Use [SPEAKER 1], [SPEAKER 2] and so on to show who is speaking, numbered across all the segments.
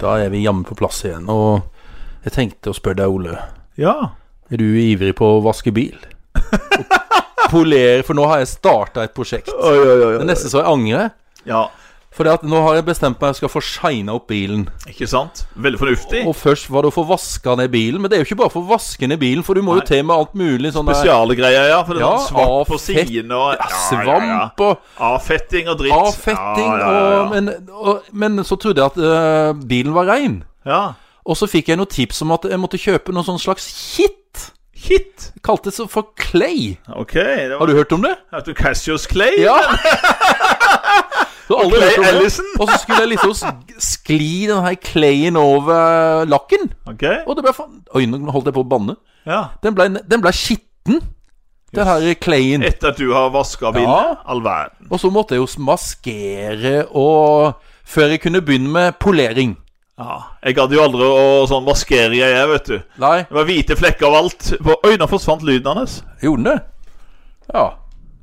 [SPEAKER 1] Da er vi jammen på plass igjen. Og jeg tenkte å spørre deg, Ole.
[SPEAKER 2] Ja.
[SPEAKER 1] Er du ivrig på å vaske bil? Og polere, for nå har jeg starta et prosjekt.
[SPEAKER 2] Oi, oi, oi,
[SPEAKER 1] Det neste så jeg angrer.
[SPEAKER 2] Ja,
[SPEAKER 1] For det at nå har jeg bestemt meg jeg skal få shina opp bilen.
[SPEAKER 2] ikke sant? Veldig fornuftig.
[SPEAKER 1] Og først var det å få vaska ned bilen. Men det er jo ikke bare å få vaske ned bilen, for du må
[SPEAKER 2] Nei.
[SPEAKER 1] jo til med alt mulig. Sånn der-
[SPEAKER 2] Spesiale greier, ja. For det
[SPEAKER 1] Ja,
[SPEAKER 2] er sånn svart på
[SPEAKER 1] avfett-
[SPEAKER 2] sidene og
[SPEAKER 1] ja, svamp og
[SPEAKER 2] Avfetting og dritt.
[SPEAKER 1] avfetting.
[SPEAKER 2] ja, ja, ja,
[SPEAKER 1] Og, men, og, men så trodde jeg at eh, bilen var rein.
[SPEAKER 2] ja. ja.
[SPEAKER 1] Og så fikk jeg noen tips om at jeg måtte kjøpe noe sånn slags kit.
[SPEAKER 2] Hit!
[SPEAKER 1] Kalte det så for clay.
[SPEAKER 2] Ok. Det var
[SPEAKER 1] Har du hørt om det?
[SPEAKER 2] Hørte du Cassius Clay?
[SPEAKER 1] Ja! Du har aldri
[SPEAKER 2] Clay
[SPEAKER 1] hørt om det.
[SPEAKER 2] Ellison.
[SPEAKER 1] Og så skulle jeg liksom s- skli den her clayen over lakken.
[SPEAKER 2] Ok.
[SPEAKER 1] Og det ble faen Oi, nå holdt jeg på å banne.
[SPEAKER 2] Ja.
[SPEAKER 1] Den ble, den ble skitten, den her clayen.
[SPEAKER 2] Etter at du har vaska bilen?
[SPEAKER 1] Ja.
[SPEAKER 2] All verden.
[SPEAKER 1] Og så måtte jeg jo maskere og Før jeg kunne begynne med polering.
[SPEAKER 2] Ja. Jeg gadd jo aldri å sånn maskere jeg er, vet du.
[SPEAKER 1] Nei,
[SPEAKER 2] Det var hvite flekker overalt. På- Oi, nå forsvant lyden hans.
[SPEAKER 1] gjorde den det? Ja.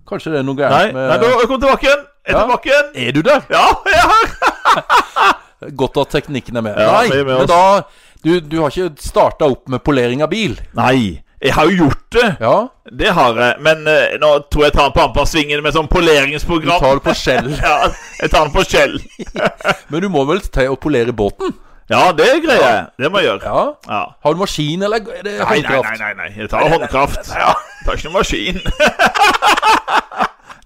[SPEAKER 1] Kanskje det er noe
[SPEAKER 2] Nei,
[SPEAKER 1] gærent
[SPEAKER 2] nei,
[SPEAKER 1] med
[SPEAKER 2] nå kom tilbake igjen. Jeg er
[SPEAKER 1] Ja.
[SPEAKER 2] tilbake igjen.
[SPEAKER 1] Er du der?
[SPEAKER 2] Ja, jeg er her.
[SPEAKER 1] Godt at teknikken er med.
[SPEAKER 2] Ja, vi
[SPEAKER 1] Nei,
[SPEAKER 2] er med
[SPEAKER 1] men
[SPEAKER 2] oss.
[SPEAKER 1] da Du, du har ikke starta opp med polering av bil?
[SPEAKER 2] Nei, jeg har jo gjort det.
[SPEAKER 1] Ja?
[SPEAKER 2] Det har jeg. Men eh, nå tror jeg jeg tar den på Ampasvingen med sånn
[SPEAKER 1] Du
[SPEAKER 2] poleringsprogram.
[SPEAKER 1] tar det på skjell.
[SPEAKER 2] Ja, jeg tar den på skjell.
[SPEAKER 1] Men du må vel til å polere båten?
[SPEAKER 2] Ja, det greier jeg. Det må jeg gjøre.
[SPEAKER 1] Ja?
[SPEAKER 2] Ja.
[SPEAKER 1] Har du maskin, eller er det
[SPEAKER 2] Nei, nei, nei,
[SPEAKER 1] håndkraft?
[SPEAKER 2] nei, nei. Jeg tar håndkraft. Ja. Tar ikke noen maskin.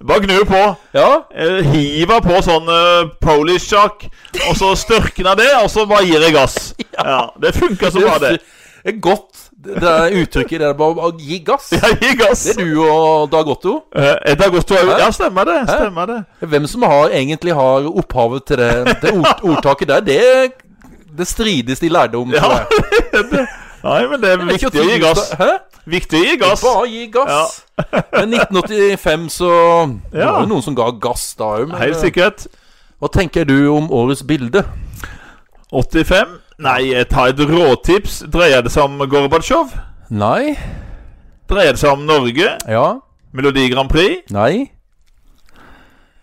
[SPEAKER 2] Bare gnu på.
[SPEAKER 1] Ja?
[SPEAKER 2] Eh, Hiver på sånn uh, polish-sjakk, og så størkner det, og så bare gir jeg gass. Ja, Det funker så bra, det.
[SPEAKER 1] Det er godt, det det der uttrykket der bare å gi gass.
[SPEAKER 2] Jeg gir gass.
[SPEAKER 1] Det er du og Dag Otto.
[SPEAKER 2] Eh, Et august
[SPEAKER 1] Hæ?
[SPEAKER 2] Ja, stemmer det. Stemmer det.
[SPEAKER 1] Hvem som har, egentlig har opphavet til det, det ord, ordtaket der, det, det strides i lærdom.
[SPEAKER 2] Ja,
[SPEAKER 1] tror jeg.
[SPEAKER 2] Nei, men det er
[SPEAKER 1] Jeg vet ikke
[SPEAKER 2] viktig å gi
[SPEAKER 1] hvordan du
[SPEAKER 2] gass.
[SPEAKER 1] skal- Hæ?
[SPEAKER 2] Viktig å gi gass.
[SPEAKER 1] Bare gi gass. Men 1985 så Det
[SPEAKER 2] Ja.
[SPEAKER 1] var jo noen som ga gass da òg.
[SPEAKER 2] Helt sikkert.
[SPEAKER 1] Hva tenker du om årets bilde?
[SPEAKER 2] 85. Nei, jeg tar et råtips. Dreier det seg om Gorbatsjov?
[SPEAKER 1] Nei?
[SPEAKER 2] Dreier det seg om Norge?
[SPEAKER 1] Ja?
[SPEAKER 2] Melodi Grand Prix?
[SPEAKER 1] Nei?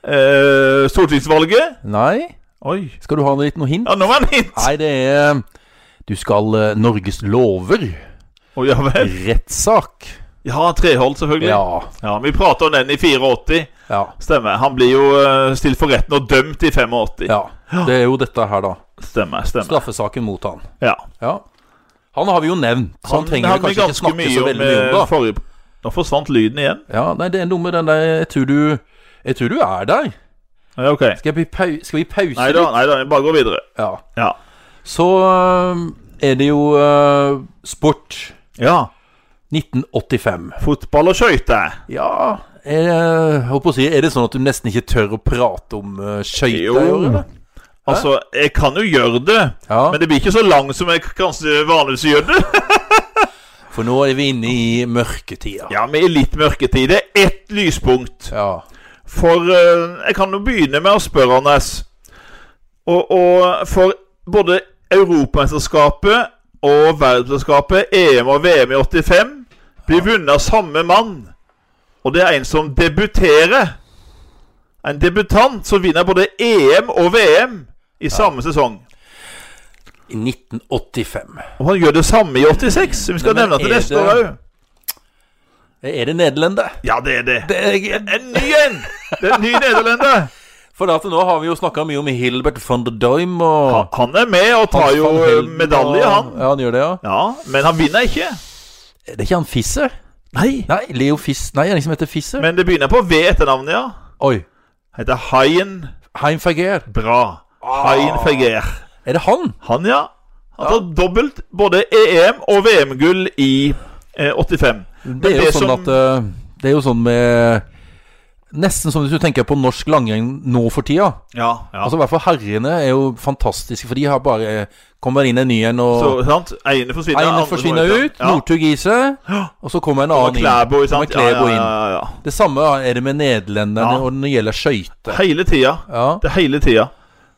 [SPEAKER 2] Eh, stortingsvalget?
[SPEAKER 1] Nei?
[SPEAKER 2] Oi.
[SPEAKER 1] Skal du ha en liten noe hint?
[SPEAKER 2] Ja, nå var det hint.
[SPEAKER 1] Nei, det er Du skal eh, Norges lover.
[SPEAKER 2] Å, ja vel.
[SPEAKER 1] Rettssak.
[SPEAKER 2] Ja, Treholt, selvfølgelig.
[SPEAKER 1] Ja.
[SPEAKER 2] Ja, Vi prata om den i 84.
[SPEAKER 1] Ja.
[SPEAKER 2] Stemmer. Han blir jo eh, stilt for retten og dømt i 85.
[SPEAKER 1] ja. Det er jo dette her, da.
[SPEAKER 2] Stemmer. stemmer
[SPEAKER 1] Straffesaken mot han.
[SPEAKER 2] Ja.
[SPEAKER 1] Ja. Han har vi jo nevnt, så han, trenger
[SPEAKER 2] hadde
[SPEAKER 1] vi kanskje ikke
[SPEAKER 2] ganske
[SPEAKER 1] snakke så veldig
[SPEAKER 2] eh,
[SPEAKER 1] mye om, da.
[SPEAKER 2] forrige... Nå forsvant lyden igjen.
[SPEAKER 1] Ja, nei, det er noe med den der Jeg tror du Jeg tror du er der.
[SPEAKER 2] Ja, ok
[SPEAKER 1] Skal, jeg bli pau skal vi pause
[SPEAKER 2] Nei da, nei da, bare gå videre.
[SPEAKER 1] litt? Ja.
[SPEAKER 2] Ja.
[SPEAKER 1] Så øhm, er det jo øh, sport
[SPEAKER 2] ja.
[SPEAKER 1] 1985.
[SPEAKER 2] Fotball og skøyter.
[SPEAKER 1] Ja er, jeg holdt på å si, er det sånn at du nesten ikke tør å prate om uh, skøyter?
[SPEAKER 2] Jo.
[SPEAKER 1] i år, eller?
[SPEAKER 2] Altså, jeg kan jo gjøre det,
[SPEAKER 1] Ja.
[SPEAKER 2] men det blir ikke så langt som jeg kanskje vanligvis gjør det.
[SPEAKER 1] For nå er vi inne i mørketida.
[SPEAKER 2] Ja, men i litt mørketid. Det er ett lyspunkt.
[SPEAKER 1] ja.
[SPEAKER 2] For eh, jeg kan jo begynne med å spørre, Anders. Og, og for både Europamesterskapet og verdensmesterskapet, EM og VM i 85, blir vunnet av samme mann. Og det er en som debuterer. En debutant som vinner både EM og VM i samme sesong.
[SPEAKER 1] I 1985.
[SPEAKER 2] Og han gjør det samme i 86. Vi skal
[SPEAKER 1] Nei, men
[SPEAKER 2] nevne at det
[SPEAKER 1] er
[SPEAKER 2] neste
[SPEAKER 1] det-
[SPEAKER 2] år òg.
[SPEAKER 1] Er det nederlender?
[SPEAKER 2] Ja, det er det.
[SPEAKER 1] Det er,
[SPEAKER 2] En ny en! Det er en ny nederlender.
[SPEAKER 1] For at nå har vi jo snakka mye om Hilbert von der Døym og
[SPEAKER 2] Han- Han er med og tar jo eh,
[SPEAKER 1] Hans van Helden
[SPEAKER 2] medalje,
[SPEAKER 1] og-
[SPEAKER 2] han.
[SPEAKER 1] Ja, han gjør det, ja.
[SPEAKER 2] Ja, Men han vinner ikke.
[SPEAKER 1] Er det ikke han Fisser?
[SPEAKER 2] Nei.
[SPEAKER 1] Nei, Leo Fiss Nei, er det en som heter Fisser?
[SPEAKER 2] Men det begynner på V etternavnet, ja.
[SPEAKER 1] Oi.
[SPEAKER 2] Heter Haien
[SPEAKER 1] Heimfager.
[SPEAKER 2] Bra. Haien Feger.
[SPEAKER 1] Er det han?
[SPEAKER 2] Han, ja. Han har tatt dobbelt både EM- og VM-gull i eh, 85. Men
[SPEAKER 1] Det er jo
[SPEAKER 2] det
[SPEAKER 1] sånn
[SPEAKER 2] som-
[SPEAKER 1] at eh, Det er jo sånn med Nesten som hvis du tenker på norsk langrenn nå for tida.
[SPEAKER 2] Ja, ja.
[SPEAKER 1] Altså i hvert fall herrene er jo fantastiske, for de har bare eh, Kommer inn en ny en, og
[SPEAKER 2] Så sant, ene forsvinner.
[SPEAKER 1] Eine
[SPEAKER 2] andre
[SPEAKER 1] forsvinner
[SPEAKER 2] går
[SPEAKER 1] ut,
[SPEAKER 2] Ja.
[SPEAKER 1] Northug i seg, og så kommer en annen
[SPEAKER 2] Og Klæbo,
[SPEAKER 1] inn.
[SPEAKER 2] sant.
[SPEAKER 1] Kommer Klæbo
[SPEAKER 2] ja,
[SPEAKER 1] inn.
[SPEAKER 2] ja, ja, ja.
[SPEAKER 1] Det samme er det med nederlenderne
[SPEAKER 2] Ja.
[SPEAKER 1] og når det gjelder skøyter.
[SPEAKER 2] Hele tida.
[SPEAKER 1] Ja,
[SPEAKER 2] Det er hele tida.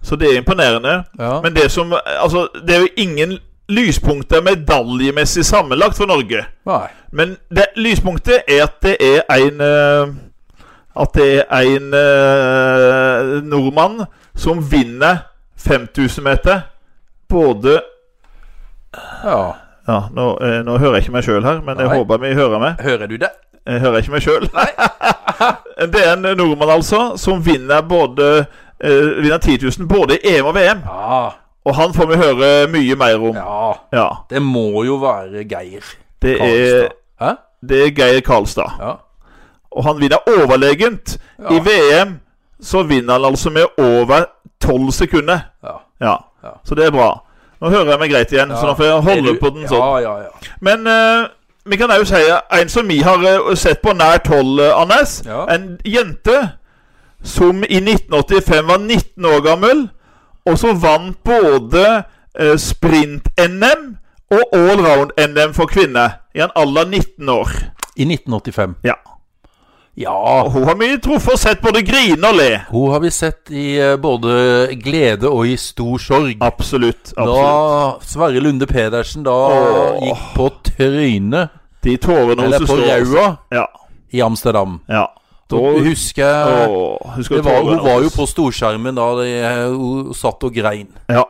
[SPEAKER 2] Så det er imponerende.
[SPEAKER 1] ja.
[SPEAKER 2] Men det som Altså, det er jo ingen lyspunkter medaljemessig sammenlagt for Norge.
[SPEAKER 1] Nei.
[SPEAKER 2] Men det, lyspunktet er at det er en eh, At det er en eh, nordmann som vinner 5000 meter både
[SPEAKER 1] Ja.
[SPEAKER 2] Ja, nå, eh, nå hører jeg ikke meg sjøl her, men jeg
[SPEAKER 1] Nei.
[SPEAKER 2] håper vi hører meg.
[SPEAKER 1] Hører du det?
[SPEAKER 2] Jeg hører ikke meg sjøl. det er en nordmann, altså, som vinner både eh, Vinner 10 000 både i EM og VM.
[SPEAKER 1] Ja.
[SPEAKER 2] Og han får vi høre mye mer om. Ja.
[SPEAKER 1] ja. Det må jo være Geir
[SPEAKER 2] det, er,
[SPEAKER 1] Karlstad. Hæ?
[SPEAKER 2] det er Geir Karlstad.
[SPEAKER 1] Ja.
[SPEAKER 2] Og han vinner overlegent.
[SPEAKER 1] Ja.
[SPEAKER 2] I VM så vinner han altså med over 12 sekunder.
[SPEAKER 1] ja.
[SPEAKER 2] Ja.
[SPEAKER 1] Ja.
[SPEAKER 2] Så det er bra. Nå hører jeg meg greit igjen, så nå får jeg
[SPEAKER 1] Er
[SPEAKER 2] holde
[SPEAKER 1] du-
[SPEAKER 2] på den sånn.
[SPEAKER 1] Ja, ja, ja.
[SPEAKER 2] Men eh, vi kan òg si en som vi har eh, sett på nært hold, eh, Anders.
[SPEAKER 1] Ja.
[SPEAKER 2] En jente som i 1985 var 19 år gammel, og som vant både eh, sprint-NM og allround-NM for kvinner i en alder 19 år.
[SPEAKER 1] I 1985.
[SPEAKER 2] Ja.
[SPEAKER 1] Ja.
[SPEAKER 2] Og hun har mye truffet og sett både grine og le.
[SPEAKER 1] Hun har vi sett i eh, både glede og i stor sorg.
[SPEAKER 2] Absolutt. absolutt.
[SPEAKER 1] Da Sverre Lunde Pedersen da
[SPEAKER 2] Åh.
[SPEAKER 1] gikk på trynet,
[SPEAKER 2] De tårene
[SPEAKER 1] eller
[SPEAKER 2] hennes
[SPEAKER 1] på
[SPEAKER 2] står
[SPEAKER 1] raua,
[SPEAKER 2] Ja.
[SPEAKER 1] i Amsterdam.
[SPEAKER 2] ja. Da
[SPEAKER 1] Husker jeg
[SPEAKER 2] Åh, husker
[SPEAKER 1] det var,
[SPEAKER 2] tårene
[SPEAKER 1] Hun var jo
[SPEAKER 2] hennes.
[SPEAKER 1] på storskjermen da de, hun satt og grein.
[SPEAKER 2] Ja.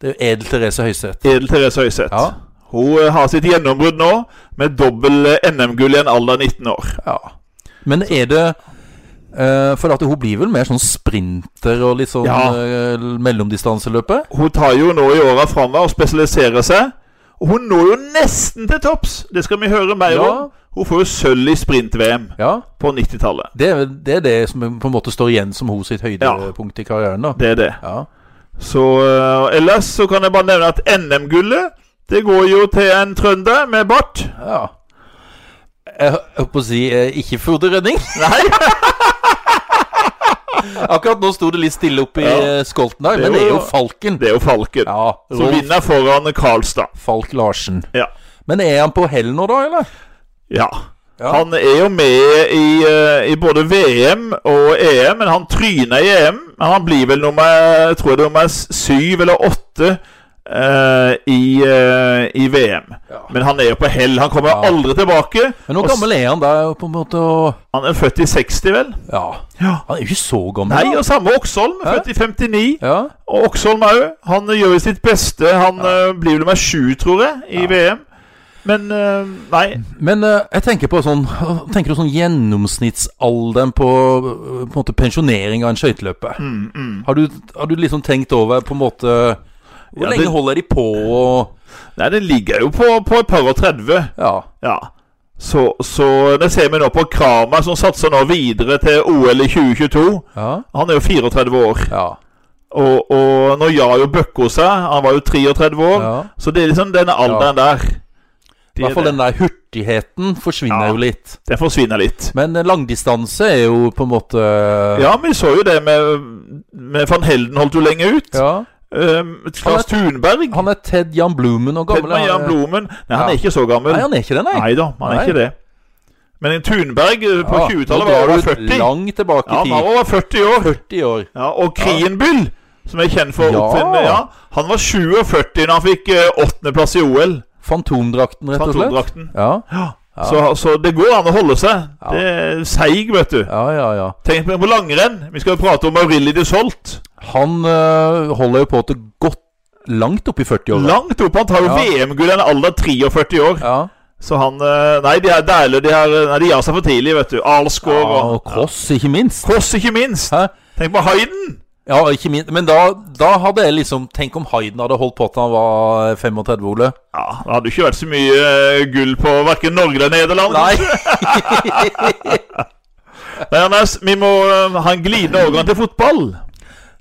[SPEAKER 1] Det er jo Edel Therese Høiseth.
[SPEAKER 2] Edel Therese Høiseth.
[SPEAKER 1] Ja.
[SPEAKER 2] Hun eh, har sitt gjennombrudd nå, med dobbel eh, NM-gull i en alder av 19 år.
[SPEAKER 1] Ja. Men er det eh, For at hun blir vel mer sånn sprinter og litt sånn
[SPEAKER 2] Ja.
[SPEAKER 1] eh, mellomdistanseløpet?
[SPEAKER 2] Hun tar jo nå i åra framover og spesialiserer seg. Og hun når jo nesten til topps! Det skal vi høre mer
[SPEAKER 1] Ja.
[SPEAKER 2] om. Hun får jo sølv i sprint-VM
[SPEAKER 1] Ja.
[SPEAKER 2] på 90-tallet.
[SPEAKER 1] Det, er- det er det som på en måte står igjen som hun sitt høydepunkt i karrieren, da.
[SPEAKER 2] Det er det.
[SPEAKER 1] Ja.
[SPEAKER 2] Så eh, ellers så kan jeg bare nevne at NM-gullet det går jo til en trønder med bart.
[SPEAKER 1] Ja. Jeg holdt på å si eh, ikke Frode Rønning. Nei. Akkurat nå sto det litt stille oppe i
[SPEAKER 2] Ja.
[SPEAKER 1] eh, skolten her,
[SPEAKER 2] Det er
[SPEAKER 1] men det er
[SPEAKER 2] jo-
[SPEAKER 1] jo Falken.
[SPEAKER 2] Det er jo Falken.
[SPEAKER 1] Ja,
[SPEAKER 2] Som
[SPEAKER 1] Rolf
[SPEAKER 2] vinner foran Karlstad.
[SPEAKER 1] Falk Larsen.
[SPEAKER 2] Ja.
[SPEAKER 1] Men er han på hell nå, da, eller?
[SPEAKER 2] Ja.
[SPEAKER 1] Ja.
[SPEAKER 2] Han er jo med i, eh, i både VM og EM, men han tryner i EM. Men han blir vel nummer jeg tror det er nummer s- syv eller åtte eh, i, eh, i VM.
[SPEAKER 1] Ja.
[SPEAKER 2] Men han er jo på hell. Han kommer
[SPEAKER 1] Ja.
[SPEAKER 2] aldri tilbake.
[SPEAKER 1] Men hvor
[SPEAKER 2] Og s-
[SPEAKER 1] gammel er han da, på en måte? Og...
[SPEAKER 2] Han er født i 60, vel?
[SPEAKER 1] Ja.
[SPEAKER 2] Ja.
[SPEAKER 1] Han er jo ikke så gammel.
[SPEAKER 2] Nei, altså. og samme Oksholm.
[SPEAKER 1] Hæ?
[SPEAKER 2] Født i 59.
[SPEAKER 1] Ja.
[SPEAKER 2] Og Oksholm òg. Han gjør jo sitt beste. Han eh, blir vel nummer sju, tror jeg, i
[SPEAKER 1] Ja.
[SPEAKER 2] VM. Men eh, nei.
[SPEAKER 1] Men eh, jeg tenker på sånn Tenker du sånn gjennomsnittsalderen på, eh, på en måte pensjonering av en skøyteløper?
[SPEAKER 2] Mm, mm.
[SPEAKER 1] Har, du- har du liksom tenkt over på en måte Hvor
[SPEAKER 2] Ja,
[SPEAKER 1] lenge
[SPEAKER 2] det-
[SPEAKER 1] holder de på og
[SPEAKER 2] Nei, det ligger jo på, på et par og 30.
[SPEAKER 1] Ja.
[SPEAKER 2] Ja. Så, så det ser vi nå på Kramer, som satser nå videre til OL i 2022.
[SPEAKER 1] Ja.
[SPEAKER 2] Han er jo 34 år.
[SPEAKER 1] Ja.
[SPEAKER 2] Og, og nå gjør jo Bøkko seg. Han var jo 33 år.
[SPEAKER 1] ja.
[SPEAKER 2] Så det er liksom denne alderen der.
[SPEAKER 1] I
[SPEAKER 2] Det er
[SPEAKER 1] hvert fall
[SPEAKER 2] det.
[SPEAKER 1] den der hurtigheten forsvinner
[SPEAKER 2] Ja.
[SPEAKER 1] jo litt.
[SPEAKER 2] Den forsvinner litt.
[SPEAKER 1] Men eh, langdistanse er jo på en måte
[SPEAKER 2] Ja, vi så jo det med, med Van Helden holdt jo lenge ut. Ja.
[SPEAKER 1] Ja.
[SPEAKER 2] Klas Thunberg.
[SPEAKER 1] Han er Ted Jan Blumen og
[SPEAKER 2] Ted
[SPEAKER 1] gammel.
[SPEAKER 2] Maja
[SPEAKER 1] han er-
[SPEAKER 2] Blomen. Nei, han
[SPEAKER 1] Ja.
[SPEAKER 2] er ikke så gammel.
[SPEAKER 1] Nei, han er ikke det, nei.
[SPEAKER 2] Nei da, han er
[SPEAKER 1] Nei.
[SPEAKER 2] ikke det. Men en Thunberg eh, på
[SPEAKER 1] Ja,
[SPEAKER 2] 20-tallet
[SPEAKER 1] nå drar
[SPEAKER 2] var over
[SPEAKER 1] du
[SPEAKER 2] 40.
[SPEAKER 1] Langt tilbake
[SPEAKER 2] Ja,
[SPEAKER 1] i
[SPEAKER 2] han
[SPEAKER 1] tid.
[SPEAKER 2] var over 40 år.
[SPEAKER 1] 40 år.
[SPEAKER 2] Ja, og Krienbyll, som er kjent for å
[SPEAKER 1] Ja.
[SPEAKER 2] oppfinne ja, Han var 47 da han fikk eh, åttendeplass i OL.
[SPEAKER 1] Fantomdrakten, rett og slett.
[SPEAKER 2] Fantomdrakten.
[SPEAKER 1] Ja,
[SPEAKER 2] Ja.
[SPEAKER 1] Ja.
[SPEAKER 2] Så, så det går an å holde seg.
[SPEAKER 1] Ja.
[SPEAKER 2] Det er seig, vet du.
[SPEAKER 1] ja, ja. ja.
[SPEAKER 2] Tenk på langrenn. Vi skal jo prate om Aurili de Solt.
[SPEAKER 1] Han øh, holder jo på til godt langt opp i 40-åra.
[SPEAKER 2] Langt opp. Han tar jo
[SPEAKER 1] Ja.
[SPEAKER 2] VM-gull i en alder av 43 år.
[SPEAKER 1] Ja.
[SPEAKER 2] Så han eh, Nei, de er deilige. De, er- nei, de gjør seg for tidlig, vet du.
[SPEAKER 1] ja,
[SPEAKER 2] Alsgaard
[SPEAKER 1] og Cross, ikke minst.
[SPEAKER 2] Koss, ikke minst.
[SPEAKER 1] Hæ?
[SPEAKER 2] Tenk på Hayden.
[SPEAKER 1] Ja, ikke minst. Men da, da hadde jeg liksom Tenk om Hayden hadde holdt på til han var 35, Ole.
[SPEAKER 2] Ja, Det hadde jo ikke vært så mye eh, gull på verken Norge eller Nederland.
[SPEAKER 1] Nei!
[SPEAKER 2] Nei, Anders, vi må eh, ha en glidende overgang til fotball.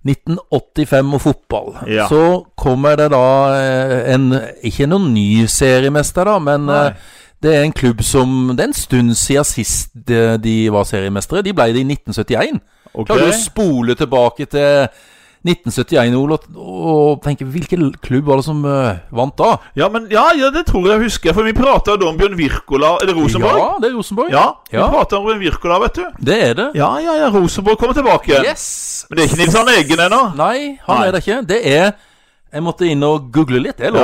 [SPEAKER 1] 1985 og fotball.
[SPEAKER 2] Ja.
[SPEAKER 1] Så kommer det da eh, en Ikke noen ny seriemester, da, men
[SPEAKER 2] Nei.
[SPEAKER 1] eh, det er en klubb som Det er en stund siden sist eh, de var seriemestere. De ble det i 1971.
[SPEAKER 2] Ok.
[SPEAKER 1] Klarer du å spole tilbake til 1971, Ole, og- og tenke hvilken klubb var det som eh, vant da?
[SPEAKER 2] Ja, men, ja, ja, det tror jeg husker, for vi prata om Bjørn Wirkola Er det Rosenborg?
[SPEAKER 1] Ja, det er Rosenborg.
[SPEAKER 2] Ja, vi
[SPEAKER 1] Ja.
[SPEAKER 2] pratet om Bjørn Wirkola, vet du.
[SPEAKER 1] Det er det.
[SPEAKER 2] Ja, ja, ja, Rosenborg kommer tilbake igjen.
[SPEAKER 1] Yes!
[SPEAKER 2] Men det er ikke Nils Arne Eggen ennå.
[SPEAKER 1] Nei, han
[SPEAKER 2] Nei.
[SPEAKER 1] er det ikke. Det er Jeg måtte inn og google litt, det er lov.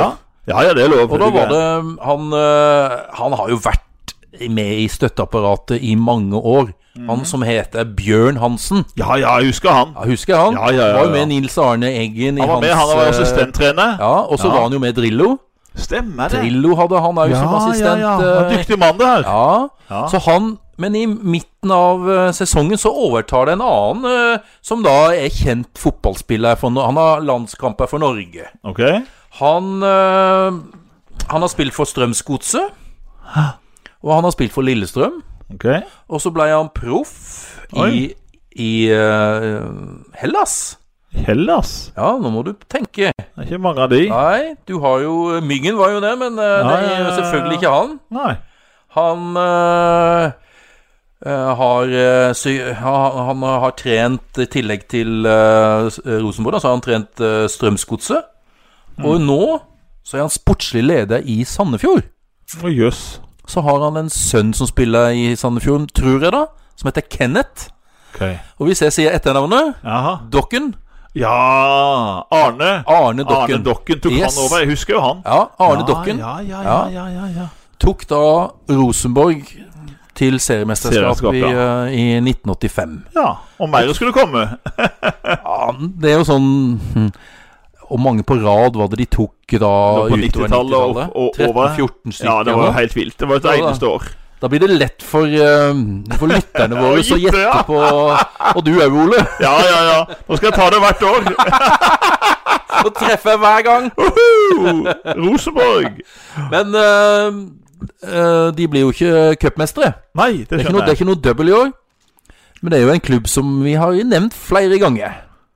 [SPEAKER 2] Ja. ja, ja, det er lov.
[SPEAKER 1] Og da var det Han, eh, han har jo vært med i støtteapparatet i mange år.
[SPEAKER 2] Mhm.
[SPEAKER 1] Han som heter Bjørn Hansen.
[SPEAKER 2] Ja, ja, jeg husker han.
[SPEAKER 1] Ja, husker jeg han?
[SPEAKER 2] Ja, ja, ja,
[SPEAKER 1] Var jo med
[SPEAKER 2] ja.
[SPEAKER 1] Nils Arne Eggen i
[SPEAKER 2] Han var
[SPEAKER 1] hans
[SPEAKER 2] med, han var
[SPEAKER 1] eh,
[SPEAKER 2] assistenttrener.
[SPEAKER 1] Ja, Og så
[SPEAKER 2] Ja.
[SPEAKER 1] var han jo med Drillo.
[SPEAKER 2] Stemmer det.
[SPEAKER 1] Drillo hadde han òg som
[SPEAKER 2] ja,
[SPEAKER 1] assistent.
[SPEAKER 2] ja. Han er
[SPEAKER 1] eh,
[SPEAKER 2] en Dyktig mann, det her.
[SPEAKER 1] Ja,
[SPEAKER 2] Ja.
[SPEAKER 1] så han Men i midten av eh, sesongen så overtar det en annen eh, som da er kjent fotballspiller. For, no- han har landskamper for Norge.
[SPEAKER 2] Ok.
[SPEAKER 1] Han eh, Han har spilt for Strømsgodset. Og han har spilt for Lillestrøm.
[SPEAKER 2] ok
[SPEAKER 1] Og så ble han proff i,
[SPEAKER 2] Oi.
[SPEAKER 1] i eh, Hellas.
[SPEAKER 2] Hellas.
[SPEAKER 1] Ja, nå må du tenke.
[SPEAKER 2] Det er ikke mange av de.
[SPEAKER 1] Nei, du har jo Myggen var jo det, men eh, det
[SPEAKER 2] Ja, ja,
[SPEAKER 1] er
[SPEAKER 2] ja,
[SPEAKER 1] jo
[SPEAKER 2] ja.
[SPEAKER 1] selvfølgelig ikke han.
[SPEAKER 2] Nei.
[SPEAKER 1] Han øh, øh, har, øh, sy ha- han har trent i tillegg til øh, s- øh, Rosenborg, da, så har han trent øh, Strømsgodset.
[SPEAKER 2] Mm.
[SPEAKER 1] Og nå så er han sportslig leder i Sandefjord.
[SPEAKER 2] Å, jøss.
[SPEAKER 1] Så har han en sønn som spiller i Sandefjord, tror jeg da, som heter Kenneth.
[SPEAKER 2] Ok.
[SPEAKER 1] Og hvis jeg sier etternavnet
[SPEAKER 2] Jaha.
[SPEAKER 1] Dokken.
[SPEAKER 2] Ja Arne.
[SPEAKER 1] Arne Dokken.
[SPEAKER 2] Arne Dokken tok
[SPEAKER 1] Yes.
[SPEAKER 2] han over. Jeg husker jo han.
[SPEAKER 1] Ja, Arne Dokken
[SPEAKER 2] Ja, ja,
[SPEAKER 1] Ja.
[SPEAKER 2] ja, ja, ja, ja.
[SPEAKER 1] tok da Rosenborg til seriemesterskap
[SPEAKER 2] Seriemesterskap,
[SPEAKER 1] i,
[SPEAKER 2] ja.
[SPEAKER 1] øh, i 1985.
[SPEAKER 2] ja. Og mer skulle komme.
[SPEAKER 1] Ja, det er jo sånn hm, Og mange på rad var det de tok da
[SPEAKER 2] Nå på
[SPEAKER 1] utover
[SPEAKER 2] 90-tallet og-
[SPEAKER 1] 90-tallet?
[SPEAKER 2] og- over.
[SPEAKER 1] 13-14 stykker.
[SPEAKER 2] Ja, det var jo
[SPEAKER 1] da.
[SPEAKER 2] helt vilt. Det var et
[SPEAKER 1] Ja, da.
[SPEAKER 2] eneste år.
[SPEAKER 1] Da blir det lett for, eh, for lytterne våre å
[SPEAKER 2] Gitte,
[SPEAKER 1] gjette
[SPEAKER 2] ja.
[SPEAKER 1] på Og du òg, Ole.
[SPEAKER 2] Ja, ja, ja. Nå skal jeg ta det hvert år.
[SPEAKER 1] Nå treffer jeg hver gang.
[SPEAKER 2] Uhu! Rosenborg.
[SPEAKER 1] Men eh, eh, de blir jo ikke cupmestere.
[SPEAKER 2] Nei, det
[SPEAKER 1] Det, er ikke noe-
[SPEAKER 2] skjønner
[SPEAKER 1] det er
[SPEAKER 2] jeg.
[SPEAKER 1] ikke noe double i år. Men det er jo en klubb som vi har nevnt flere ganger.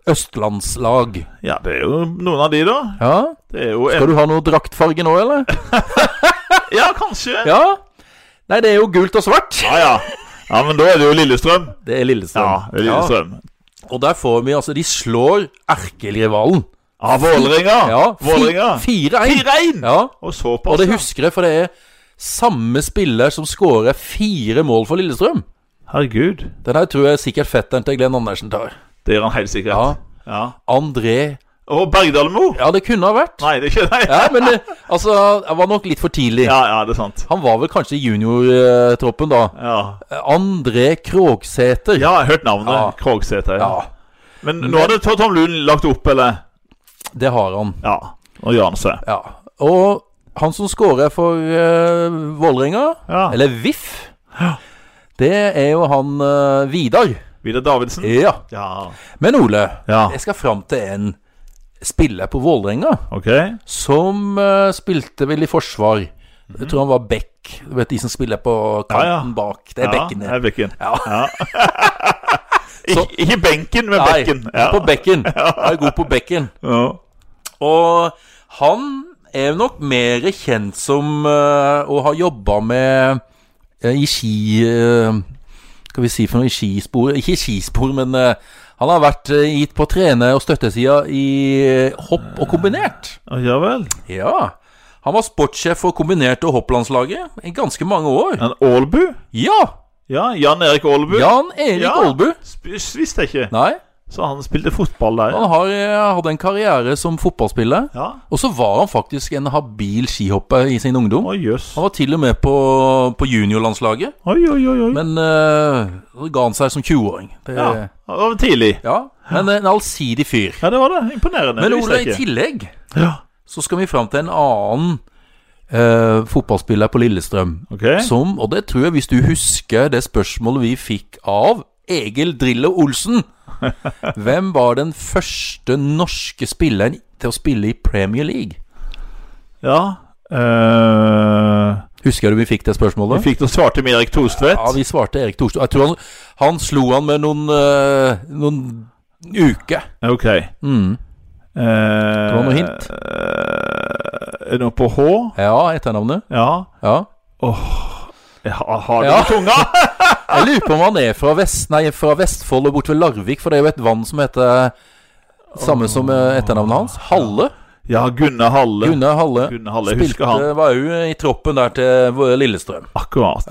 [SPEAKER 1] Østlandslag.
[SPEAKER 2] Ja, det er jo noen av de, da.
[SPEAKER 1] Ja.
[SPEAKER 2] Det er jo
[SPEAKER 1] Skal du ha noe draktfarge nå, eller?
[SPEAKER 2] Ja, kanskje. Ja.
[SPEAKER 1] Ja? Nei, det er jo gult og svart.
[SPEAKER 2] ja, ja. men da er det jo Lillestrøm.
[SPEAKER 1] Det er Lillestrøm.
[SPEAKER 2] Ja, det er Lillestrøm.
[SPEAKER 1] Ja, og der får vi altså De slår erkerivalen.
[SPEAKER 2] Ja, Vålerenga.
[SPEAKER 1] Ja, fi- 4-1.
[SPEAKER 2] Vålerenga. 4-1!
[SPEAKER 1] Ja,
[SPEAKER 2] Og
[SPEAKER 1] og
[SPEAKER 2] såpass.
[SPEAKER 1] det
[SPEAKER 2] ja.
[SPEAKER 1] husker jeg, for det er samme spiller som skårer fire mål for Lillestrøm.
[SPEAKER 2] Herregud.
[SPEAKER 1] Den her tror jeg sikkert fetteren til Glenn Andersen tar.
[SPEAKER 2] Det gjør han helt sikkert.
[SPEAKER 1] Ja.
[SPEAKER 2] Ja.
[SPEAKER 1] André
[SPEAKER 2] Og Bergdalmo.
[SPEAKER 1] Ja, det kunne ha vært.
[SPEAKER 2] Nei, det er ikke Nei.
[SPEAKER 1] Ja, men det, altså Jeg var nok litt for tidlig.
[SPEAKER 2] Ja, ja, det er sant.
[SPEAKER 1] Han var vel kanskje i juniortroppen da.
[SPEAKER 2] Ja,
[SPEAKER 1] André Krogsæter.
[SPEAKER 2] ja jeg har hørt navnet.
[SPEAKER 1] Ja.
[SPEAKER 2] Krogsæter. Ja.
[SPEAKER 1] Ja,
[SPEAKER 2] Men nå hadde Tom- Tom Lund lagt opp, eller?
[SPEAKER 1] det har han.
[SPEAKER 2] Ja. Og gjør han seg.
[SPEAKER 1] Ja. Og han som skårer for eh, Vålerenga,
[SPEAKER 2] Ja.
[SPEAKER 1] eller VIF, det er jo han eh, Vidar.
[SPEAKER 2] Vidar Davidsen.
[SPEAKER 1] Ja.
[SPEAKER 2] Ja.
[SPEAKER 1] Men Ole,
[SPEAKER 2] Ja,
[SPEAKER 1] jeg skal fram til en spiller på Vålerenga
[SPEAKER 2] OK.
[SPEAKER 1] som eh, spilte vel i forsvar. Jeg tror han var back. Du vet de som spiller på kanten
[SPEAKER 2] Ja, ja.
[SPEAKER 1] bak. Det er
[SPEAKER 2] ja,
[SPEAKER 1] bekkene.
[SPEAKER 2] er bekken.
[SPEAKER 1] Ja.
[SPEAKER 2] Ikke, ikke benken, men
[SPEAKER 1] Nei,
[SPEAKER 2] bekken. Ja.
[SPEAKER 1] På bekken. Jeg er god på bekken.
[SPEAKER 2] Ja.
[SPEAKER 1] Og han er nok mer kjent som eh, å ha jobba med eh, i ski eh, Skal vi si for noe i skispor Ikke i skispor, men eh, han har vært eh, i- på trene- og støttesida i eh, hopp og kombinert.
[SPEAKER 2] Å, ja vel.
[SPEAKER 1] Ja. Han var sportssjef for kombinert- og hopplandslaget i ganske mange år.
[SPEAKER 2] En Aalbu?
[SPEAKER 1] Ja!
[SPEAKER 2] Ja, Jan Erik Aalbu.
[SPEAKER 1] Jan Erik
[SPEAKER 2] Ja.
[SPEAKER 1] Aalbu.
[SPEAKER 2] Sp- Visste jeg ikke.
[SPEAKER 1] Nei,
[SPEAKER 2] Så han spilte fotball der.
[SPEAKER 1] han har, eh, hadde en karriere som fotballspiller.
[SPEAKER 2] Ja.
[SPEAKER 1] Og så var han faktisk en habil skihopper i sin ungdom.
[SPEAKER 2] Å, jøss.
[SPEAKER 1] Han var til og med på, på juniorlandslaget,
[SPEAKER 2] Oi, oi, oi. oi.
[SPEAKER 1] men eh, uh, ga han seg som 20-åring. Det-
[SPEAKER 2] Mm. ja. Det var tidlig.
[SPEAKER 1] ja. Men en allsidig fyr.
[SPEAKER 2] Ja, det var det. Imponerende.
[SPEAKER 1] Men
[SPEAKER 2] det
[SPEAKER 1] Ole, i
[SPEAKER 2] visste jeg ikke.
[SPEAKER 1] tillegg
[SPEAKER 2] Ja.
[SPEAKER 1] så skal vi fram til en annen eh, fotballspiller på Lillestrøm.
[SPEAKER 2] Ok.
[SPEAKER 1] Som, og det tror jeg, hvis du husker det spørsmålet vi fikk av Egil Drillo Olsen Hvem var den første norske spilleren til å spille i Premier League?
[SPEAKER 2] Ja. eh,
[SPEAKER 1] Husker du vi fikk det
[SPEAKER 2] vi
[SPEAKER 1] spørsmålet?
[SPEAKER 2] fikk da svarte med Erik Thorstvedt.
[SPEAKER 1] Ja, vi svarte Erik Thorstvedt. Jeg tror han, han slo han med noen, eh, noen uker.
[SPEAKER 2] Ok.
[SPEAKER 1] Mm.
[SPEAKER 2] Eh, det
[SPEAKER 1] var noe hint.
[SPEAKER 2] eh, er det noe på H?
[SPEAKER 1] Ja, etternavnet.
[SPEAKER 2] Ja.
[SPEAKER 1] Ja.
[SPEAKER 2] Jeg har, har det
[SPEAKER 1] Ja.
[SPEAKER 2] på tunga!
[SPEAKER 1] Jeg lurer på om han er fra, Vest, nei, fra Vestfold og bort ved Larvik, for det er jo et vann som heter Samme som eh, etternavnet hans. Halle.
[SPEAKER 2] Ja, Gunnar Halle.
[SPEAKER 1] Gunnar Halle.
[SPEAKER 2] Gunnar Halle, jeg husker
[SPEAKER 1] Spilte,
[SPEAKER 2] han.
[SPEAKER 1] var jo i troppen der til vår Lillestrøm.
[SPEAKER 2] Akkurat.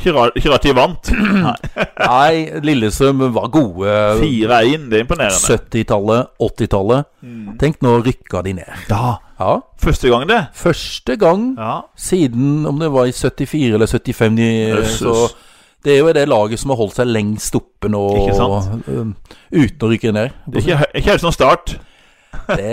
[SPEAKER 2] Ikke ra- Ikke rart de vant. Nei.
[SPEAKER 1] Nei, Lillestrøm var gode
[SPEAKER 2] 4-1, det er imponerende.
[SPEAKER 1] 70-tallet, 80-tallet.
[SPEAKER 2] Mm.
[SPEAKER 1] Tenk, nå rykka de ned.
[SPEAKER 2] Ja.
[SPEAKER 1] Ja.
[SPEAKER 2] Første gang, det.
[SPEAKER 1] Første gang
[SPEAKER 2] Ja.
[SPEAKER 1] Siden om det var i 74 eller 75 de,
[SPEAKER 2] Jøsses.
[SPEAKER 1] så Det er jo det laget som har holdt seg lengst oppe nå
[SPEAKER 2] Ikke sant?
[SPEAKER 1] um, uten å rykke ned.
[SPEAKER 2] Det er ikke, ikke helt sånn start.
[SPEAKER 1] Det,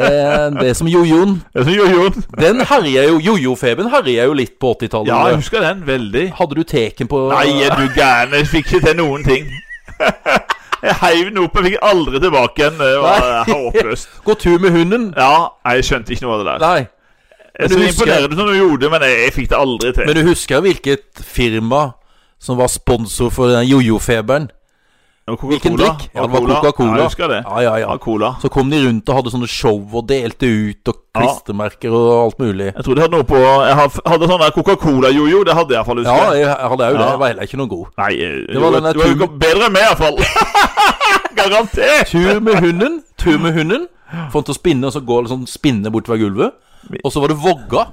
[SPEAKER 1] det er som jojoen.
[SPEAKER 2] Det er som jojoen.
[SPEAKER 1] Den herja jo Jojo-feben herja jo litt på 80-tallet.
[SPEAKER 2] Ja, jeg husker den veldig.
[SPEAKER 1] Hadde du teken på
[SPEAKER 2] Nei, er du gæren? Jeg fikk ikke til noen ting. Jeg heiv den opp, jeg fikk den aldri tilbake igjen. Det var håpløst.
[SPEAKER 1] Gå tur med hunden?
[SPEAKER 2] Ja, nei, jeg skjønte ikke noe av det der.
[SPEAKER 1] Nei.
[SPEAKER 2] Jeg
[SPEAKER 1] men
[SPEAKER 2] så
[SPEAKER 1] du husker-
[SPEAKER 2] imponerende som du gjorde det, men jeg, jeg fikk det aldri til.
[SPEAKER 1] Men du husker jo hvilket firma som var sponsor for den jojo-feberen?
[SPEAKER 2] Det var Coca-Cola.
[SPEAKER 1] Hvilken drikk? Ja, det var Coca-Cola.
[SPEAKER 2] Ja, jeg husker det.
[SPEAKER 1] Ja, ja, ja.
[SPEAKER 2] Ja, cola.
[SPEAKER 1] Så kom de rundt og hadde sånne show og delte ut og
[SPEAKER 2] Ja.
[SPEAKER 1] klistremerker og alt mulig.
[SPEAKER 2] Jeg tror de hadde noe på Jeg har- hadde sånn der Coca-Cola-jojo. Det hadde jeg iallfall,
[SPEAKER 1] Ja,
[SPEAKER 2] husker jeg.
[SPEAKER 1] jeg hadde jo det.
[SPEAKER 2] Ja.
[SPEAKER 1] Jeg var heller ikke noe god.
[SPEAKER 2] Nei, jeg-
[SPEAKER 1] Det var
[SPEAKER 2] du-
[SPEAKER 1] den der
[SPEAKER 2] du var jo
[SPEAKER 1] tuben.
[SPEAKER 2] bedre enn meg, iallfall. Garantert.
[SPEAKER 1] Tur med hunden, tur med hunden. Få den til å spinne, og så går det sånn spinne bortover gulvet. Og så var det vogga.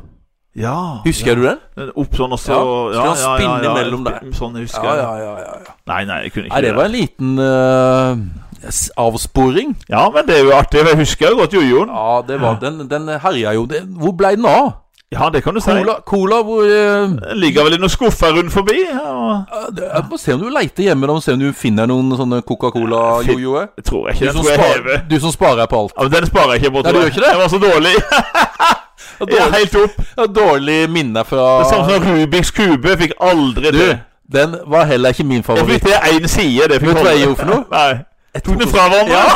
[SPEAKER 2] Ja.
[SPEAKER 1] Husker du den?
[SPEAKER 2] Den Opp sånn, og så
[SPEAKER 1] Ja, så kan spinne mellom der.
[SPEAKER 2] Sånn jeg husker
[SPEAKER 1] Ja,
[SPEAKER 2] jeg.
[SPEAKER 1] ja, ja. ja, ja.
[SPEAKER 2] Nei, nei, jeg kunne ikke
[SPEAKER 1] Nei, det var en liten eh, s- avsporing.
[SPEAKER 2] Ja, men det er jo artig. for Jeg husker jo godt jojoen.
[SPEAKER 1] Ja, det var den. Den herja jo. Det, hvor ble den av?
[SPEAKER 2] Ja, det kan du si.
[SPEAKER 1] Cola, cola hvor eh,
[SPEAKER 2] Den ligger vel i noen skuffer rundt forbi. ja, og-
[SPEAKER 1] Ja, det- Jeg må se om du leiter hjemme da, og se om du finner noen sånne Coca-Cola-jojoer.
[SPEAKER 2] Jeg tror
[SPEAKER 1] Du,
[SPEAKER 2] ikke. Den
[SPEAKER 1] som
[SPEAKER 2] tror jeg
[SPEAKER 1] spar-
[SPEAKER 2] hever.
[SPEAKER 1] du som sparer på alt.
[SPEAKER 2] Ja, men den sparer jeg ikke. Bort,
[SPEAKER 1] Nei, du gjør ikke det?
[SPEAKER 2] Den var så dårlig.
[SPEAKER 1] Dårlig,
[SPEAKER 2] Ja, helt opp.
[SPEAKER 1] ja, dårlig minne fra
[SPEAKER 2] Det samme som Rubiks kube. Fikk
[SPEAKER 1] Du,
[SPEAKER 2] aldri det.
[SPEAKER 1] den var heller ikke min
[SPEAKER 2] Jeg
[SPEAKER 1] favoritt.
[SPEAKER 2] fikk det én side. Det fikk
[SPEAKER 1] Vet du hva jeg gjorde for noe?
[SPEAKER 2] Nei. Jeg tok den fra hverandre.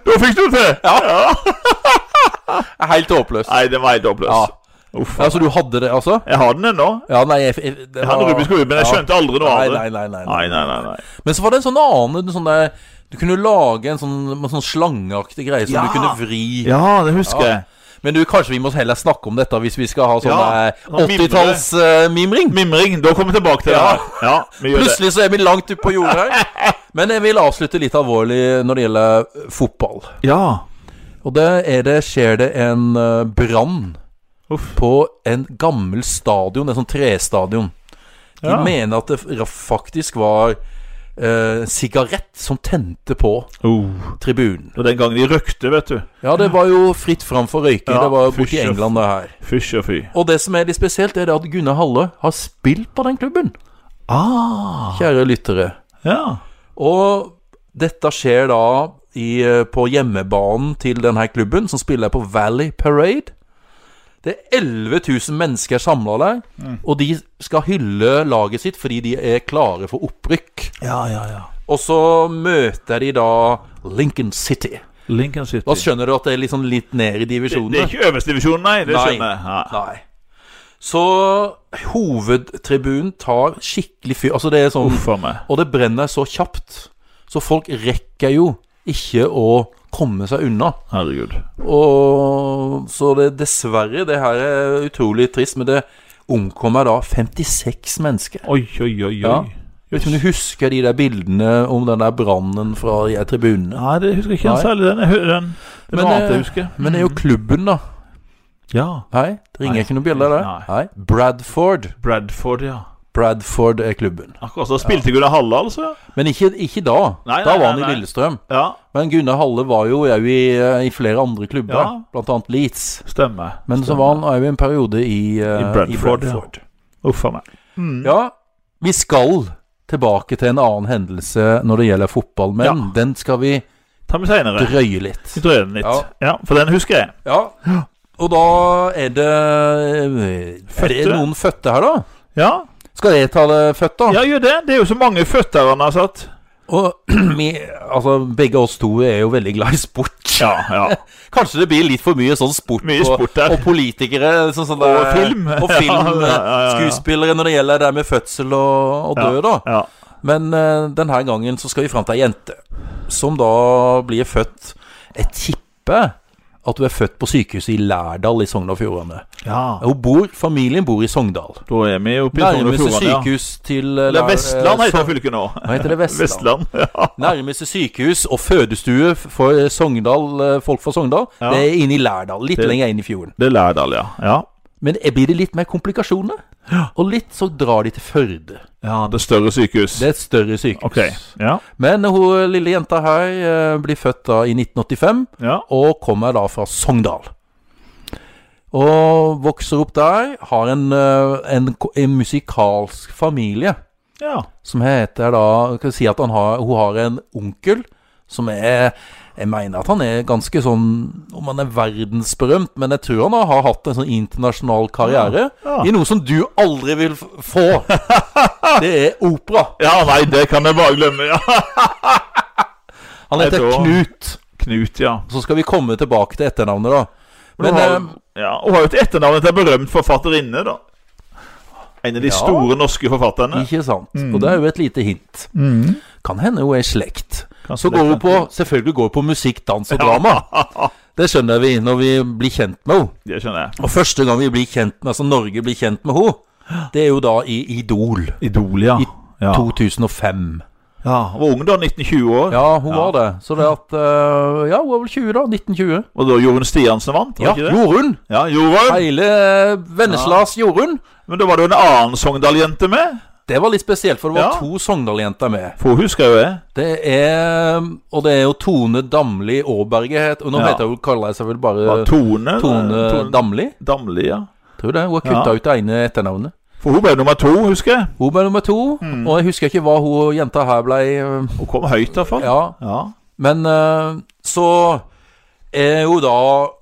[SPEAKER 2] da fikk du det til.
[SPEAKER 1] Helt håpløs.
[SPEAKER 2] Nei, den var helt håpløs.
[SPEAKER 1] Ja.
[SPEAKER 2] Uff.
[SPEAKER 1] Altså, du hadde det, altså?
[SPEAKER 2] Jeg har den ennå.
[SPEAKER 1] Ja, nei, jeg, jeg, det
[SPEAKER 2] Jeg hadde
[SPEAKER 1] var-
[SPEAKER 2] Rubiks kube, men jeg
[SPEAKER 1] ja.
[SPEAKER 2] skjønte aldri noe
[SPEAKER 1] Nei,
[SPEAKER 2] av det.
[SPEAKER 1] nei, nei, nei,
[SPEAKER 2] Nei, nei, nei, nei.
[SPEAKER 1] Men så var det en sånn annen en sånn der, Du kunne lage en sånn, en sånn slangeaktig greie som
[SPEAKER 2] Ja.
[SPEAKER 1] du kunne vri
[SPEAKER 2] Ja, det husker
[SPEAKER 1] Ja.
[SPEAKER 2] jeg.
[SPEAKER 1] Men du, kanskje vi må heller snakke om dette hvis vi skal ha sånn
[SPEAKER 2] Ja,
[SPEAKER 1] eh,
[SPEAKER 2] sånn
[SPEAKER 1] 80-talls-mimring.
[SPEAKER 2] Mimring. Da kommer vi tilbake til
[SPEAKER 1] Ja.
[SPEAKER 2] det. her. Ja, vi gjør det.
[SPEAKER 1] Plutselig så er vi langt ute på jordet her. Men jeg vil avslutte litt alvorlig når det gjelder fotball.
[SPEAKER 2] Ja.
[SPEAKER 1] Og det er det, skjer det en eh, brann
[SPEAKER 2] Uff.
[SPEAKER 1] på en gammel stadion, en sånn trestadion. De
[SPEAKER 2] Ja.
[SPEAKER 1] mener at det f- faktisk var eh, sigarett som tente på
[SPEAKER 2] Oh.
[SPEAKER 1] tribunen.
[SPEAKER 2] Og den gangen de røkte, vet du.
[SPEAKER 1] Ja, det var jo fritt fram for røyking.
[SPEAKER 2] Ja,
[SPEAKER 1] det var jo borti
[SPEAKER 2] fysj og-
[SPEAKER 1] England, det her.
[SPEAKER 2] Fysj og fy.
[SPEAKER 1] Og det som er litt spesielt, er det at Gunnar Halle har spilt på den klubben.
[SPEAKER 2] Ah.
[SPEAKER 1] Kjære lyttere.
[SPEAKER 2] Ja.
[SPEAKER 1] Og dette skjer da i, eh, på hjemmebanen til denne klubben, som spiller på Valley Parade. Det er 11 000 mennesker samla der,
[SPEAKER 2] Mm.
[SPEAKER 1] og de skal hylle laget sitt fordi de er klare for opprykk.
[SPEAKER 2] Ja, ja, ja.
[SPEAKER 1] Og så møter de da Lincoln City.
[SPEAKER 2] Lincoln City.
[SPEAKER 1] Da skjønner du at det er liksom litt ned i divisjonene.
[SPEAKER 2] Det er ikke øverste divisjon, nei. Det skjønner jeg. Ja.
[SPEAKER 1] Nei. Så hovedtribunen tar skikkelig fyr. Altså, det er sånn
[SPEAKER 2] Uff a meg.
[SPEAKER 1] Og det brenner så kjapt. Så folk rekker jo ikke å komme seg unna.
[SPEAKER 2] Herregud.
[SPEAKER 1] Og så det dessverre Det her er utrolig trist, men det omkommer da 56 mennesker.
[SPEAKER 2] Oi, oi, oi. oi.
[SPEAKER 1] Ja. Jeg vet ikke om du husker de der bildene om den der brannen fra de her tribunene.
[SPEAKER 2] Nei, det husker jeg ikke
[SPEAKER 1] Nei.
[SPEAKER 2] særlig. Den, jeg hø- den. Det
[SPEAKER 1] Men,
[SPEAKER 2] var noe annet jeg
[SPEAKER 1] eh,
[SPEAKER 2] husker.
[SPEAKER 1] Men det er jo klubben, da.
[SPEAKER 2] Ja.
[SPEAKER 1] Nei, det ringer
[SPEAKER 2] Nei.
[SPEAKER 1] ikke noen bjeller der.
[SPEAKER 2] Nei.
[SPEAKER 1] Nei. Bradford.
[SPEAKER 2] Bradford, ja.
[SPEAKER 1] Bradford er klubben.
[SPEAKER 2] Akkurat så spilte Gunnar Halle, altså.
[SPEAKER 1] Men ikke, ikke da.
[SPEAKER 2] Nei,
[SPEAKER 1] da
[SPEAKER 2] nei,
[SPEAKER 1] var
[SPEAKER 2] nei,
[SPEAKER 1] han i
[SPEAKER 2] nei.
[SPEAKER 1] Lillestrøm.
[SPEAKER 2] Ja,
[SPEAKER 1] Men Gunnar Halle var jo òg i, i flere andre klubber,
[SPEAKER 2] Ja.
[SPEAKER 1] blant annet Leeds.
[SPEAKER 2] stemmer.
[SPEAKER 1] Men så
[SPEAKER 2] Stemmer.
[SPEAKER 1] var han jo i en periode i, eh,
[SPEAKER 2] I Bradford,
[SPEAKER 1] i
[SPEAKER 2] ja.
[SPEAKER 1] Bradford.
[SPEAKER 2] Uff a meg.
[SPEAKER 1] Ja. vi skal tilbake til en annen hendelse når det gjelder fotball, men
[SPEAKER 2] Ja.
[SPEAKER 1] den skal vi
[SPEAKER 2] Ta med seinere.
[SPEAKER 1] drøye litt.
[SPEAKER 2] Vi drøyer den litt.
[SPEAKER 1] Ja.
[SPEAKER 2] ja, for den husker jeg.
[SPEAKER 1] Ja, og da er det eh, Er det
[SPEAKER 2] Fødte.
[SPEAKER 1] noen fødte her, da?
[SPEAKER 2] Ja,
[SPEAKER 1] Skal jeg ta det født, da?
[SPEAKER 2] ja gjør det. Det er jo så mange føtter han har satt.
[SPEAKER 1] Og vi, altså, begge oss to er jo veldig glad i sport.
[SPEAKER 2] Ja, ja.
[SPEAKER 1] Kanskje det blir litt for mye sånn sport,
[SPEAKER 2] Mye sport
[SPEAKER 1] og,
[SPEAKER 2] der.
[SPEAKER 1] og politikere. Sånn, sånn
[SPEAKER 2] Og
[SPEAKER 1] der-
[SPEAKER 2] film.
[SPEAKER 1] Og film
[SPEAKER 2] Ja, ja, ja, ja.
[SPEAKER 1] Skuespillere når det gjelder det med fødsel og, og
[SPEAKER 2] Ja,
[SPEAKER 1] død, da.
[SPEAKER 2] ja.
[SPEAKER 1] Men eh, denne gangen så skal vi fram til ei jente som da blir født Jeg tipper at hun er født på sykehuset i Lærdal i Sogn og Fjordane.
[SPEAKER 2] ja.
[SPEAKER 1] Hun bor, Familien bor i Sogndal.
[SPEAKER 2] Da er vi oppe i Sogn og
[SPEAKER 1] Nærmeste
[SPEAKER 2] Fjordane. Ja.
[SPEAKER 1] sykehus til eh,
[SPEAKER 2] Eller
[SPEAKER 1] Lær-
[SPEAKER 2] Vestland
[SPEAKER 1] eh,
[SPEAKER 2] heter
[SPEAKER 1] Sogn-
[SPEAKER 2] fylket nå.
[SPEAKER 1] Hva heter det? Vestland.
[SPEAKER 2] Vestland. Ja.
[SPEAKER 1] Nærmeste sykehus og fødestue for Sogndal, eh, folk fra Sogndal,
[SPEAKER 2] Ja.
[SPEAKER 1] det er inne i Lærdal. Litt
[SPEAKER 2] Det-
[SPEAKER 1] lenger inn i fjorden.
[SPEAKER 2] Det er Lærdal, ja. ja.
[SPEAKER 1] Men eh, blir det litt mer komplikasjoner? Og litt så drar de til Førde.
[SPEAKER 2] Ja, det er større sykehus.
[SPEAKER 1] Det er et større sykehus.
[SPEAKER 2] Ok. Ja.
[SPEAKER 1] Men hun lille jenta her eh, blir født da i 1985,
[SPEAKER 2] ja.
[SPEAKER 1] og kommer da fra Sogndal. Og vokser opp der. Har en, eh, en, ko- en musikalsk familie
[SPEAKER 2] Ja.
[SPEAKER 1] som heter da Skal vi si at han har, hun har en onkel som er Jeg mener at han er ganske sånn Om han er verdensberømt, men jeg tror han har- har hatt en sånn internasjonal karriere
[SPEAKER 2] Ja, ja.
[SPEAKER 1] i noe som du aldri vil f- få. Det er opera.
[SPEAKER 2] ja, nei, det kan jeg bare glemme. Ja.
[SPEAKER 1] Han
[SPEAKER 2] Jeg
[SPEAKER 1] heter
[SPEAKER 2] tror han-
[SPEAKER 1] Knut.
[SPEAKER 2] Knut, ja.
[SPEAKER 1] Så skal vi komme tilbake til etternavnet, da. Men
[SPEAKER 2] hun, har,
[SPEAKER 1] eh,
[SPEAKER 2] ja, hun har jo et etternavn til en berømt forfatterinne, da. En av de
[SPEAKER 1] Ja.
[SPEAKER 2] store norske forfatterne.
[SPEAKER 1] Ikke sant?
[SPEAKER 2] Mm.
[SPEAKER 1] Og det er jo et lite hint. Kan hende hun er i slekt.
[SPEAKER 2] Kanskje
[SPEAKER 1] Så
[SPEAKER 2] det
[SPEAKER 1] går hun
[SPEAKER 2] Mm. kan-
[SPEAKER 1] på Selvfølgelig går hun på musikk, dans og drama. Det skjønner vi når vi blir kjent med henne.
[SPEAKER 2] Det skjønner jeg.
[SPEAKER 1] Og første gang vi blir kjent med Altså Norge blir kjent med henne, det er jo da i Idol.
[SPEAKER 2] Idol, ja. ja.
[SPEAKER 1] 2005.
[SPEAKER 2] ja. Hun var ung da, 1920 år.
[SPEAKER 1] Ja, hun var det. Så det at eh, Ja, hun var vel 20, da. 1920.
[SPEAKER 2] Og da Jorunn Stiansen vant, var
[SPEAKER 1] Ja,
[SPEAKER 2] ikke det?
[SPEAKER 1] Jorunn.
[SPEAKER 2] Ja, Jorunn.
[SPEAKER 1] Hele eh, Venneslas Jorunn.
[SPEAKER 2] Men da var det jo en annen Sogndal-jente med.
[SPEAKER 1] Det var litt spesielt, for det var
[SPEAKER 2] Ja.
[SPEAKER 1] to Sogndal-jenter med.
[SPEAKER 2] For hun husker jo jeg.
[SPEAKER 1] Det er Og det er jo Tone Damli Aaberge het Og nå
[SPEAKER 2] Ja.
[SPEAKER 1] heter hun, kaller jeg seg vel bare
[SPEAKER 2] Ja,
[SPEAKER 1] Eh, Tone,
[SPEAKER 2] Tone.
[SPEAKER 1] Damli.
[SPEAKER 2] Damli, ja.
[SPEAKER 1] Tror det. Hun har kutta
[SPEAKER 2] Ja.
[SPEAKER 1] ut det ene etternavnet.
[SPEAKER 2] For hun ble nummer to, husker jeg.
[SPEAKER 1] Hun ble nummer to,
[SPEAKER 2] Mm.
[SPEAKER 1] og jeg husker ikke hva hun jenta her blei øh,
[SPEAKER 2] Hun kom høyt, iallfall.
[SPEAKER 1] Ja.
[SPEAKER 2] ja.
[SPEAKER 1] Men øh, så er hun da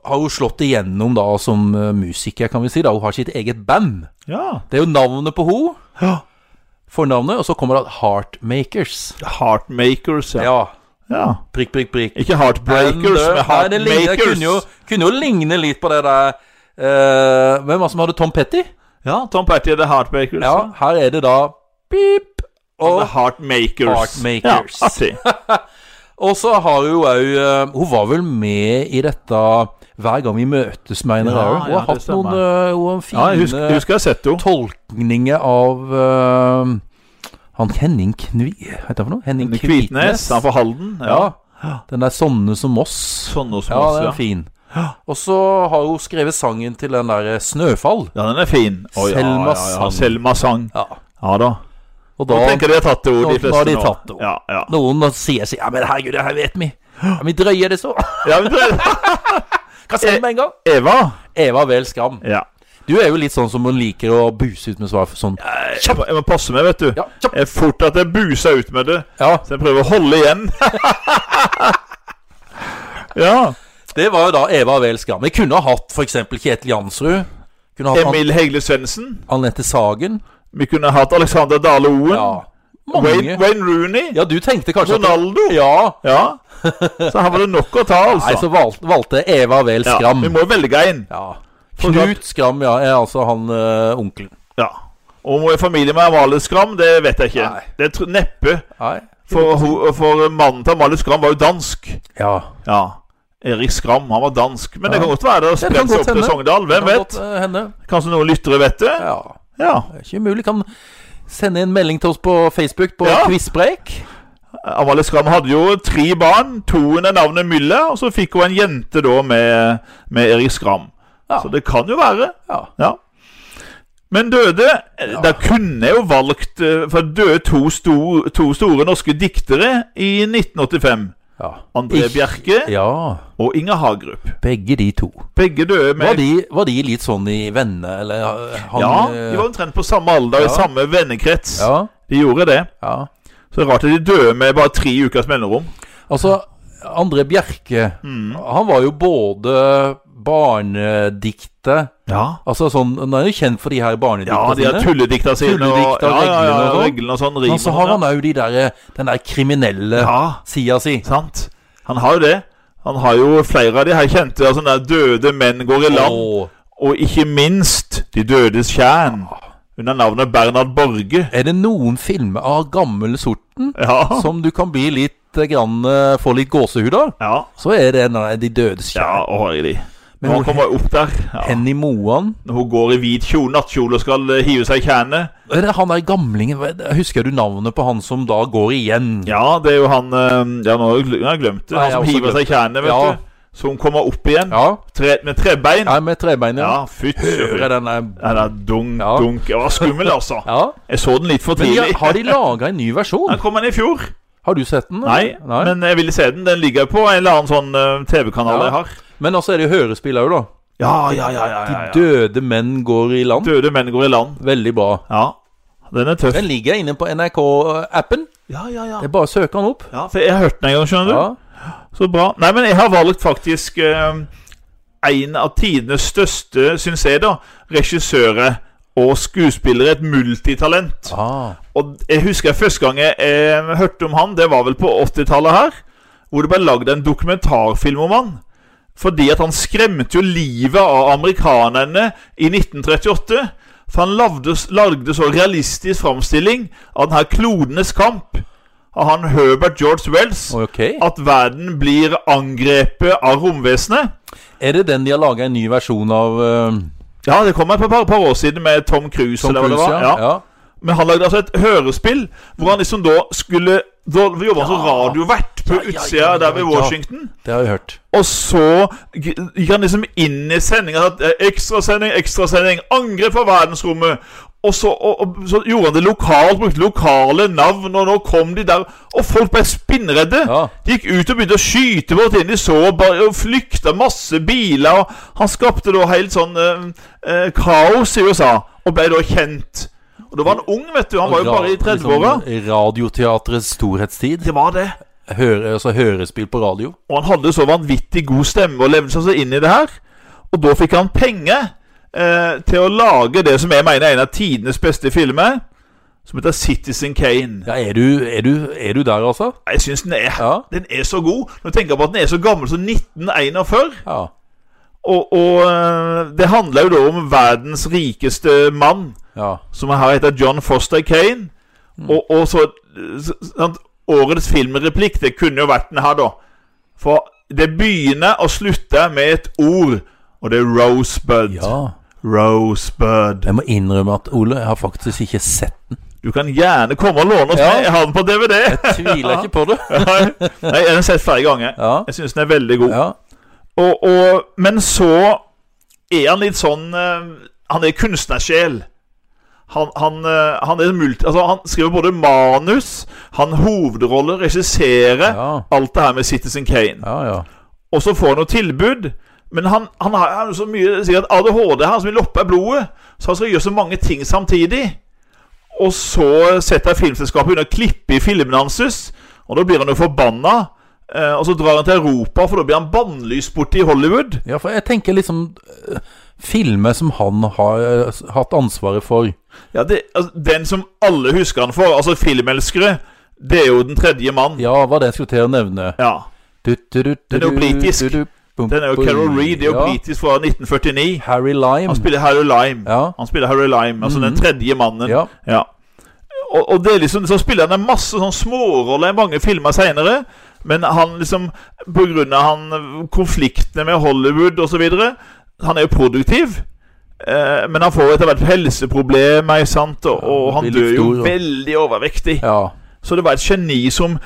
[SPEAKER 1] Har hun slått igjennom da som øh, musiker, kan vi si. da Hun har sitt eget band.
[SPEAKER 2] ja.
[SPEAKER 1] Det er jo navnet på hun
[SPEAKER 2] ja.
[SPEAKER 1] Fornavnet. Og så kommer det Heartmakers.
[SPEAKER 2] Heartmakers, ja.
[SPEAKER 1] Ja.
[SPEAKER 2] ja.
[SPEAKER 1] Prikk, prikk, prikk.
[SPEAKER 2] Ikke Heartbreakers,
[SPEAKER 1] Nei,
[SPEAKER 2] men
[SPEAKER 1] det ligner,
[SPEAKER 2] Heartmakers.
[SPEAKER 1] kunne, jo, kunne jo ligne litt på det der eh, Hvem var det som hadde Tom Petty?
[SPEAKER 2] Ja, Tom Patty er The Heartbreakers.
[SPEAKER 1] Ja, her er det da pip. Og,
[SPEAKER 2] The Heartmakers.
[SPEAKER 1] Heartmakers.
[SPEAKER 2] Ja, artig.
[SPEAKER 1] og så har hun òg Hun var vel med i dette Hver gang vi møtes, mener jeg.
[SPEAKER 2] Ja,
[SPEAKER 1] hun
[SPEAKER 2] ja,
[SPEAKER 1] har
[SPEAKER 2] det
[SPEAKER 1] hatt noen, eh, hun har
[SPEAKER 2] Ja, jeg husker, jeg
[SPEAKER 1] fine
[SPEAKER 2] husker jeg har sett henne.
[SPEAKER 1] tolkninger av eh, han Henning Kni... Hva heter han for noe? Henning
[SPEAKER 2] Kvitnes,
[SPEAKER 1] Kvitnes.
[SPEAKER 2] han fra Halden. Ja.
[SPEAKER 1] Ja. Den der 'Sånne som oss'.
[SPEAKER 2] Sånne som
[SPEAKER 1] Ja,
[SPEAKER 2] oss,
[SPEAKER 1] den
[SPEAKER 2] ja.
[SPEAKER 1] er fin. Og så har hun skrevet sangen til den der eh, 'Snøfall'.
[SPEAKER 2] Ja, den er fin. Å, ja,
[SPEAKER 1] Selma
[SPEAKER 2] ja,
[SPEAKER 1] Sang.
[SPEAKER 2] Ja, Selma Sang.
[SPEAKER 1] Ja.
[SPEAKER 2] Ja da.
[SPEAKER 1] Og
[SPEAKER 2] Nå
[SPEAKER 1] da
[SPEAKER 2] tenker jeg de har tatt det ord, de
[SPEAKER 1] Nå- nå har
[SPEAKER 2] fleste
[SPEAKER 1] de
[SPEAKER 2] nå.
[SPEAKER 1] tatt det ord.
[SPEAKER 2] Ja, ja.
[SPEAKER 1] Noen sier sier, Ja, men herregud, det her vet vi. Ja, vi drøyer det så.
[SPEAKER 2] ja men det,
[SPEAKER 1] Hva sier du med en gang?
[SPEAKER 2] Eva.
[SPEAKER 1] Eh, Eva vel skam.
[SPEAKER 2] Ja.
[SPEAKER 1] Du er jo litt sånn som hun liker å buse ut med svar. Sånn
[SPEAKER 2] Jeg må, jeg må passe meg, vet du.
[SPEAKER 1] Ja, kjapp.
[SPEAKER 2] Jeg er fort at jeg buser ut med det.
[SPEAKER 1] Ja.
[SPEAKER 2] Så jeg prøver å holde igjen. ja.
[SPEAKER 1] Det var jo da Eva vel skam. Vi kunne ha hatt f.eks. Kjetil Jansrud. Kunne ha hatt An
[SPEAKER 2] Emil Hegle Svendsen.
[SPEAKER 1] Anette Sagen.
[SPEAKER 2] Vi kunne hatt Alexander Dale Oen.
[SPEAKER 1] Ja.
[SPEAKER 2] Wayne,
[SPEAKER 1] Mange.
[SPEAKER 2] Wayne Rooney.
[SPEAKER 1] Ja, du tenkte kanskje at-
[SPEAKER 2] Ronaldo.
[SPEAKER 1] Ja.
[SPEAKER 2] Ja. Så her var det nok å ta, altså.
[SPEAKER 1] Nei, så valgte, valgte Eva vel
[SPEAKER 2] ja.
[SPEAKER 1] skram.
[SPEAKER 2] Vi må velge en.
[SPEAKER 1] Ja. Knut Skram, ja, er altså han eh, onkelen.
[SPEAKER 2] Ja. Og om hun er familie med Amalie Skram, det vet jeg ikke.
[SPEAKER 1] Nei.
[SPEAKER 2] Det er tr- neppe.
[SPEAKER 1] Nei.
[SPEAKER 2] For, ho- for mannen til Amalie Skram var jo dansk.
[SPEAKER 1] Ja.
[SPEAKER 2] Ja. Erik Skram, han var dansk. Men det
[SPEAKER 1] Ja.
[SPEAKER 2] kan godt være det har
[SPEAKER 1] det kan
[SPEAKER 2] spredt seg
[SPEAKER 1] godt
[SPEAKER 2] opp til
[SPEAKER 1] hende.
[SPEAKER 2] Sogndal. Hvem
[SPEAKER 1] Kan
[SPEAKER 2] vet?
[SPEAKER 1] godt, eh, hende.
[SPEAKER 2] Kanskje noen lyttere vet det?
[SPEAKER 1] Ja.
[SPEAKER 2] Ja.
[SPEAKER 1] Det er ikke umulig. Kan sende en melding til oss på Facebook på
[SPEAKER 2] Ja.
[SPEAKER 1] Quizpreik.
[SPEAKER 2] Amalie Skram hadde jo tre barn. Toen er navnet Mylle, og så fikk hun en jente da med, med Erik Skram.
[SPEAKER 1] Ja.
[SPEAKER 2] Så det kan jo være.
[SPEAKER 1] Ja.
[SPEAKER 2] Ja. Men døde ja. Da kunne jeg jo valgt eh, For det døde to, sto, to store norske diktere i 1985.
[SPEAKER 1] ja.
[SPEAKER 2] André
[SPEAKER 1] Ikke-
[SPEAKER 2] Bjerke
[SPEAKER 1] Ja.
[SPEAKER 2] og Inger Hagerup.
[SPEAKER 1] Begge de to.
[SPEAKER 2] Begge døde med
[SPEAKER 1] Var de, var de litt sånn i venner, eller eh, han
[SPEAKER 2] Ja,
[SPEAKER 1] eh,
[SPEAKER 2] de var omtrent på samme alder, i
[SPEAKER 1] Ja.
[SPEAKER 2] samme vennekrets.
[SPEAKER 1] ja,
[SPEAKER 2] De gjorde det.
[SPEAKER 1] ja.
[SPEAKER 2] Så det er rart at de døde med bare tre ukers mellomrom.
[SPEAKER 1] Altså, André Bjerke,
[SPEAKER 2] Mm.
[SPEAKER 1] han var jo både barnedikter
[SPEAKER 2] Ja,
[SPEAKER 1] Altså sånn, Han er jo kjent for de her
[SPEAKER 2] ja
[SPEAKER 1] barnedikta
[SPEAKER 2] de har
[SPEAKER 1] sine.
[SPEAKER 2] tulledikta sine.
[SPEAKER 1] Tulledikta,
[SPEAKER 2] og, ja, ja,
[SPEAKER 1] sånn, reglene
[SPEAKER 2] ja,
[SPEAKER 1] og sånn.
[SPEAKER 2] reglene og sånn. rim
[SPEAKER 1] Men så
[SPEAKER 2] og
[SPEAKER 1] har
[SPEAKER 2] sånn,
[SPEAKER 1] han òg de der, eh, den der kriminelle
[SPEAKER 2] ja. ja,
[SPEAKER 1] sida si.
[SPEAKER 2] sant. Han har jo det. Han har jo flere av de her kjente. Altså, der døde menn går i land.
[SPEAKER 1] Åh,
[SPEAKER 2] Og ikke minst De dødes kjern, under navnet Bernhard Borge.
[SPEAKER 1] er det noen filmer av gammel sorten
[SPEAKER 2] Ja.
[SPEAKER 1] som du kan bli litt eh, grann, eh, få litt gåsehud av,
[SPEAKER 2] ja.
[SPEAKER 1] så er det nei, De dødes
[SPEAKER 2] ja
[SPEAKER 1] kjær.
[SPEAKER 2] å, herregud.
[SPEAKER 1] Men
[SPEAKER 2] Når
[SPEAKER 1] hun-
[SPEAKER 2] han kommer opp der ja.
[SPEAKER 1] Henny Moan.
[SPEAKER 2] Når hun går i hvit kjole, nattkjole og skal eh, hive seg i tjernet
[SPEAKER 1] Er det han der gamlingen hva er det- Husker du navnet på han som da går igjen?
[SPEAKER 2] Ja, det er jo han eh, Ja, nå har jeg gl- nå har jeg glemt det.
[SPEAKER 1] Nei,
[SPEAKER 2] Han
[SPEAKER 1] jeg har
[SPEAKER 2] som
[SPEAKER 1] også
[SPEAKER 2] hiver seg i tjernet, vet
[SPEAKER 1] Ja.
[SPEAKER 2] du. Så hun kommer opp igjen
[SPEAKER 1] Ja,
[SPEAKER 2] tre, med trebein.
[SPEAKER 1] ja med trebeinet.
[SPEAKER 2] Ja,
[SPEAKER 1] Ja.
[SPEAKER 2] fytti
[SPEAKER 1] Hører jeg den der
[SPEAKER 2] Ja, det er dunk,
[SPEAKER 1] Ja.
[SPEAKER 2] dunk. Det var skummel, altså.
[SPEAKER 1] Ja.
[SPEAKER 2] Jeg så den litt for
[SPEAKER 1] Men de,
[SPEAKER 2] tidlig.
[SPEAKER 1] har de laga en ny versjon?
[SPEAKER 2] Den kom den i fjor.
[SPEAKER 1] Har du sett den?
[SPEAKER 2] Nei,
[SPEAKER 1] eller?
[SPEAKER 2] men jeg ville se den. Den ligger på en eller annen sånn eh, TV-kanal
[SPEAKER 1] Ja.
[SPEAKER 2] jeg har.
[SPEAKER 1] Men altså er det jo hørespill òg, da.
[SPEAKER 2] Ja, ja, ja, ja, ja, ja.
[SPEAKER 1] Døde menn går i land.
[SPEAKER 2] Døde menn går i land.
[SPEAKER 1] Veldig bra.
[SPEAKER 2] Ja, den er tøff.
[SPEAKER 1] Den ligger inne på NRK-appen.
[SPEAKER 2] Ja, ja, ja.
[SPEAKER 1] Det er bare å søke den opp.
[SPEAKER 2] ja for jeg har hørt den en gang, skjønner du.
[SPEAKER 1] Ja.
[SPEAKER 2] Så bra. Nei, men jeg har valgt faktisk eh, en av tidenes største, syns jeg, da, regissører og skuespillere. Et multitalent.
[SPEAKER 1] Ah.
[SPEAKER 2] Og jeg husker første gang jeg eh, hørte om han, det var vel på 80-tallet her, hvor det ble lagd en dokumentarfilm om han. Fordi at han skremte jo livet av amerikanerne i 1938. For han lagde, lagde så realistisk framstilling av denne klodenes kamp av han Herbert George Wells
[SPEAKER 1] Ok.
[SPEAKER 2] at verden blir angrepet av romvesenet.
[SPEAKER 1] Er det den de har laga en ny versjon av? eh,
[SPEAKER 2] Ja, det kom et par, par år siden med Tom Cruise.
[SPEAKER 1] Tom
[SPEAKER 2] eller hva det
[SPEAKER 1] Cruise,
[SPEAKER 2] var. Ja.
[SPEAKER 1] ja.
[SPEAKER 2] Men han lagde altså et hørespill hvor han liksom da skulle Da jobba han som
[SPEAKER 1] Ja.
[SPEAKER 2] radiovert på
[SPEAKER 1] Ja, ja,
[SPEAKER 2] utsida
[SPEAKER 1] ja, ja,
[SPEAKER 2] der ved
[SPEAKER 1] ja.
[SPEAKER 2] Washington.
[SPEAKER 1] Det har jeg hørt.
[SPEAKER 2] Og så g- gikk han liksom inn i eh, sendinga. Ekstrasending, ekstrasending, angrep fra verdensrommet. Og så, og, og så gjorde han det lokalt, brukte lokale navn, og nå kom de der. Og folk ble spinnredde.
[SPEAKER 1] Ja.
[SPEAKER 2] De gikk ut og begynte å skyte på ting de så, og bare- og flykta masse biler. Og han skapte da helt sånn eh, eh, kaos i USA, og ble da kjent. Og da var han ung, vet du. Han var jo bare i 30-åra.
[SPEAKER 1] Liksom, radioteatrets storhetstid.
[SPEAKER 2] Det var det.
[SPEAKER 1] Høre, altså hørespill på radio.
[SPEAKER 2] Og han hadde så vanvittig god stemme og levde seg så inn i det her. Og da fikk han penger eh, til å lage det som jeg mener er en av tidenes beste filmer, som heter Citizen Kane.
[SPEAKER 1] Ja, er du, er du, er du der, altså?
[SPEAKER 2] Jeg syns den er
[SPEAKER 1] Ja.
[SPEAKER 2] Den er så god. Når du tenker på at den er så gammel som 1941.
[SPEAKER 1] ja.
[SPEAKER 2] Og, og eh, det handler jo da om verdens rikeste mann,
[SPEAKER 1] ja.
[SPEAKER 2] som her heter John Foster Kane.
[SPEAKER 1] Mm.
[SPEAKER 2] Og, og så s- sant, Årets filmreplikk, det kunne jo vært den her, da. For det begynner og slutter med et ord, og det er Rosebud.
[SPEAKER 1] Ja.
[SPEAKER 2] Rosebud.
[SPEAKER 1] Jeg må innrømme at Ole, jeg har faktisk ikke sett den.
[SPEAKER 2] Du kan gjerne komme og låne oss
[SPEAKER 1] Ja.
[SPEAKER 2] med. Jeg har den på DVD.
[SPEAKER 1] Tviler ikke på det.
[SPEAKER 2] Nei, jeg har den sett flere ganger.
[SPEAKER 1] Ja.
[SPEAKER 2] Jeg syns den er veldig god.
[SPEAKER 1] ja.
[SPEAKER 2] Og, og, men så er han litt sånn eh, Han er kunstnersjel. Han, han, eh, han, er multi, altså, han skriver både manus, han hovedroller, regisserer
[SPEAKER 1] Ja.
[SPEAKER 2] Alt det her med Citizen Kane.
[SPEAKER 1] Ja, ja.
[SPEAKER 2] Og så får han noe tilbud. Men han, han har han har så mye sikkert ADHD han som vil loppe i blodet. Så han skal gjøre så mange ting samtidig. Og så setter filmselskapet under å klippe i filmene hans. Og da blir han jo forbanna. Eh, og så drar han til Europa, for da blir han bannlyst borte i Hollywood.
[SPEAKER 1] ja, for jeg tenker liksom eh, Filmer som han har eh, hatt ansvaret for.
[SPEAKER 2] Ja, det, altså, Den som alle husker han for, altså filmelskere, det er jo Den tredje mann.
[SPEAKER 1] Ja, hva det jeg skulle til å nevne.
[SPEAKER 2] Ja.
[SPEAKER 1] Du, du, du,
[SPEAKER 2] Den er jo
[SPEAKER 1] du,
[SPEAKER 2] britisk.
[SPEAKER 1] du, du, bum,
[SPEAKER 2] Den er jo
[SPEAKER 1] bum.
[SPEAKER 2] Carol Reed, det er jo
[SPEAKER 1] Ja.
[SPEAKER 2] britisk fra 1949.
[SPEAKER 1] Harry Lime.
[SPEAKER 2] Han spiller Harry Lime.
[SPEAKER 1] Ja.
[SPEAKER 2] Han spiller Harry Lime, altså den
[SPEAKER 1] Mhm.
[SPEAKER 2] tredje mannen.
[SPEAKER 1] ja.
[SPEAKER 2] Ja. Og, og det er liksom, så spiller han en masse sånn småroller i mange filmer seinere. Men han liksom på grunn av han konfliktene med Hollywood osv. Han er jo produktiv. Eh, men han får jo etter hvert helseproblemer, ikke sant? Og, og
[SPEAKER 1] Ja,
[SPEAKER 2] han
[SPEAKER 1] blir litt
[SPEAKER 2] dør jo
[SPEAKER 1] stor, ja.
[SPEAKER 2] veldig overvektig.
[SPEAKER 1] Ja.
[SPEAKER 2] Så det var et geni som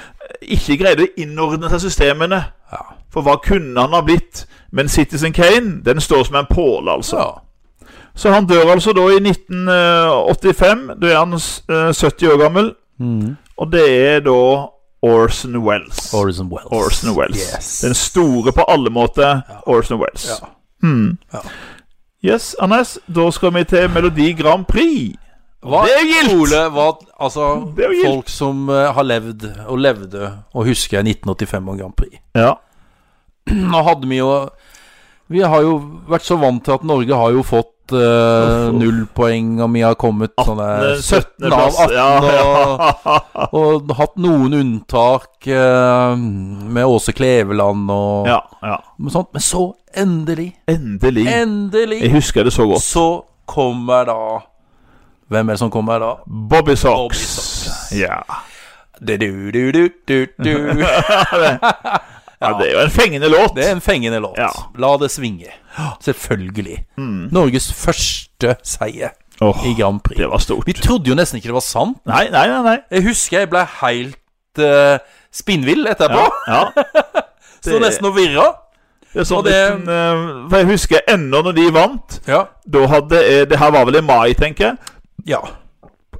[SPEAKER 2] ikke greide å innordne seg systemene.
[SPEAKER 1] Ja.
[SPEAKER 2] For hva kunne han ha blitt? Men Citizen Kane den står som en påle, altså.
[SPEAKER 1] ja.
[SPEAKER 2] Så han dør altså da i 1985. Da er han eh, 70 år gammel.
[SPEAKER 1] Mm.
[SPEAKER 2] Og det er da Orson Wells.
[SPEAKER 1] Orson Welles.
[SPEAKER 2] Orson Welles.
[SPEAKER 1] Yes.
[SPEAKER 2] Den store på alle måter. Orson Wells.
[SPEAKER 1] Ja.
[SPEAKER 2] Hmm.
[SPEAKER 1] Ja.
[SPEAKER 2] Yes, Anders, da skal vi til Melodi Grand Prix.
[SPEAKER 1] Hva,
[SPEAKER 2] Det er jo gildt!
[SPEAKER 1] Ole, hva, altså,
[SPEAKER 2] Det er jo gildt.
[SPEAKER 1] folk som eh, har levd og levde og husker 1985 og Grand Prix.
[SPEAKER 2] Ja.
[SPEAKER 1] Nå hadde vi jo Vi har jo vært så vant til at Norge har jo fått eh,
[SPEAKER 2] Uff, uff.
[SPEAKER 1] null poeng, og vi har kommet
[SPEAKER 2] Eh,
[SPEAKER 1] sånne 17 av 18 og,
[SPEAKER 2] Ja,
[SPEAKER 1] og hatt noen unntak eh, med Åse Kleveland og
[SPEAKER 2] ja, ja.
[SPEAKER 1] og sånt. Men så endelig,
[SPEAKER 2] Endelig.
[SPEAKER 1] endelig
[SPEAKER 2] Jeg husker det så godt.
[SPEAKER 1] Så kommer da Hvem er det som kommer da?
[SPEAKER 2] Bobby Socks.
[SPEAKER 1] Bobby Socks.
[SPEAKER 2] Ja.
[SPEAKER 1] Du, du, du, du, du, du.
[SPEAKER 2] ja, det er jo en fengende låt.
[SPEAKER 1] Det er en fengende låt.
[SPEAKER 2] Ja.
[SPEAKER 1] La det svinge. Selvfølgelig. Norges første seier
[SPEAKER 2] Hmm. Åh,
[SPEAKER 1] i Grand Prix.
[SPEAKER 2] det var stort.
[SPEAKER 1] Vi trodde jo nesten ikke det var sant.
[SPEAKER 2] Nei, nei, nei. nei.
[SPEAKER 1] Jeg husker jeg ble helt eh, spinnvill etterpå.
[SPEAKER 2] Ja, ja.
[SPEAKER 1] Sto nesten og virra.
[SPEAKER 2] Det er sånn
[SPEAKER 1] Og det-
[SPEAKER 2] liten, eh, for Jeg husker ennå når de vant.
[SPEAKER 1] Ja.
[SPEAKER 2] Da hadde jeg, Det her var vel i mai, tenker jeg.
[SPEAKER 1] ja.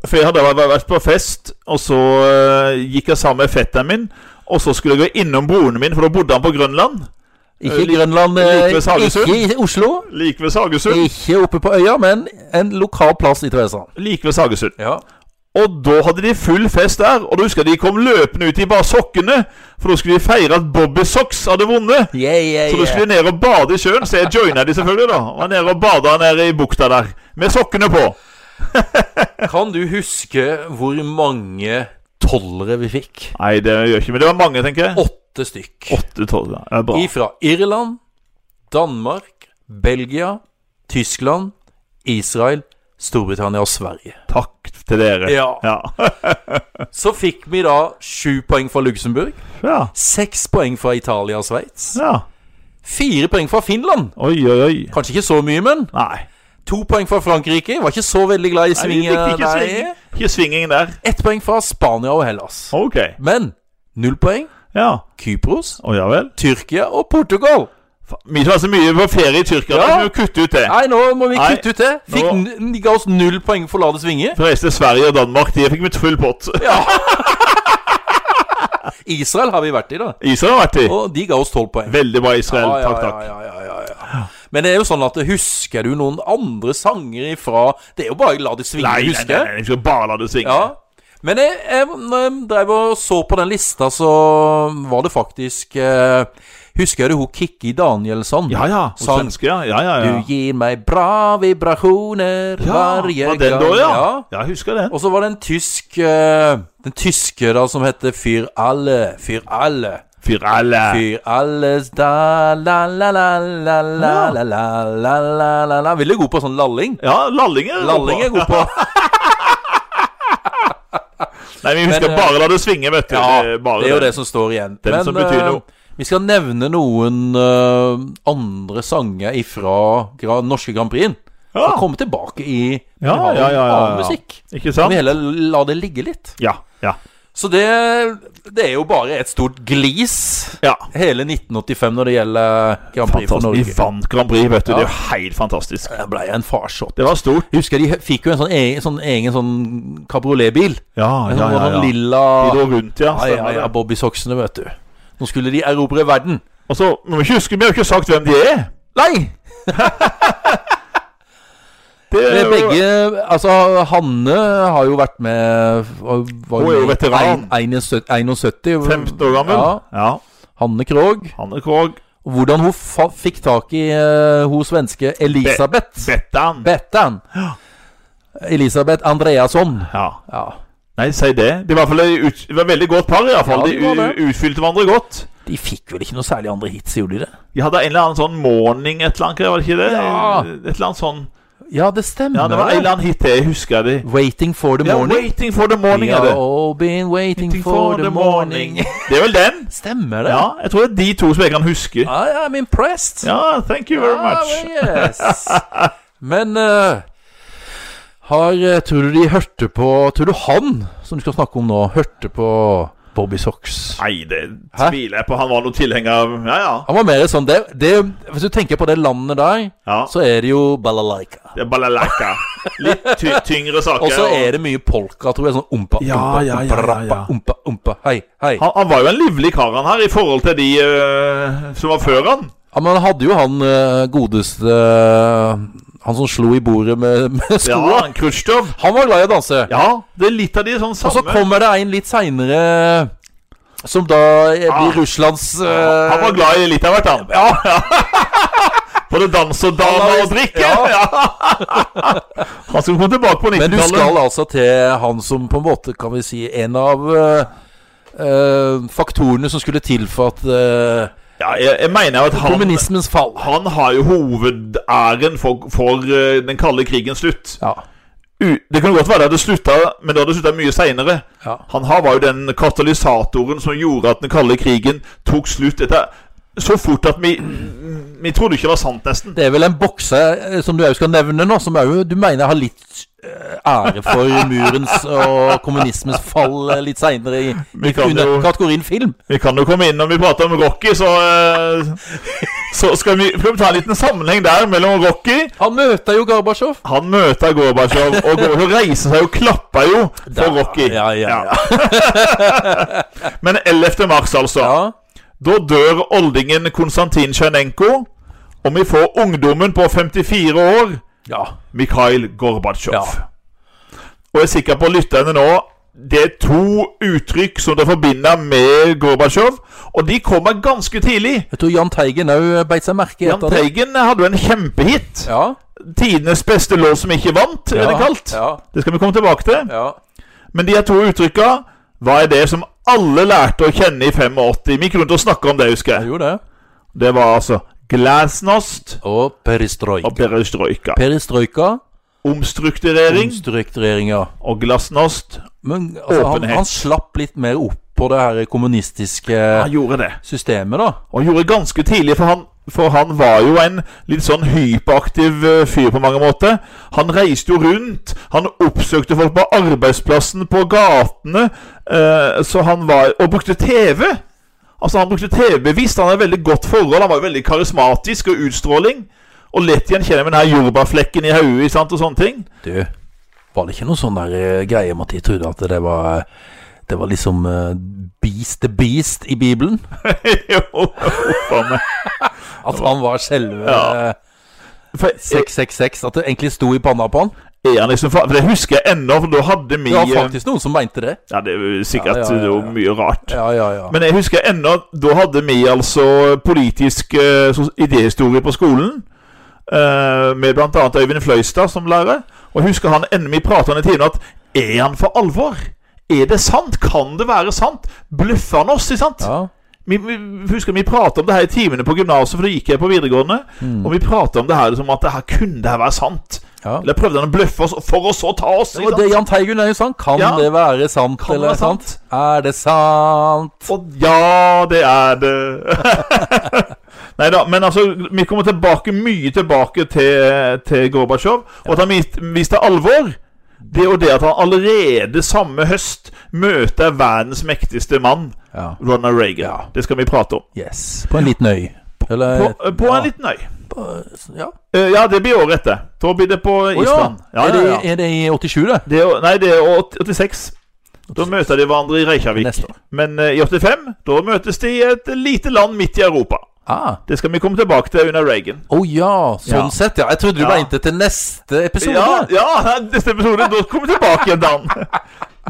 [SPEAKER 2] For jeg hadde vært- vært på fest, og så eh, gikk jeg sammen med fetteren min. Og så skulle jeg gå innom broren min, for da bodde han på Grønland.
[SPEAKER 1] Ikke i Grønland, eh,
[SPEAKER 2] Like ved Sagesund.
[SPEAKER 1] ikke i Oslo,
[SPEAKER 2] Like ved Sagesund.
[SPEAKER 1] ikke oppe på øya, men en lokal plass i Tvedestrand.
[SPEAKER 2] Like ved Sagesund.
[SPEAKER 1] Ja.
[SPEAKER 2] Og da hadde de full fest der. Og du husker de kom løpende ut i bare sokkene, for da skulle de feire at Bobby Socks hadde vunnet.
[SPEAKER 1] Yeah, yeah,
[SPEAKER 2] Så da skulle
[SPEAKER 1] yeah.
[SPEAKER 2] de ned og bade i sjøen, så jeg joina de selvfølgelig, da. Og var nede og bada nede i bukta der, med sokkene på.
[SPEAKER 1] Kan du huske hvor mange tollere vi fikk?
[SPEAKER 2] Nei, det gjør jeg ikke men det var mange, tenker jeg.
[SPEAKER 1] Åtte stykk.
[SPEAKER 2] Åtte tolv, ja. ja. Bra.
[SPEAKER 1] Ifra Irland, Danmark, Belgia, Tyskland, Israel, Storbritannia og Sverige.
[SPEAKER 2] Takk til dere.
[SPEAKER 1] Ja.
[SPEAKER 2] Ja.
[SPEAKER 1] Så fikk vi da sju poeng fra Luxembourg,
[SPEAKER 2] ja.
[SPEAKER 1] seks poeng fra Italia og Sveits,
[SPEAKER 2] ja.
[SPEAKER 1] fire poeng fra Finland.
[SPEAKER 2] Oi, oi, oi.
[SPEAKER 1] Kanskje ikke så mye, men
[SPEAKER 2] Nei.
[SPEAKER 1] to poeng fra Frankrike. Var ikke så veldig glad i
[SPEAKER 2] Nei, vi
[SPEAKER 1] svinget
[SPEAKER 2] fikk ikke
[SPEAKER 1] der.
[SPEAKER 2] svinging. Ikke svinging der.
[SPEAKER 1] Ett poeng fra Spania og Hellas.
[SPEAKER 2] Ok.
[SPEAKER 1] Men null poeng
[SPEAKER 2] Ja.
[SPEAKER 1] Kypros,
[SPEAKER 2] Å ja vel.
[SPEAKER 1] Tyrkia og Portugal.
[SPEAKER 2] Fa- Vi som er så mye på ferie i Tyrkia,
[SPEAKER 1] Ja.
[SPEAKER 2] da må vi jo kutte ut det.
[SPEAKER 1] Nei, nå må vi
[SPEAKER 2] Nei,
[SPEAKER 1] kutte ut det. Fikk,
[SPEAKER 2] nå-
[SPEAKER 1] n- de ga oss null poeng for å la det svinge.
[SPEAKER 2] For reiste til Sverige og Danmark, de fikk vi full pott.
[SPEAKER 1] Israel har vi vært i, da.
[SPEAKER 2] Israel har vært i.
[SPEAKER 1] Og de ga oss tolv poeng.
[SPEAKER 2] Veldig bra, Israel. Takk, takk.
[SPEAKER 1] Ja, ja, ja, ja, ja. Men det er jo sånn at husker du noen andre sanger ifra Det er jo bare 'La det svinge',
[SPEAKER 2] Nei, nei,
[SPEAKER 1] husker
[SPEAKER 2] nei,
[SPEAKER 1] jeg.
[SPEAKER 2] nei, vi skal bare la det svinge.
[SPEAKER 1] Ja. Men jeg, jeg, når jeg drev og så på den lista, så var det faktisk eh, Husker du hun Kikki Danielsson?
[SPEAKER 2] Ja ja. Og
[SPEAKER 1] Sang.
[SPEAKER 2] svenske, ja. Ja ja. ja.
[SPEAKER 1] Sånn. Du gir meg bra vibrasjoner
[SPEAKER 2] Ja,
[SPEAKER 1] hver
[SPEAKER 2] var
[SPEAKER 1] gang.
[SPEAKER 2] den da, ja. ja. Jeg husker den.
[SPEAKER 1] Og så var det en tysk eh, Den tyske da som heter Fyr alle, fyr alle.
[SPEAKER 2] Fyrelle.
[SPEAKER 1] Fyr alles da la la la la la la la la la la la Veldig god på sånn lalling.
[SPEAKER 2] Ja, Lallinger.
[SPEAKER 1] Lalling er god på.
[SPEAKER 2] Nei, vi husker
[SPEAKER 1] Men, eh,
[SPEAKER 2] bare la det svinge, vet du.
[SPEAKER 1] Ja,
[SPEAKER 2] Det er bare
[SPEAKER 1] det er jo det som står igjen.
[SPEAKER 2] Den som betyr
[SPEAKER 1] eh,
[SPEAKER 2] noe.
[SPEAKER 1] vi skal nevne noen eh, andre sanger ifra gra norske Grand Prix.
[SPEAKER 2] Ja.
[SPEAKER 1] Og komme tilbake i vi
[SPEAKER 2] Ja,
[SPEAKER 1] har
[SPEAKER 2] ja, ja, ja, ja.
[SPEAKER 1] annen musikk.
[SPEAKER 2] Ikke
[SPEAKER 1] Kan vi
[SPEAKER 2] sant?
[SPEAKER 1] heller la det ligge litt?
[SPEAKER 2] Ja. Ja.
[SPEAKER 1] Så det, det er jo bare et stort glis.
[SPEAKER 2] ja.
[SPEAKER 1] Hele 1985 når det gjelder Grand Prix for
[SPEAKER 2] Fantastisk. Vi
[SPEAKER 1] Norge.
[SPEAKER 2] vant Grand Prix, vet du.
[SPEAKER 1] Ja.
[SPEAKER 2] Det er jo helt fantastisk.
[SPEAKER 1] Det ble en farsott.
[SPEAKER 2] Det var stort.
[SPEAKER 1] Jeg husker de fikk jo en sånn egen sånn, egen sånn kabrioletbil.
[SPEAKER 2] Ja,
[SPEAKER 1] En
[SPEAKER 2] ja,
[SPEAKER 1] sånn,
[SPEAKER 2] ja. ja.
[SPEAKER 1] sånn lilla
[SPEAKER 2] Vi dro rundt,
[SPEAKER 1] Ja,
[SPEAKER 2] ja.
[SPEAKER 1] ja,
[SPEAKER 2] stemmer
[SPEAKER 1] ja,
[SPEAKER 2] det.
[SPEAKER 1] Bobby-soksene, vet du. Nå skulle de erobre verden.
[SPEAKER 2] Og så må vi ikke huske, vi har jo ikke sagt hvem de er.
[SPEAKER 1] Nei!
[SPEAKER 2] Det
[SPEAKER 1] Men
[SPEAKER 2] er Eh, jo
[SPEAKER 1] begge Altså, Hanne har jo vært med og var
[SPEAKER 2] Hun er jo
[SPEAKER 1] med i
[SPEAKER 2] veteran.
[SPEAKER 1] ein- 71 71.
[SPEAKER 2] 15 år gammel.
[SPEAKER 1] Ja,
[SPEAKER 2] Ja.
[SPEAKER 1] Hanne Krogh.
[SPEAKER 2] Hanne Krogh.
[SPEAKER 1] Og Hvordan hun fa fikk tak i eh, hun svenske Elisabeth
[SPEAKER 2] Bettan.
[SPEAKER 1] Bettan. Elisabeth Andreasson.
[SPEAKER 2] Ja.
[SPEAKER 1] Ja.
[SPEAKER 2] Nei, si det. De, var i hvert fall ut, de var veldig godt par, iallfall.
[SPEAKER 1] Ja,
[SPEAKER 2] fall
[SPEAKER 1] de var
[SPEAKER 2] de
[SPEAKER 1] det.
[SPEAKER 2] u- utfylte hverandre godt.
[SPEAKER 1] De fikk vel ikke noe særlig andre hits, gjorde de det?
[SPEAKER 2] De hadde en eller annen sånn morning et eller annet, var det ikke det?
[SPEAKER 1] Ja.
[SPEAKER 2] Et eller annet sånn
[SPEAKER 1] Ja, det stemmer.
[SPEAKER 2] Ja, det var en eller annen hit til, jeg husker det.
[SPEAKER 1] Waiting for the
[SPEAKER 2] Ja,
[SPEAKER 1] morning.
[SPEAKER 2] Waiting for the morning,
[SPEAKER 1] We
[SPEAKER 2] er det.
[SPEAKER 1] have all been waiting, for, the morning.
[SPEAKER 2] Det er vel den?
[SPEAKER 1] Stemmer det?
[SPEAKER 2] Ja, jeg tror det er de to som jeg kan huske.
[SPEAKER 1] I, I'm impressed.
[SPEAKER 2] Ja, thank you very much.
[SPEAKER 1] Ah, well, yes. Men eh, har eh, Tror du de hørte på Tror du han som du skal snakke om nå, hørte på Bobby Socks?
[SPEAKER 2] Nei, det
[SPEAKER 1] Hæ?
[SPEAKER 2] tviler jeg på. Han var noen tilhenger av Ja, ja.
[SPEAKER 1] Han var mer sånn det, det, Hvis du tenker på det landet der,
[SPEAKER 2] ja.
[SPEAKER 1] så er det jo balalaika.
[SPEAKER 2] Det er balalaika. Litt ty tyngre saker.
[SPEAKER 1] Og så er det mye polka, tror jeg. Sånn ompa, ompa,
[SPEAKER 2] Ja, ja, ja,
[SPEAKER 1] ompa,
[SPEAKER 2] ja,
[SPEAKER 1] rappa,
[SPEAKER 2] ja.
[SPEAKER 1] ompa, ompa, hei, hei.
[SPEAKER 2] han, han var jo en livlig kar, han her, i forhold til de eh, som var før han.
[SPEAKER 1] Ja, men han hadde jo han eh, godeste eh, Han som slo i bordet med, med
[SPEAKER 2] Ja,
[SPEAKER 1] skoa.
[SPEAKER 2] han Khrusjtsjov.
[SPEAKER 1] Han var glad i å danse.
[SPEAKER 2] Ja, det er litt av de sånn
[SPEAKER 1] Og så
[SPEAKER 2] samme.
[SPEAKER 1] kommer det en litt seinere eh, som da eh, blir
[SPEAKER 2] Ah.
[SPEAKER 1] Russlands eh,
[SPEAKER 2] Han var glad i litt av hvert, han. Ja. Både dans og dame og drikke.
[SPEAKER 1] Ja.
[SPEAKER 2] Ja. Han skulle komme tilbake på
[SPEAKER 1] Men du
[SPEAKER 2] 90-tallet.
[SPEAKER 1] skal altså til han som på en måte kan vi si en av eh, eh, faktorene som skulle til for at eh,
[SPEAKER 2] Ja, jeg, jeg mener jo at han,
[SPEAKER 1] kommunismens fall
[SPEAKER 2] han har jo hovedæren for, for eh, den kalde krigens slutt.
[SPEAKER 1] ja.
[SPEAKER 2] U det kan godt være det hadde slutta, men det hadde slutta mye seinere.
[SPEAKER 1] Ja.
[SPEAKER 2] Han her var jo den katalysatoren som gjorde at den kalde krigen tok slutt etter så fort at vi Vi trodde ikke det var sant, nesten.
[SPEAKER 1] Det er vel en bokse eh, som du òg skal nevne nå, som er jo, du mener har litt eh, ære for murens og kommunismens fall eh, litt seinere i, i
[SPEAKER 2] Vi kan
[SPEAKER 1] under
[SPEAKER 2] jo-
[SPEAKER 1] kategorien film.
[SPEAKER 2] Vi kan jo komme inn når vi prater om Rocky, så eh, Så skal vi, skal vi ta en liten sammenheng der mellom Rocky
[SPEAKER 1] Han møter jo Gorbatsjov.
[SPEAKER 2] Han møter Gorbatsjov, og Gorbatsjov reiser seg og klapper jo for
[SPEAKER 1] Da-
[SPEAKER 2] Rocky.
[SPEAKER 1] ja, ja, ja.
[SPEAKER 2] Men 11. mars, altså.
[SPEAKER 1] Ja.
[SPEAKER 2] Da dør oldingen Konstantin Tsjernenko, og vi får ungdommen på 54 år,
[SPEAKER 1] Ja.
[SPEAKER 2] Mikhail Gorbatsjov.
[SPEAKER 1] Ja.
[SPEAKER 2] Og jeg er sikker på lytterne nå Det er to uttrykk som det forbinder med Gorbatsjov, og de kommer ganske tidlig.
[SPEAKER 1] Jeg tror Jahn Teigen òg beit seg merke i
[SPEAKER 2] Jahn
[SPEAKER 1] etter det.
[SPEAKER 2] Teigen hadde jo en kjempehit.
[SPEAKER 1] Ja.
[SPEAKER 2] Tidenes beste låt som ikke vant, er det kalt.
[SPEAKER 1] Ja.
[SPEAKER 2] Det skal vi komme tilbake til.
[SPEAKER 1] ja.
[SPEAKER 2] Men de her to uttrykka, hva er det som alle lærte å kjenne i 85? Vi gikk rundt og snakka om det, husker
[SPEAKER 1] Jeg
[SPEAKER 2] jeg.
[SPEAKER 1] gjorde det.
[SPEAKER 2] Det var altså glasnost
[SPEAKER 1] Og perestrojka.
[SPEAKER 2] og perestrojka.
[SPEAKER 1] Perestrojka,
[SPEAKER 2] Omstrukturering
[SPEAKER 1] omstruktureringer.
[SPEAKER 2] og glasnost.
[SPEAKER 1] Men altså, han,
[SPEAKER 2] Åpenhet.
[SPEAKER 1] han slapp litt mer opp på det her kommunistiske
[SPEAKER 2] Han gjorde det.
[SPEAKER 1] systemet, da.
[SPEAKER 2] Og gjorde ganske tidlig, for han, for han var jo en litt sånn hyperaktiv eh, fyr på mange måter. Han reiste jo rundt, han oppsøkte folk på arbeidsplassen, på gatene, eh, så han var Og brukte TV! Altså, han brukte TV bevisst. Han hadde veldig godt forhold, han var jo veldig karismatisk og utstråling. Og lett gjenkjennelig med den her jordbærflekken i hodet ikke sant, og sånne ting.
[SPEAKER 1] Du, var det ikke noe sånn der eh, greie med at de trodde at det var Det var liksom eh, Beast the Beast i Bibelen?
[SPEAKER 2] jo, faen meg.
[SPEAKER 1] At han var selve
[SPEAKER 2] Ja.
[SPEAKER 1] eh,
[SPEAKER 2] For,
[SPEAKER 1] 666? At det egentlig sto i panna på han?
[SPEAKER 2] er han liksom, fa- for det husker jeg ennå, for da hadde vi
[SPEAKER 1] Det var
[SPEAKER 2] eh,
[SPEAKER 1] faktisk noen som mente det.
[SPEAKER 2] Ja, det er jo
[SPEAKER 1] Ja, ja,
[SPEAKER 2] sikkert
[SPEAKER 1] ja, ja.
[SPEAKER 2] det var mye rart.
[SPEAKER 1] Ja, ja, ja.
[SPEAKER 2] Men jeg husker ennå Da hadde vi altså politisk eh, sos- idéhistorie på skolen. eh, med bl.a. Øyvind Fløystad som lærer. Og jeg husker han ennå vi pratet om i timen at Er han for alvor? Er det sant? Kan det være sant? Bløffer han oss? Ikke sant?
[SPEAKER 1] ja.
[SPEAKER 2] Vi, vi husker vi pratet om det her i timene på gymnaset, for da gikk jeg på videregående. Og vi pratet om det her som at det her kunne det her være sant.
[SPEAKER 1] Mm. Ja.
[SPEAKER 2] Eller prøvde han å bløffe oss for å så ta oss?
[SPEAKER 1] Det
[SPEAKER 2] ikke
[SPEAKER 1] var
[SPEAKER 2] sant?
[SPEAKER 1] det Jahn Teigen er jo sant. Kan
[SPEAKER 2] Ja.
[SPEAKER 1] det være sant,
[SPEAKER 2] Kan det
[SPEAKER 1] eller
[SPEAKER 2] være sant?
[SPEAKER 1] sant? Er det sant?
[SPEAKER 2] Og ja, det er det. Nei da, men altså, vi kommer tilbake, mye tilbake til, til Gorbatsjov. Og at han vis- viste alvor, det er jo det at han allerede samme høst møter verdens mektigste mann,
[SPEAKER 1] Ja.
[SPEAKER 2] Ronald Reagan.
[SPEAKER 1] Ja.
[SPEAKER 2] Det skal vi prate om.
[SPEAKER 1] Yes. På en liten øy. Eller
[SPEAKER 2] På, på
[SPEAKER 1] Eh, ja.
[SPEAKER 2] en liten øy.
[SPEAKER 1] Ja.
[SPEAKER 2] Eh, Ja, det blir året etter. Da blir det på
[SPEAKER 1] Å
[SPEAKER 2] Island. Ja,
[SPEAKER 1] er,
[SPEAKER 2] ja, ja.
[SPEAKER 1] Det, er det i 87, det?
[SPEAKER 2] Det er, jo- nei, det er jo 86. Da møter de hverandre i Reykjavik.
[SPEAKER 1] Neste år.
[SPEAKER 2] Men eh, i 85, da møtes de i et lite land midt i Europa.
[SPEAKER 1] Ah.
[SPEAKER 2] Det skal vi komme tilbake til under Reagan.
[SPEAKER 1] Å ja, sånn
[SPEAKER 2] Ja.
[SPEAKER 1] sett, ja. Jeg trodde du
[SPEAKER 2] Ja.
[SPEAKER 1] mente til neste episode.
[SPEAKER 2] Ja, ja, neste episode. Da kommer vi tilbake igjen, Dan.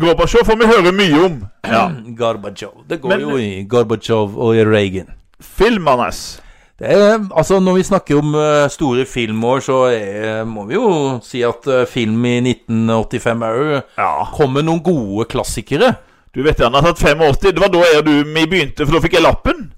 [SPEAKER 2] Gorbatsjov får vi høre mye om. Ja.
[SPEAKER 1] Gorbatsjov. Det går
[SPEAKER 2] Men-
[SPEAKER 1] jo i Gorbatsjov og i Reagan.
[SPEAKER 2] Film hans.
[SPEAKER 1] Det er, altså Når vi snakker om eh, store filmår, så er, må vi jo si at eh, film i 1985 òg
[SPEAKER 2] Ja.
[SPEAKER 1] kommer noen gode klassikere.
[SPEAKER 2] Du vet han har tatt 85. Det var da jeg og du vi begynte, for da fikk jeg lappen.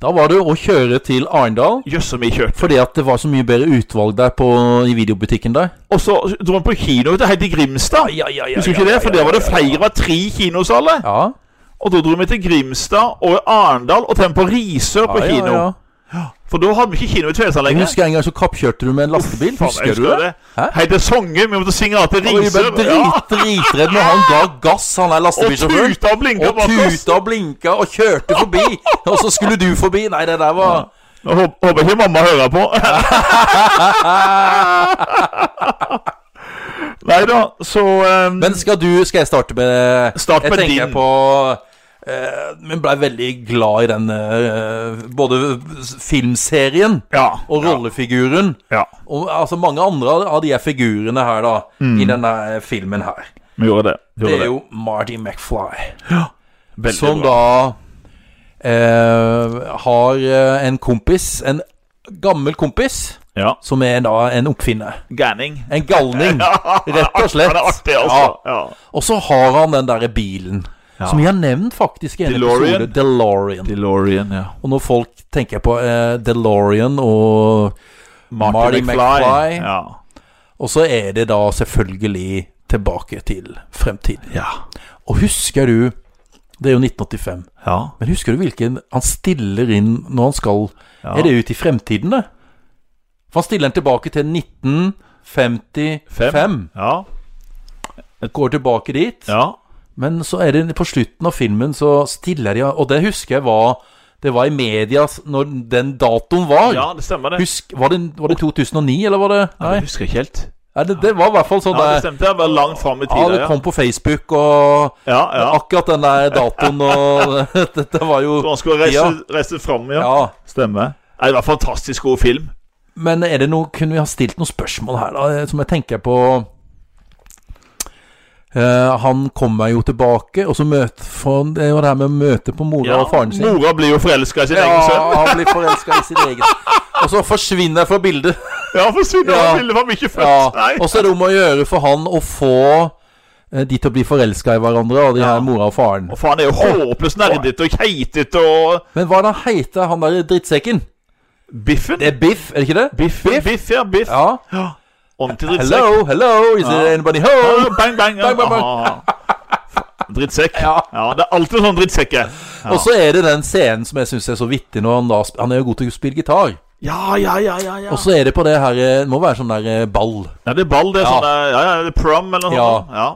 [SPEAKER 1] Da var det å kjøre til Arendal,
[SPEAKER 2] Jøss, som vi kjørte.
[SPEAKER 1] fordi at det var så mye bedre utvalg der på, i videobutikken der.
[SPEAKER 2] Og så dro han på kino vet du, helt til Grimstad. Husker du ikke det? For der var det flere, det var tre kinosaler.
[SPEAKER 1] Ja,
[SPEAKER 2] Og da dro vi til Grimstad og Arendal og til på Risør på
[SPEAKER 1] ja,
[SPEAKER 2] kino.
[SPEAKER 1] Ja, ja.
[SPEAKER 2] For da hadde vi ikke kino i Tvedestrand
[SPEAKER 1] Jeg
[SPEAKER 2] lenger.
[SPEAKER 1] husker en gang så kappkjørte du med en lastebil.
[SPEAKER 2] Faen, jeg
[SPEAKER 1] husker du det? Hæ?
[SPEAKER 2] Helt til Songe. Vi måtte synge av til
[SPEAKER 1] Jeg var jo
[SPEAKER 2] Risør.
[SPEAKER 1] bare drit, dritredd når han ga gass, han der
[SPEAKER 2] Og
[SPEAKER 1] lastebilsjåføren.
[SPEAKER 2] tuta og blinka
[SPEAKER 1] Og
[SPEAKER 2] bak oss.
[SPEAKER 1] tuta og blinka og kjørte forbi, og så skulle du forbi. Nei, det der var
[SPEAKER 2] Jeg håper, håper ikke mamma hører på. Nei da, så um,
[SPEAKER 1] Men skal du Skal jeg starte med
[SPEAKER 2] Start
[SPEAKER 1] Jeg
[SPEAKER 2] med
[SPEAKER 1] tenker
[SPEAKER 2] din.
[SPEAKER 1] på eh, Men blei veldig glad i den eh, både filmserien
[SPEAKER 2] Ja.
[SPEAKER 1] og rollefiguren.
[SPEAKER 2] ja.
[SPEAKER 1] Og altså mange andre av de her figurene her, da, i denne filmen her.
[SPEAKER 2] Vi gjorde Mm. det. Vi
[SPEAKER 1] Det
[SPEAKER 2] gjorde
[SPEAKER 1] er jo sånn Marty McFly.
[SPEAKER 2] Veldig
[SPEAKER 1] Som
[SPEAKER 2] bra.
[SPEAKER 1] da eh, har eh, en kompis, en gammel kompis,
[SPEAKER 2] Ja.
[SPEAKER 1] som er da en oppfinner.
[SPEAKER 2] Ganning.
[SPEAKER 1] En galning, rett og slett.
[SPEAKER 2] Ja, det er artig, altså. Ja.
[SPEAKER 1] Og så har han den derre bilen. Som jeg har nevnt faktisk i en
[SPEAKER 2] DeLorean.
[SPEAKER 1] episode. DeLorean.
[SPEAKER 2] DeLorean, ja.
[SPEAKER 1] Og når folk tenker på eh, DeLorean og
[SPEAKER 2] Marty,
[SPEAKER 1] Marty
[SPEAKER 2] McFly.
[SPEAKER 1] McFly.
[SPEAKER 2] Ja.
[SPEAKER 1] Og så er det da selvfølgelig tilbake til fremtiden.
[SPEAKER 2] Ja.
[SPEAKER 1] Og husker du Det er jo 1985.
[SPEAKER 2] ja.
[SPEAKER 1] Men husker du hvilken han stiller inn når han skal
[SPEAKER 2] Ja.
[SPEAKER 1] Er det ut i fremtiden, det? For han stiller den tilbake til 1955.
[SPEAKER 2] Ja.
[SPEAKER 1] Går tilbake dit.
[SPEAKER 2] ja.
[SPEAKER 1] Men så er det på slutten av filmen så stiller de Og det husker jeg var Det var i media s- når den datoen var.
[SPEAKER 2] Ja, det stemmer, det.
[SPEAKER 1] Husk, var det, var det 2009, eller var det
[SPEAKER 2] Jeg
[SPEAKER 1] Nei.
[SPEAKER 2] husker ikke helt.
[SPEAKER 1] Ja, det, det var i hvert fall sånn
[SPEAKER 2] Ja, det
[SPEAKER 1] der-
[SPEAKER 2] stemte. Jeg var langt fram i
[SPEAKER 1] Ja,
[SPEAKER 2] tida,
[SPEAKER 1] det
[SPEAKER 2] ja.
[SPEAKER 1] kom på Facebook, og
[SPEAKER 2] ja, ja.
[SPEAKER 1] akkurat den der datoen og Dette var jo
[SPEAKER 2] Så han skulle reise, reise fram, ja.
[SPEAKER 1] Ja.
[SPEAKER 2] Stemmer. Nei, det var en fantastisk god film.
[SPEAKER 1] Men er det noe, kunne vi ha stilt noen spørsmål her, da, som jeg tenker på Eh, Han kommer jo tilbake, og så møter for, Det var det her med å møte på mora
[SPEAKER 2] Ja,
[SPEAKER 1] og faren sin.
[SPEAKER 2] Mora blir jo forelska i sin egen sønn.
[SPEAKER 1] Ja, han blir forelska i sin egen. Og så forsvinner jeg fra bildet.
[SPEAKER 2] Ja, forsvinner
[SPEAKER 1] Ja.
[SPEAKER 2] ja. bildet var mye født.
[SPEAKER 1] Ja.
[SPEAKER 2] Nei.
[SPEAKER 1] Og så er det om å gjøre for han å få eh, de til å bli forelska i hverandre, og de
[SPEAKER 2] Ja.
[SPEAKER 1] her mora og faren.
[SPEAKER 2] Og faen, det er jo håpløst nerdete og keitete og
[SPEAKER 1] Men hva er det han heter, han der drittsekken?
[SPEAKER 2] Biffen?
[SPEAKER 1] Det er Biff, er det ikke det?
[SPEAKER 2] biff, biff, ja. Biff.
[SPEAKER 1] Ja.
[SPEAKER 2] Ordentlig drittsekk.
[SPEAKER 1] Hello, hello, is there anybody
[SPEAKER 2] Ja,
[SPEAKER 1] home?
[SPEAKER 2] Bang, bang. Ja.
[SPEAKER 1] Bang, bang, bang.
[SPEAKER 2] Aha. Fa- Drittsekk.
[SPEAKER 1] Ja.
[SPEAKER 2] Ja, det er alltid sånn drittsekk. jeg.
[SPEAKER 1] Og så er det den scenen som jeg syns er så vittig når han da sp- Han er jo god til å spille gitar.
[SPEAKER 2] Ja, ja, ja, ja. ja.
[SPEAKER 1] Og så er det på det her eh, Det må være sånn der eh, ball.
[SPEAKER 2] ja det er ball, det er
[SPEAKER 1] Ja.
[SPEAKER 2] sånn eh, Ja, ja, det er prom eller noe
[SPEAKER 1] Ja.
[SPEAKER 2] sånt. Ja.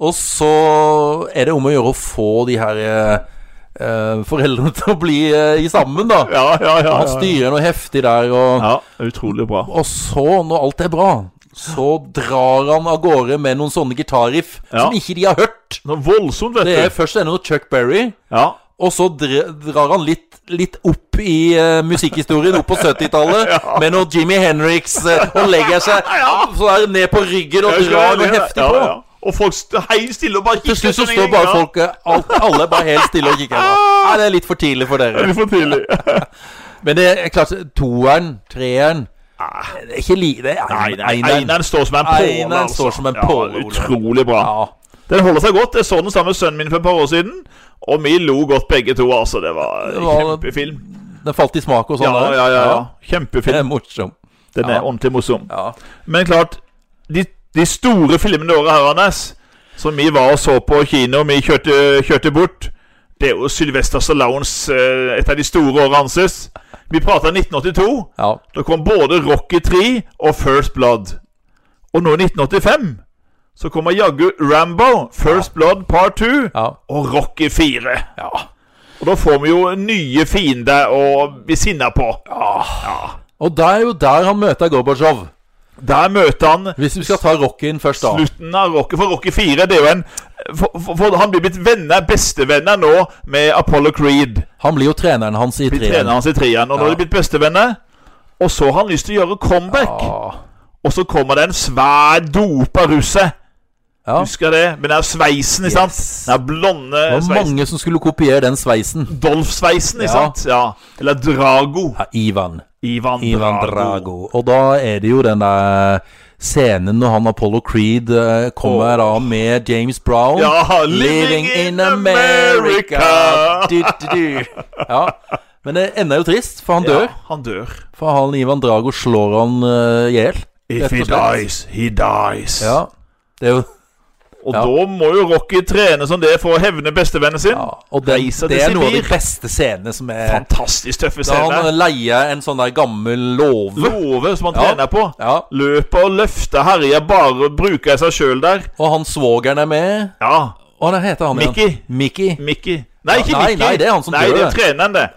[SPEAKER 1] Og så er det om å gjøre å få de her eh, eh, foreldrene til å bli eh, i sammen, da.
[SPEAKER 2] Ja, ja, ja.
[SPEAKER 1] Han
[SPEAKER 2] ja, ja.
[SPEAKER 1] styrer noe heftig der, og
[SPEAKER 2] Ja, utrolig bra.
[SPEAKER 1] Og så, når alt er bra, så drar han av gårde med noen sånne gitarriff
[SPEAKER 2] Ja.
[SPEAKER 1] som ikke de har hørt.
[SPEAKER 2] Noe voldsomt, vet
[SPEAKER 1] Det er
[SPEAKER 2] du.
[SPEAKER 1] først er det noe Chuck Berry.
[SPEAKER 2] Ja.
[SPEAKER 1] Og så dre, drar han litt, litt opp i eh, musikkhistorien, opp på 70-tallet, med noe Jimmy Henriks eh, og legger seg så der ned på ryggen og
[SPEAKER 2] Jeg husker
[SPEAKER 1] drar
[SPEAKER 2] det,
[SPEAKER 1] noe
[SPEAKER 2] det-
[SPEAKER 1] heftig
[SPEAKER 2] ja,
[SPEAKER 1] på.
[SPEAKER 2] ja. Og folk st- heier stille og bare kikker.
[SPEAKER 1] Til slutt så
[SPEAKER 2] sånn i
[SPEAKER 1] står bare
[SPEAKER 2] ringen.
[SPEAKER 1] folk eh, alt, Alle bare helt stille og kikker.
[SPEAKER 2] Ah!
[SPEAKER 1] på. Nei, det er litt for tidlig for
[SPEAKER 2] Det er
[SPEAKER 1] dere.
[SPEAKER 2] litt for tidlig.
[SPEAKER 1] Men det er klart, toeren, treeren Det er ikke li... Det er
[SPEAKER 2] Ah. Nei, nei,
[SPEAKER 1] eineren.
[SPEAKER 2] Einaren står som en påle.
[SPEAKER 1] Einaren står som en påle,
[SPEAKER 2] Ja,
[SPEAKER 1] Ole.
[SPEAKER 2] utrolig bra.
[SPEAKER 1] Ja.
[SPEAKER 2] Den holder seg godt. Jeg så den sammen med sønnen min for et par år siden, og vi lo godt begge to. Altså, det var
[SPEAKER 1] Det var-
[SPEAKER 2] kjempefilm.
[SPEAKER 1] Den falt i smak og
[SPEAKER 2] Ja,
[SPEAKER 1] sånn. der.
[SPEAKER 2] ja, ja, ja.
[SPEAKER 1] Det er
[SPEAKER 2] Kjempefilm.
[SPEAKER 1] morsom.
[SPEAKER 2] Den er
[SPEAKER 1] Ja.
[SPEAKER 2] ordentlig morsom.
[SPEAKER 1] Ja.
[SPEAKER 2] Men klart, de, de store filmene våre her, Anders, som vi var og så på kino, vi kjørte, kjørte bort Det er jo Sylvester Stallones eh, et av de store årene hans. Vi prata 1982.
[SPEAKER 1] ja.
[SPEAKER 2] Da kom både Rocky 3 og First Blood. Og nå i 1985 så kommer jaggu Rambo, First Blood Part 2
[SPEAKER 1] ja.
[SPEAKER 2] og Rocky 4.
[SPEAKER 1] ja.
[SPEAKER 2] Og da får vi jo nye fiender å bli sinna på.
[SPEAKER 1] Og det er jo der han møter Gorbatsjov.
[SPEAKER 2] Der møter han
[SPEAKER 1] Hvis vi skal ta Rocky inn først, da.
[SPEAKER 2] slutten av Rocky. For Rocky 4 det er jo en for, for, for Han blir blitt venner, bestevenner nå med Apollo Creed.
[SPEAKER 1] Han blir jo treneren hans i
[SPEAKER 2] Blir treneren
[SPEAKER 1] treeren.
[SPEAKER 2] hans i treeren. Og nå er de blitt bestevenner. Og så har han lyst til å gjøre comeback.
[SPEAKER 1] Ja.
[SPEAKER 2] Og så kommer det en svær dopa russer.
[SPEAKER 1] Ja.
[SPEAKER 2] Husker jeg det? Med den her sveisen, ikke
[SPEAKER 1] Yes.
[SPEAKER 2] sant? Den her blonde
[SPEAKER 1] Det var
[SPEAKER 2] sveisen.
[SPEAKER 1] mange som skulle kopiere den sveisen.
[SPEAKER 2] Dolf-sveisen, ikke
[SPEAKER 1] Ja.
[SPEAKER 2] sant? Ja. Eller Drago.
[SPEAKER 1] Ja, Ivan.
[SPEAKER 2] Ivan,
[SPEAKER 1] Ivan
[SPEAKER 2] Drago.
[SPEAKER 1] Drago. Og da er det jo den der eh, scenen når han Apollo Creed eh, kommer da med James Brown.
[SPEAKER 2] Ja, living in America.
[SPEAKER 1] Du, du, du. Ja. Men det ender jo trist, for han
[SPEAKER 2] Ja,
[SPEAKER 1] dør.
[SPEAKER 2] han dør.
[SPEAKER 1] For han Ivan Drago slår han eh, i hjel.
[SPEAKER 2] If he
[SPEAKER 1] Rett og slett.
[SPEAKER 2] dies, he dies.
[SPEAKER 1] Ja. Det er jo
[SPEAKER 2] Og
[SPEAKER 1] Ja.
[SPEAKER 2] da må jo Rocky trene som det for å hevne bestevennen sin.
[SPEAKER 1] ja. Og det,
[SPEAKER 2] Reiser til
[SPEAKER 1] det er noen av de
[SPEAKER 2] Sibir.
[SPEAKER 1] beste scenene som er
[SPEAKER 2] Fantastisk tøffe
[SPEAKER 1] Da han
[SPEAKER 2] scener.
[SPEAKER 1] leier en sånn der gammel låve.
[SPEAKER 2] Love som han
[SPEAKER 1] Ja.
[SPEAKER 2] trener på.
[SPEAKER 1] Ja.
[SPEAKER 2] Løper og løfter, herjer, bare bruker seg sjøl der.
[SPEAKER 1] Og han svogeren er med.
[SPEAKER 2] Ja.
[SPEAKER 1] Hva er det heter han
[SPEAKER 2] Mickey.
[SPEAKER 1] igjen? Mickey.
[SPEAKER 2] Mickey. Nei,
[SPEAKER 1] Ja,
[SPEAKER 2] ikke
[SPEAKER 1] nei,
[SPEAKER 2] Mickey.
[SPEAKER 1] nei, det er han som
[SPEAKER 2] Nei,
[SPEAKER 1] dør,
[SPEAKER 2] det
[SPEAKER 1] det.
[SPEAKER 2] er treneren, det.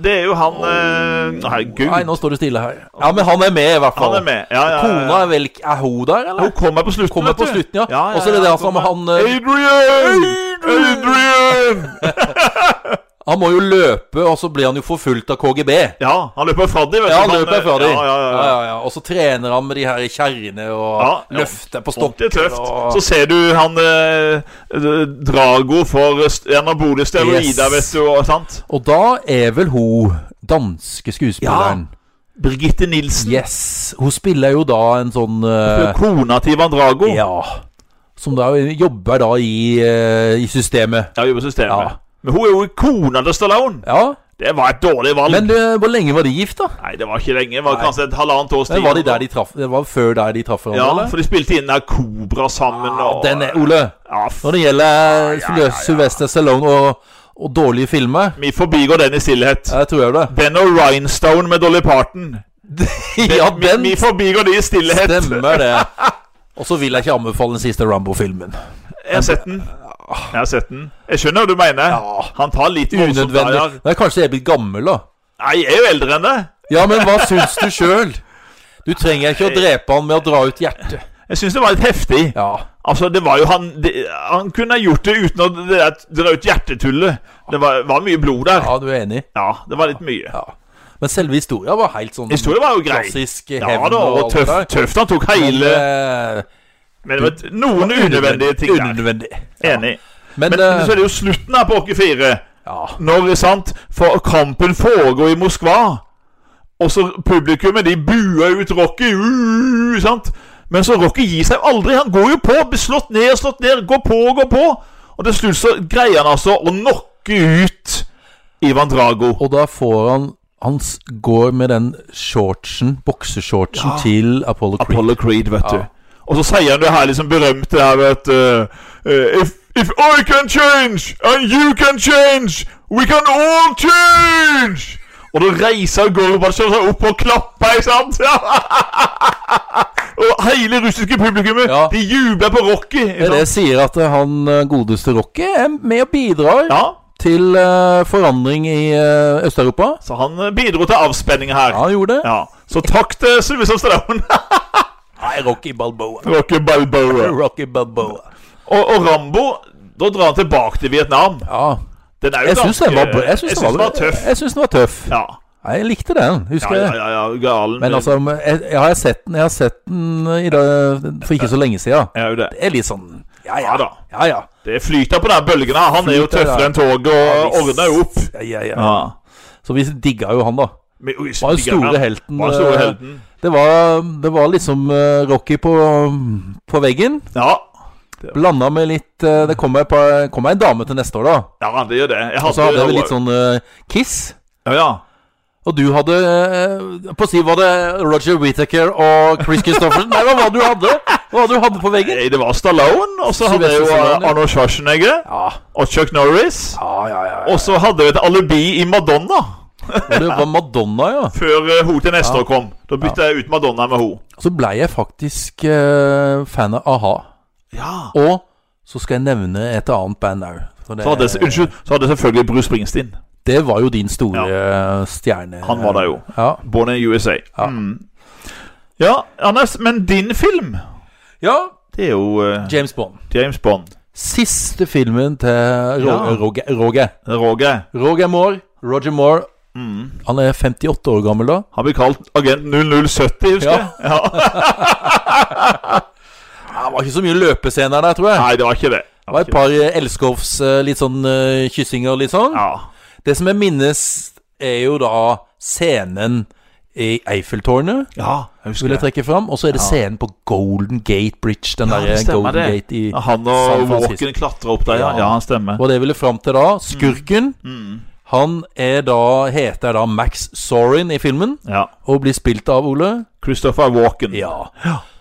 [SPEAKER 2] Det er jo han eh, Herregud.
[SPEAKER 1] Nei, nå står det stille her. Ja, men han er med, i hvert fall.
[SPEAKER 2] Han er med. Ja, ja, ja,
[SPEAKER 1] Kona
[SPEAKER 2] ja.
[SPEAKER 1] er vel Er hun der, eller?
[SPEAKER 2] Hun kommer på slutten.
[SPEAKER 1] Kommer
[SPEAKER 2] vet
[SPEAKER 1] på
[SPEAKER 2] du.
[SPEAKER 1] slutten, ja. Og så er det det altså med han, eh,
[SPEAKER 2] Adrian! Adrian!
[SPEAKER 1] Han må jo løpe, og så blir han jo forfulgt av KGB.
[SPEAKER 2] Ja, han løper fra dem, vet
[SPEAKER 1] Ja, han løper
[SPEAKER 2] eh,
[SPEAKER 1] fra dem.
[SPEAKER 2] Ja, ja, ja. ja.
[SPEAKER 1] Og så trener han med de her kjerrene og
[SPEAKER 2] Ja, ja.
[SPEAKER 1] løfter på
[SPEAKER 2] Det er
[SPEAKER 1] stokker
[SPEAKER 2] tøft. Så
[SPEAKER 1] og
[SPEAKER 2] ser du han eh, Drago for eh, anabole steroider,
[SPEAKER 1] Yes.
[SPEAKER 2] vet du, og sant?
[SPEAKER 1] Og da er vel hun danske skuespilleren.
[SPEAKER 2] Birgitte Nilsen.
[SPEAKER 1] Yes. Hun spiller jo da en sånn
[SPEAKER 2] Hun er
[SPEAKER 1] eh,
[SPEAKER 2] Kona til Ivan Drago. Ja,
[SPEAKER 1] Ja. Som da jobber da i, eh, i systemet.
[SPEAKER 2] jobber i systemet.
[SPEAKER 1] Ja.
[SPEAKER 2] Men hun er jo kona til Stallone.
[SPEAKER 1] Ja.
[SPEAKER 2] Det var et dårlig valg.
[SPEAKER 1] Men eh, hvor lenge var de gift, da?
[SPEAKER 2] Nei, det var ikke lenge. Det var
[SPEAKER 1] Nei.
[SPEAKER 2] kanskje et halvannet års tid.
[SPEAKER 1] Men var de der de traff Det var før der de traff hverandre,
[SPEAKER 2] Ja,
[SPEAKER 1] eller?
[SPEAKER 2] for de spilte inn der Kobra sammen og
[SPEAKER 1] Den er, Ole,
[SPEAKER 2] Ja, f...
[SPEAKER 1] når det gjelder eh, Sylvester Stallone og, og dårlige filmer
[SPEAKER 2] Vi forbigår den i stillhet.
[SPEAKER 1] Jeg tror jeg det.
[SPEAKER 2] Den og Rhinestone med Dolly Parton.
[SPEAKER 1] ja,
[SPEAKER 2] Vi-
[SPEAKER 1] den
[SPEAKER 2] Vi forbigår de i stillhet.
[SPEAKER 1] stemmer, det. Og så vil jeg ikke anbefale den siste Rambo-filmen.
[SPEAKER 2] Jeg har sett den. Jeg har sett den. Jeg skjønner hva du mener.
[SPEAKER 1] Ja.
[SPEAKER 2] Han tar litt voldsomt der,
[SPEAKER 1] Unødvendig.
[SPEAKER 2] ja.
[SPEAKER 1] Det er kanskje jeg er blitt gammel, da.
[SPEAKER 2] Nei, jeg er jo eldre enn det.
[SPEAKER 1] Ja, men hva syns du sjøl? Du trenger ikke å drepe han med å dra ut hjertet.
[SPEAKER 2] Jeg syns det var litt heftig.
[SPEAKER 1] Ja.
[SPEAKER 2] Altså, det var jo han det, Han kunne gjort det uten å det der- dra ut hjertetullet. Det var, var mye blod der.
[SPEAKER 1] ja, du er enig?
[SPEAKER 2] Ja, det var litt mye.
[SPEAKER 1] Ja. Men selve historia var helt sånn
[SPEAKER 2] Historien var jo grei.
[SPEAKER 1] klassisk
[SPEAKER 2] Ja
[SPEAKER 1] hevn
[SPEAKER 2] da, og
[SPEAKER 1] alt det der.
[SPEAKER 2] tøft, tøft han tok hele
[SPEAKER 1] Men, eh,
[SPEAKER 2] Men det var et- noen unødvendige ting der.
[SPEAKER 1] Unødvendig.
[SPEAKER 2] Enig.
[SPEAKER 1] Men,
[SPEAKER 2] Men
[SPEAKER 1] eh,
[SPEAKER 2] så er det jo slutten her på Åke 4.
[SPEAKER 1] ja.
[SPEAKER 2] Når, sant, for kampen foregår i Moskva. Og så publikummet, de buer ut Rocky. Uh, sant? Men så Rocky gir seg aldri. Han går jo på. Blir slått ned og slått ned. Går på og går på. Og til slutt så greier han altså å knocke ut Ivan Drago.
[SPEAKER 1] Og da får han Han s- går med den shortsen, bokseshortsen,
[SPEAKER 2] Ja.
[SPEAKER 1] til Apollo Creed.
[SPEAKER 2] Apollo Creed, vet
[SPEAKER 1] Ja.
[SPEAKER 2] du. Og så sier han det her liksom berømte her, vet du. eh, If, if I can change, and you can change, we can all change! Og da reiser Gorbatsjov seg opp og klapper, ikke sant? og hele russiske publikummet,
[SPEAKER 1] Ja.
[SPEAKER 2] de jubler på Rocky.
[SPEAKER 1] Det
[SPEAKER 2] Ikke
[SPEAKER 1] er det
[SPEAKER 2] sant?
[SPEAKER 1] jeg sier at eh, han eh, godeste Rocky er med og bidrar
[SPEAKER 2] Ja,
[SPEAKER 1] til eh, forandring i eh, Øst-Europa.
[SPEAKER 2] så han eh, bidro til avspenning her.
[SPEAKER 1] Ja, han gjorde det.
[SPEAKER 2] Ja. Så takk til Sylvester Stallone.
[SPEAKER 1] Nei, Rocky Balboa.
[SPEAKER 2] Rocky Balboa.
[SPEAKER 1] Rocky Balboa.
[SPEAKER 2] Og, og Rambo, da drar han tilbake til Vietnam.
[SPEAKER 1] Ja.
[SPEAKER 2] Den er jo
[SPEAKER 1] Jeg syns den var, bra- jeg synes
[SPEAKER 2] jeg
[SPEAKER 1] den var,
[SPEAKER 2] tøff.
[SPEAKER 1] jeg synes den var tøff.
[SPEAKER 2] Ja.
[SPEAKER 1] Nei, Jeg likte den, husker
[SPEAKER 2] Ja,
[SPEAKER 1] jeg.
[SPEAKER 2] ja, ja, ja, galen.
[SPEAKER 1] Men altså, jeg, jeg har sett den, jeg har sett den eh, i dag, for ikke så lenge siden.
[SPEAKER 2] er jo det.
[SPEAKER 1] Det er litt sånn Ja, ja.
[SPEAKER 2] Ja da.
[SPEAKER 1] Ja, ja.
[SPEAKER 2] Det flyter på den bølgen her. Han er jo
[SPEAKER 1] Flyter, ja.
[SPEAKER 2] tøffere enn toget og ordner jo opp.
[SPEAKER 1] Ja, ja, ja.
[SPEAKER 2] Ja.
[SPEAKER 1] Så vi digga jo han, da.
[SPEAKER 2] Men, oi,
[SPEAKER 1] Var den store
[SPEAKER 2] stiger,
[SPEAKER 1] helten.
[SPEAKER 2] Var den store
[SPEAKER 1] eh,
[SPEAKER 2] helten.
[SPEAKER 1] Det var, det var liksom eh, Rocky på, på veggen.
[SPEAKER 2] Ja.
[SPEAKER 1] Blanda med litt eh, Det kommer et par- kommer ei dame til neste år, da.
[SPEAKER 2] ja, det gjør det. Jeg
[SPEAKER 1] Og så hadde vi litt sånn eh, Kiss.
[SPEAKER 2] Ja, ja.
[SPEAKER 1] Og du hadde eh, På si var det Roger Whittaker og Chris Christoffersen. Nei, hva var det du hadde? Hva var det du hadde på veggen?
[SPEAKER 2] Nei, Det var Stallone, og så hadde jeg jo eh,
[SPEAKER 1] Sylvester Stallone, ja.
[SPEAKER 2] Arnold Schwarzenegger
[SPEAKER 1] Ja,
[SPEAKER 2] og Chuck Norris.
[SPEAKER 1] ja, ja. ja, ja.
[SPEAKER 2] Og så hadde vi et alibi i Madonna
[SPEAKER 1] Og det var Madonna, ja.
[SPEAKER 2] før eh, hun til neste år kom. Da bytta jeg ut Madonna med hun.
[SPEAKER 1] Så blei jeg faktisk eh, fan av a-ha.
[SPEAKER 2] Ja.
[SPEAKER 1] Og så skal jeg nevne et annet band òg.
[SPEAKER 2] Så hadde, jeg, unnskyld, så hadde jeg selvfølgelig Bruce Springsteen.
[SPEAKER 1] Det var jo din store stjerne.
[SPEAKER 2] Han var der jo.
[SPEAKER 1] Ja.
[SPEAKER 2] Born in USA.
[SPEAKER 1] Ja.
[SPEAKER 2] Mm. ja, Anders, men din film
[SPEAKER 1] ja,
[SPEAKER 2] Det er jo eh,
[SPEAKER 1] James Bond.
[SPEAKER 2] James Bond.
[SPEAKER 1] Siste filmen til Ro
[SPEAKER 2] Ja.
[SPEAKER 1] Roger, Roger.
[SPEAKER 2] Roger.
[SPEAKER 1] Roger Moore. Roger Moore.
[SPEAKER 2] Mm.
[SPEAKER 1] Han er 58 år gammel da.
[SPEAKER 2] Han blir kalt agent 0070, husker
[SPEAKER 1] Ja.
[SPEAKER 2] jeg. Ja.
[SPEAKER 1] Ja, det var ikke så mye løpescener der, tror jeg.
[SPEAKER 2] Nei, det var ikke det.
[SPEAKER 1] det var et par eh, elskovs, eh, litt sånn eh, kyssinger og litt sånn.
[SPEAKER 2] Ja.
[SPEAKER 1] Det som jeg minnes, er jo da scenen i Eiffeltårnet.
[SPEAKER 2] ja, jeg
[SPEAKER 1] Vil jeg trekke fram Og så er det scenen på Golden Gate Bridge. Den
[SPEAKER 2] Ja,
[SPEAKER 1] der
[SPEAKER 2] det stemmer
[SPEAKER 1] Golden
[SPEAKER 2] det.
[SPEAKER 1] Gate i
[SPEAKER 2] Han
[SPEAKER 1] San
[SPEAKER 2] og
[SPEAKER 1] Francisco.
[SPEAKER 2] Walken klatra opp der, ja.
[SPEAKER 1] Ja.
[SPEAKER 2] ja han stemmer.
[SPEAKER 1] Og det jeg ville fram til da, skurken
[SPEAKER 2] Mm.
[SPEAKER 1] Han er da, heter da Max Sorin i filmen,
[SPEAKER 2] Ja.
[SPEAKER 1] og blir spilt av Ole.
[SPEAKER 2] Christopher Walken.
[SPEAKER 1] Ja.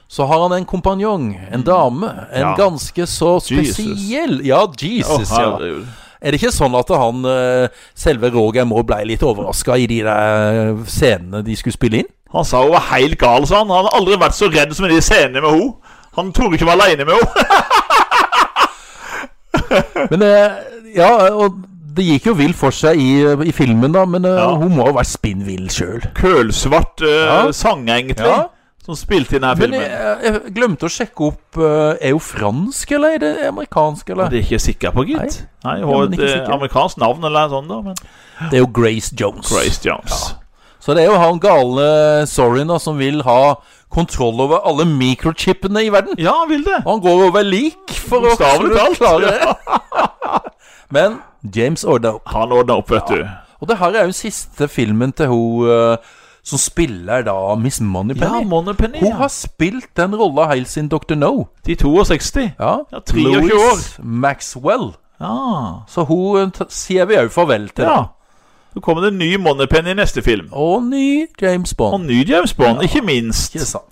[SPEAKER 1] Så har han en kompanjong, en dame. En
[SPEAKER 2] Mm. Ja.
[SPEAKER 1] ganske så spesiell Ja,
[SPEAKER 2] Å,
[SPEAKER 1] Jesus, ja.
[SPEAKER 2] herregud.
[SPEAKER 1] Er det ikke sånn at han eh, selve Roger Moore ble litt overraska i de der eh, scenene de skulle spille inn?
[SPEAKER 2] Han sa hun var helt gal, sa han. Han hadde aldri vært så redd som i de scenene med henne. Han torde ikke være aleine med henne.
[SPEAKER 1] Men eh, Ja, og det gikk jo vill for seg i, i filmen, da, men eh,
[SPEAKER 2] Ja.
[SPEAKER 1] hun må ha vært spinn vill sjøl.
[SPEAKER 2] Kølsvart uh,
[SPEAKER 1] Ja.
[SPEAKER 2] sanger, egentlig,
[SPEAKER 1] Ja.
[SPEAKER 2] som spilte i denne
[SPEAKER 1] Men
[SPEAKER 2] filmen.
[SPEAKER 1] jeg, jeg glemte å sjekke opp eh, Er hun fransk, eller er det amerikansk, eller?
[SPEAKER 2] Det er ikke jeg sikker på, gitt. Nei, hun
[SPEAKER 1] Ja,
[SPEAKER 2] har
[SPEAKER 1] men
[SPEAKER 2] et
[SPEAKER 1] ikke
[SPEAKER 2] eh,
[SPEAKER 1] sikker.
[SPEAKER 2] amerikansk navn eller noe sånt, da. Men
[SPEAKER 1] Det er jo Grace Jones.
[SPEAKER 2] Grace Jones.
[SPEAKER 1] Så det er jo han gale Sorin da, som vil ha kontroll over alle mikrochipene i verden.
[SPEAKER 2] Ja, han vil det.
[SPEAKER 1] Og han går over lik for å
[SPEAKER 2] Bokstavelig talt.
[SPEAKER 1] klare det. Men James ordna opp.
[SPEAKER 2] Han ordna opp, vet du.
[SPEAKER 1] Og det her er jo siste filmen til hun eh, som spiller da Miss Moneypenny.
[SPEAKER 2] Moneypenny.
[SPEAKER 1] hun har spilt den rolla helt siden Dr. No.
[SPEAKER 2] De 62.
[SPEAKER 1] Ja,
[SPEAKER 2] Ja, 23 år.
[SPEAKER 1] Louise Maxwell.
[SPEAKER 2] Ja.
[SPEAKER 1] Så hun t sier vi òg farvel til.
[SPEAKER 2] ja. Så kommer det en ny Moneypenny i neste film.
[SPEAKER 1] Og ny James
[SPEAKER 2] Og en
[SPEAKER 1] Bond.
[SPEAKER 2] ny James Bond, ikke minst.
[SPEAKER 1] Ikke sant.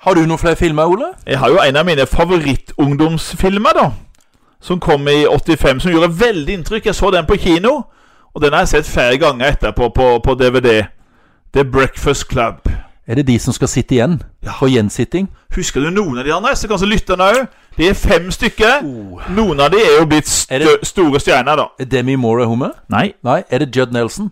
[SPEAKER 1] Har du noen flere filmer, Ole?
[SPEAKER 2] Jeg har jo en av mine favorittungdomsfilmer, da. Som kom i 85, som gjorde veldig inntrykk. Jeg så den på kino. Og den har jeg sett flere ganger etterpå på, på DVD. The Breakfast Club.
[SPEAKER 1] Er det de som skal sitte igjen? For gjensitting?
[SPEAKER 2] Husker du noen av de andre? Så kanskje lytterne òg. De er fem stykker.
[SPEAKER 1] Oh.
[SPEAKER 2] Noen av de er jo blitt stø
[SPEAKER 1] Er det-
[SPEAKER 2] store stjerner, da.
[SPEAKER 1] Er Demi Moore er hun med?
[SPEAKER 2] Nei.
[SPEAKER 1] Nei, er det Judd Nelson?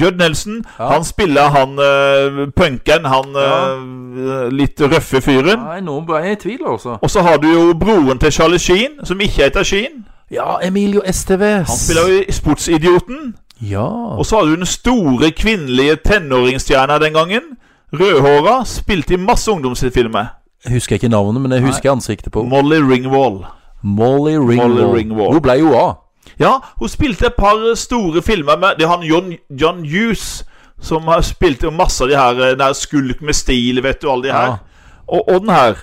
[SPEAKER 2] Judd Nelson.
[SPEAKER 1] Ja.
[SPEAKER 2] Han spiller han uh, punkeren, han eh, litt røffe fyren.
[SPEAKER 1] Nei, nå ble jeg i tvil, altså.
[SPEAKER 2] Og så har du jo broren til Charlie Sheen, som ikke heter Sheen.
[SPEAKER 1] Ja, Emilio Esteves.
[SPEAKER 2] Han spiller jo i Sportsidioten.
[SPEAKER 1] Ja.
[SPEAKER 2] Og så hadde du den store kvinnelige tenåringsstjerna den gangen. Rødhåra. Spilte i masse ungdomsfilmer.
[SPEAKER 1] Jeg husker ikke navnet, men jeg husker ansiktet på
[SPEAKER 2] Molly Ringwall.
[SPEAKER 1] Molly Ringwald.
[SPEAKER 2] Molly Ringwald.
[SPEAKER 1] Hun ble jo av.
[SPEAKER 2] Ja, hun spilte et par store filmer med Det er han John, John Hughes som har spilt i masse av de her eh, den her Skulk med stil, vet du, alle de her.
[SPEAKER 1] Ja.
[SPEAKER 2] Og, og den her.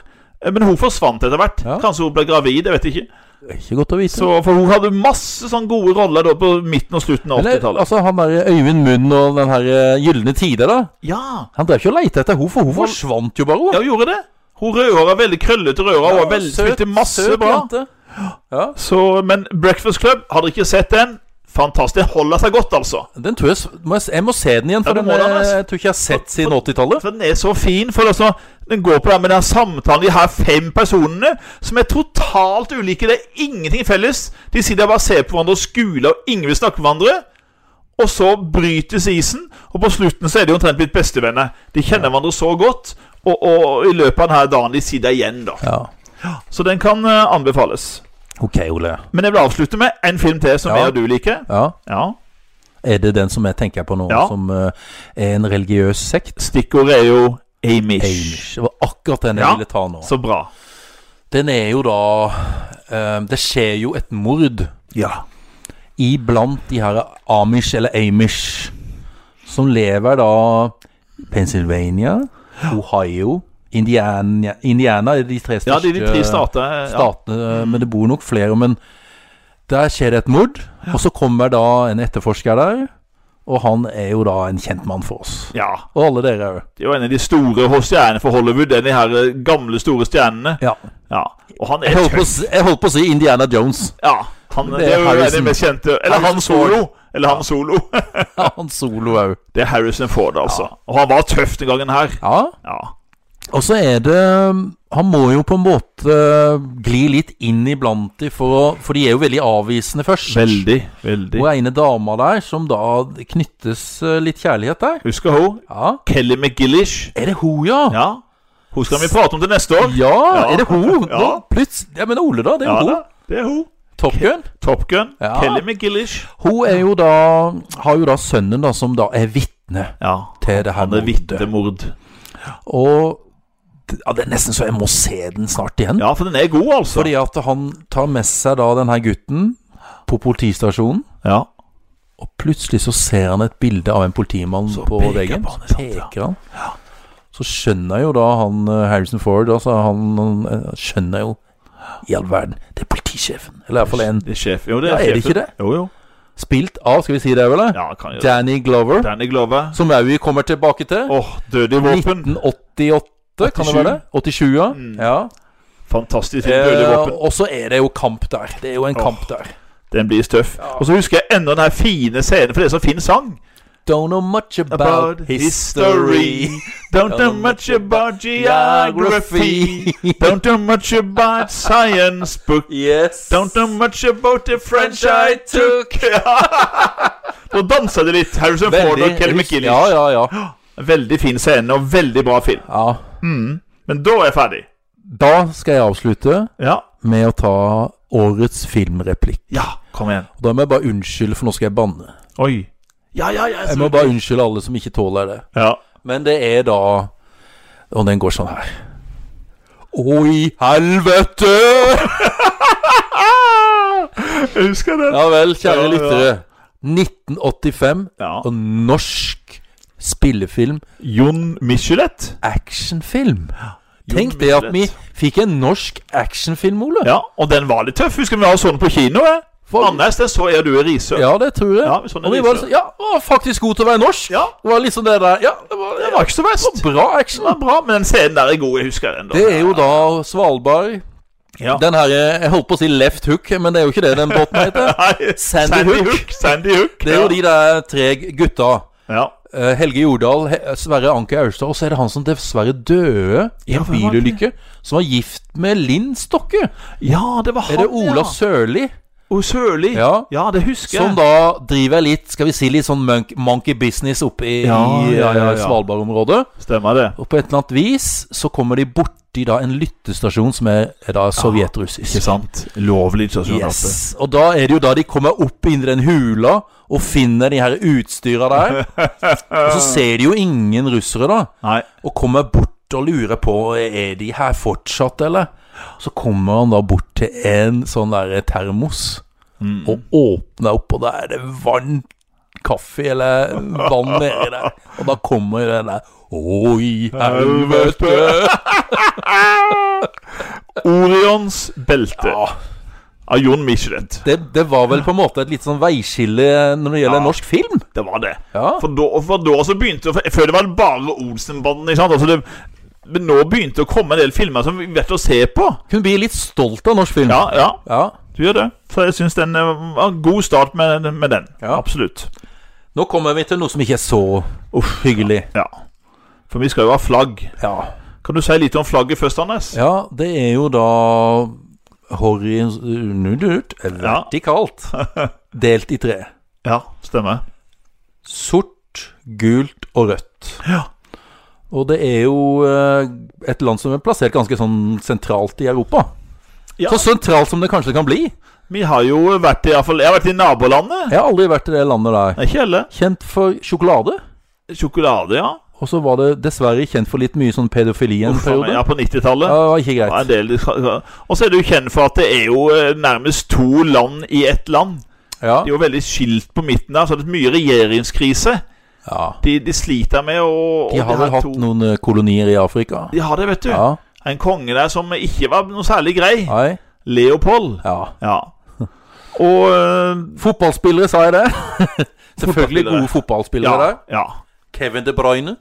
[SPEAKER 2] Eh, Men hun forsvant etter hvert.
[SPEAKER 1] Ja.
[SPEAKER 2] Kanskje hun ble gravid, jeg vet ikke.
[SPEAKER 1] Det er Ikke godt å vite.
[SPEAKER 2] Så, for hun hadde masse sånne gode roller da på midten og slutten av
[SPEAKER 1] Men det,
[SPEAKER 2] 80-tallet.
[SPEAKER 1] altså, han der Øyvind Munn og den her eh, Gylne Tide, da.
[SPEAKER 2] Ja,
[SPEAKER 1] Han drev ikke og leita etter henne, for hun forsvant jo bare. hun.
[SPEAKER 2] ja, hun gjorde det. Hun rødhåra, veldig krøllete rødhåra,
[SPEAKER 1] Ja,
[SPEAKER 2] og var veldig, spilte masse
[SPEAKER 1] søt
[SPEAKER 2] bra.
[SPEAKER 1] jente. Ja.
[SPEAKER 2] Så, men Breakfast Club, hadde dere ikke sett den? Fantastisk. Den holder seg godt, altså.
[SPEAKER 1] Den tror jeg, s- må jeg, s- jeg må se den igjen, for
[SPEAKER 2] du
[SPEAKER 1] den,
[SPEAKER 2] må
[SPEAKER 1] eh,
[SPEAKER 2] da, Anders.
[SPEAKER 1] jeg tror ikke jeg har sett siden 80-tallet.
[SPEAKER 2] For den er så fin. For altså, den går på det med den samtalen de her fem personene, som er totalt ulike. Det er ingenting felles. De sitter og bare ser på hverandre og skuler, og ingen vil snakke med hverandre. Og så brytes isen, og på slutten så er de omtrent blitt bestevenner. De kjenner hverandre så godt, og, og i løpet av denne dagen de sitter igjen, da.
[SPEAKER 1] Ja.
[SPEAKER 2] Så den kan eh, anbefales.
[SPEAKER 1] Ok, Ole.
[SPEAKER 2] Men jeg vil avslutte med en film til som
[SPEAKER 1] Ja.
[SPEAKER 2] jeg og du liker.
[SPEAKER 1] Ja.
[SPEAKER 2] Ja.
[SPEAKER 1] Er det den som jeg tenker på nå,
[SPEAKER 2] Ja.
[SPEAKER 1] som eh, er en religiøs sekt?
[SPEAKER 2] Stikkordet er jo Amish.
[SPEAKER 1] Amish. Det var akkurat den jeg
[SPEAKER 2] Ja.
[SPEAKER 1] ville ta nå.
[SPEAKER 2] Så bra.
[SPEAKER 1] Den er jo da eh, Det skjer jo et mord
[SPEAKER 2] Ja.
[SPEAKER 1] iblant de her Amish eller Amish, som lever da Pennsylvania, Ohio, Indiana, Indiana er de tre
[SPEAKER 2] Ja,
[SPEAKER 1] største
[SPEAKER 2] de, de tre stater. eh, Ja.
[SPEAKER 1] statene, eh, men det bor nok flere. Men der skjer det et mord, og så kommer da en etterforsker der. Og han er jo da en kjent mann for oss.
[SPEAKER 2] ja.
[SPEAKER 1] Og alle dere òg.
[SPEAKER 2] Det er jo en av de store ho- stjernene for Hollywood. Det er de her eh, gamle, store stjernene.
[SPEAKER 1] Ja.
[SPEAKER 2] Ja. Og han
[SPEAKER 1] Jeg
[SPEAKER 2] er
[SPEAKER 1] holdt, på, å
[SPEAKER 2] tøff.
[SPEAKER 1] si- jeg holdt på å si Indiana Jones.
[SPEAKER 2] Ja. Han,
[SPEAKER 1] Det er
[SPEAKER 2] det er jo en av de
[SPEAKER 1] Harrison.
[SPEAKER 2] mest kjente Eller
[SPEAKER 1] Harrison Ford.
[SPEAKER 2] han solo. Eller han solo.
[SPEAKER 1] Ja, han solo òg.
[SPEAKER 2] Det er Harrison Ford, altså. Og han var tøff den gangen her.
[SPEAKER 1] Ja.
[SPEAKER 2] Ja.
[SPEAKER 1] Og så er det eh, Han må jo på en måte eh, gli litt inn iblant de, for, å, for de er jo veldig avvisende først.
[SPEAKER 2] Veldig, veldig.
[SPEAKER 1] Og ene dama der som da knyttes eh, litt kjærlighet der.
[SPEAKER 2] Husker hun?
[SPEAKER 1] Ja.
[SPEAKER 2] Kelly McGillish.
[SPEAKER 1] Er det hun, ja?
[SPEAKER 2] Ja. Hun skal vi prate om til neste år.
[SPEAKER 1] Ja, er det hun?
[SPEAKER 2] Ja.
[SPEAKER 1] Nå, plutselig Jeg mener Ole, da. Det er
[SPEAKER 2] Ja
[SPEAKER 1] jo
[SPEAKER 2] da,
[SPEAKER 1] hun.
[SPEAKER 2] det er hun.
[SPEAKER 1] Top Gun.
[SPEAKER 2] Top Gun.
[SPEAKER 1] Ja.
[SPEAKER 2] Kelly McGillish.
[SPEAKER 1] Hun er jo da har jo da sønnen da som da er vitne
[SPEAKER 2] Ja.
[SPEAKER 1] til det her
[SPEAKER 2] Han er
[SPEAKER 1] mordet.
[SPEAKER 2] vitnemord.
[SPEAKER 1] Og ja, det er nesten så jeg må se den snart igjen.
[SPEAKER 2] Ja, for den er god, altså.
[SPEAKER 1] Fordi at han tar med seg da den her gutten på politistasjonen.
[SPEAKER 2] Ja.
[SPEAKER 1] Og plutselig så ser han et bilde av en politimann
[SPEAKER 2] Så
[SPEAKER 1] på
[SPEAKER 2] peker
[SPEAKER 1] veggen.
[SPEAKER 2] på han,
[SPEAKER 1] så
[SPEAKER 2] sant, ja.
[SPEAKER 1] peker han. Så skjønner jo da han eh, Harrison Ford altså han, han eh, skjønner jo i all verden Det er politisjefen. Eller iallfall en
[SPEAKER 2] Det er sjef. Jo, det er
[SPEAKER 1] Ja, er det
[SPEAKER 2] sjefen.
[SPEAKER 1] ikke det?
[SPEAKER 2] Jo, jo.
[SPEAKER 1] spilt av, skal vi si det, vel? eh?
[SPEAKER 2] Ja, kan gjøre det.
[SPEAKER 1] Danny Glover.
[SPEAKER 2] Danny Glover.
[SPEAKER 1] Som òg vi kommer tilbake til.
[SPEAKER 2] Åh, døde i våpen.
[SPEAKER 1] 1988, kan det være det? 87, ja. ja.
[SPEAKER 2] Fantastisk film, døde i
[SPEAKER 1] Eh,
[SPEAKER 2] våpen.
[SPEAKER 1] og så er det jo kamp der. Det er jo en
[SPEAKER 2] Åh.
[SPEAKER 1] kamp der.
[SPEAKER 2] Den blir tøff. Og så husker jeg enda den her fine scenen, for det er så fin sang.
[SPEAKER 1] Don't know much about, history.
[SPEAKER 2] Don't know much about geography. Don't know much about science book.
[SPEAKER 1] Yes.
[SPEAKER 2] Don't know much about the French I took. Nå danser de litt. Harrison Ford og Kelly McGillis.
[SPEAKER 1] Ja, ja, ja.
[SPEAKER 2] Veldig fin scene og veldig bra film.
[SPEAKER 1] ja.
[SPEAKER 2] Men da er jeg ferdig.
[SPEAKER 1] Da skal jeg avslutte
[SPEAKER 2] Ja.
[SPEAKER 1] med å ta årets filmreplikk.
[SPEAKER 2] ja. Kom igjen.
[SPEAKER 1] Og Da må jeg bare unnskylde, for nå skal jeg banne.
[SPEAKER 2] Oi. Ja, ja, ja.
[SPEAKER 1] Jeg må bare unnskylde alle som ikke tåler det.
[SPEAKER 2] ja.
[SPEAKER 1] Men det er da Og den går sånn her. Å, i helvete!
[SPEAKER 2] Jeg husker den.
[SPEAKER 1] Ja vel, kjære
[SPEAKER 2] Ja, ja.
[SPEAKER 1] lyttere. 1985
[SPEAKER 2] Ja.
[SPEAKER 1] og norsk spillefilm,
[SPEAKER 2] Jon Michelet.
[SPEAKER 1] actionfilm.
[SPEAKER 2] Jon
[SPEAKER 1] Tenk det at vi
[SPEAKER 2] Michelet.
[SPEAKER 1] fikk en norsk actionfilm, Ole.
[SPEAKER 2] Ja, og den var litt tøff. Husker vi har sånn på kino? Jeg. For Anders, den så jeg du i Risør.
[SPEAKER 1] Ja, det tror jeg.
[SPEAKER 2] Ja, vi så den
[SPEAKER 1] og
[SPEAKER 2] i
[SPEAKER 1] vi var,
[SPEAKER 2] Risør.
[SPEAKER 1] så- ja, var faktisk god til å være norsk.
[SPEAKER 2] Ja.
[SPEAKER 1] Det var liksom det der Ja, det var,
[SPEAKER 2] Det var ikke så verst.
[SPEAKER 1] bra
[SPEAKER 2] Det var
[SPEAKER 1] action.
[SPEAKER 2] bra, men den scenen der er god. Jeg husker den. da.
[SPEAKER 1] Det er jo da Svalbard.
[SPEAKER 2] ja.
[SPEAKER 1] Den her eh, Jeg holdt på å si left hook, men det er jo ikke det den båten heter.
[SPEAKER 2] Nei,
[SPEAKER 1] Sandy Hook.
[SPEAKER 2] Sandy Hook.
[SPEAKER 1] Det er jo de der tre gutta.
[SPEAKER 2] Ja.
[SPEAKER 1] Eh, Helge Jordal, He- Sverre Anker Aurstad, og så er det han som dessverre døde i
[SPEAKER 2] Ja,
[SPEAKER 1] en
[SPEAKER 2] hvem var det?
[SPEAKER 1] bilulykke. Som var gift med Linn Stokke.
[SPEAKER 2] ja, det var han,
[SPEAKER 1] Er det Ola
[SPEAKER 2] ja.
[SPEAKER 1] Sørli?
[SPEAKER 2] Å, Sørli.
[SPEAKER 1] Ja.
[SPEAKER 2] det husker jeg.
[SPEAKER 1] Som da driver litt, skal vi si, litt sånn monk, monkey business oppe i,
[SPEAKER 2] Ja,
[SPEAKER 1] i,
[SPEAKER 2] ja, ja,
[SPEAKER 1] eh,
[SPEAKER 2] ja.
[SPEAKER 1] Svalbard-området.
[SPEAKER 2] Stemmer det.
[SPEAKER 1] Og på et eller annet vis så kommer de borti da en lyttestasjon som er, er da sovjetrussisk.
[SPEAKER 2] Ikke sant? Lovlig stasjon oppe.
[SPEAKER 1] Yes. Og da er det jo da de kommer opp inn i den hula og finner de her utstyra der. Og så ser de jo ingen russere, da.
[SPEAKER 2] Nei.
[SPEAKER 1] Og kommer bort og lurer på Er de her fortsatt, eller? Så kommer han da bort til en sånn der termos og åpner opp, og da er det vann, kaffe eller vann nedi der. Og da kommer den der Å, i helvete!
[SPEAKER 2] Orions belte. Av Jon Michelet.
[SPEAKER 1] Det, det var vel på en måte et litt sånn veiskille når det gjelder norsk film?
[SPEAKER 2] Det var det.
[SPEAKER 1] Ja.
[SPEAKER 2] For, da, for da så begynte for, Før det var bare Olsenbanden. Ikke sant? Altså det, men nå begynte det å komme en del filmer som vi vet å se på.
[SPEAKER 1] Kunne bli litt stolt av norsk film.
[SPEAKER 2] Ja, ja,
[SPEAKER 1] ja.
[SPEAKER 2] du gjør det. Så jeg syns den eh, var en god start med, med den.
[SPEAKER 1] Ja.
[SPEAKER 2] Absolutt.
[SPEAKER 1] Nå kommer vi til noe som ikke er så hyggelig.
[SPEAKER 2] Ja. For vi skal jo ha flagg.
[SPEAKER 1] Ja.
[SPEAKER 2] Kan du si litt om flagget først, Anders?
[SPEAKER 1] ja, det er jo da horisontalt vertikalt delt i tre.
[SPEAKER 2] Ja, stemmer.
[SPEAKER 1] Sort, gult og rødt.
[SPEAKER 2] Ja.
[SPEAKER 1] Og det er jo eh, et land som er plassert ganske sånn sentralt i Europa.
[SPEAKER 2] Ja.
[SPEAKER 1] Så sentralt som det kanskje kan bli.
[SPEAKER 2] Vi har jo vært i, i hvert fall, Jeg har vært i nabolandet.
[SPEAKER 1] Jeg har aldri vært i det landet der.
[SPEAKER 2] Ikke alle.
[SPEAKER 1] Kjent for sjokolade.
[SPEAKER 2] Sjokolade, ja.
[SPEAKER 1] Og så var det dessverre kjent for litt mye sånn pedofili en
[SPEAKER 2] Uff,
[SPEAKER 1] periode.
[SPEAKER 2] ja
[SPEAKER 1] Ja,
[SPEAKER 2] på 90-tallet.
[SPEAKER 1] det var ikke
[SPEAKER 2] Ja,
[SPEAKER 1] greit.
[SPEAKER 2] en del, og så er du kjent for at det er jo eh, nærmest to land i ett land.
[SPEAKER 1] Ja.
[SPEAKER 2] Det er jo veldig skilt på midten der, så det er mye regjeringskrise.
[SPEAKER 1] ja.
[SPEAKER 2] De, de sliter med å
[SPEAKER 1] De
[SPEAKER 2] og
[SPEAKER 1] har vel
[SPEAKER 2] her
[SPEAKER 1] hatt
[SPEAKER 2] to-
[SPEAKER 1] noen eh, kolonier i Afrika?
[SPEAKER 2] De har det, vet du.
[SPEAKER 1] Ja.
[SPEAKER 2] En konge der som ikke var noe særlig grei.
[SPEAKER 1] Nei.
[SPEAKER 2] Leopold.
[SPEAKER 1] Ja.
[SPEAKER 2] Ja. Og eh,
[SPEAKER 1] Fotballspillere, sa jeg det? Selvfølgelig
[SPEAKER 2] Fotballspillere.
[SPEAKER 1] gode fotballspillere
[SPEAKER 2] ja,
[SPEAKER 1] der.
[SPEAKER 2] ja.
[SPEAKER 1] Kevin De Bruyne.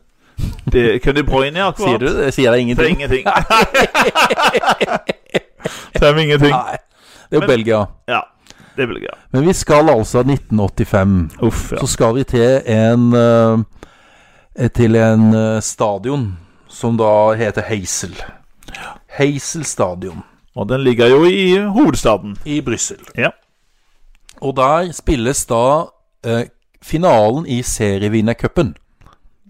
[SPEAKER 2] Det kunne De Bruyne, ja, akkurat.
[SPEAKER 1] Sier du det? Sier deg
[SPEAKER 2] Det er
[SPEAKER 1] ingenting?
[SPEAKER 2] ingenting. det er ingenting.
[SPEAKER 1] Nei. Det er jo
[SPEAKER 2] Men-
[SPEAKER 1] Belgia.
[SPEAKER 2] Ja. Det vil jeg gjøre.
[SPEAKER 1] Men vi skal altså 1985.
[SPEAKER 2] Uff, ja.
[SPEAKER 1] Så skal vi til en eh, Til en eh, stadion som da heter Heisel. Heisel stadion
[SPEAKER 2] Og den ligger jo i hovedstaden.
[SPEAKER 1] i Brussel.
[SPEAKER 2] Ja.
[SPEAKER 1] Og der spilles da eh, finalen i serievinnercupen.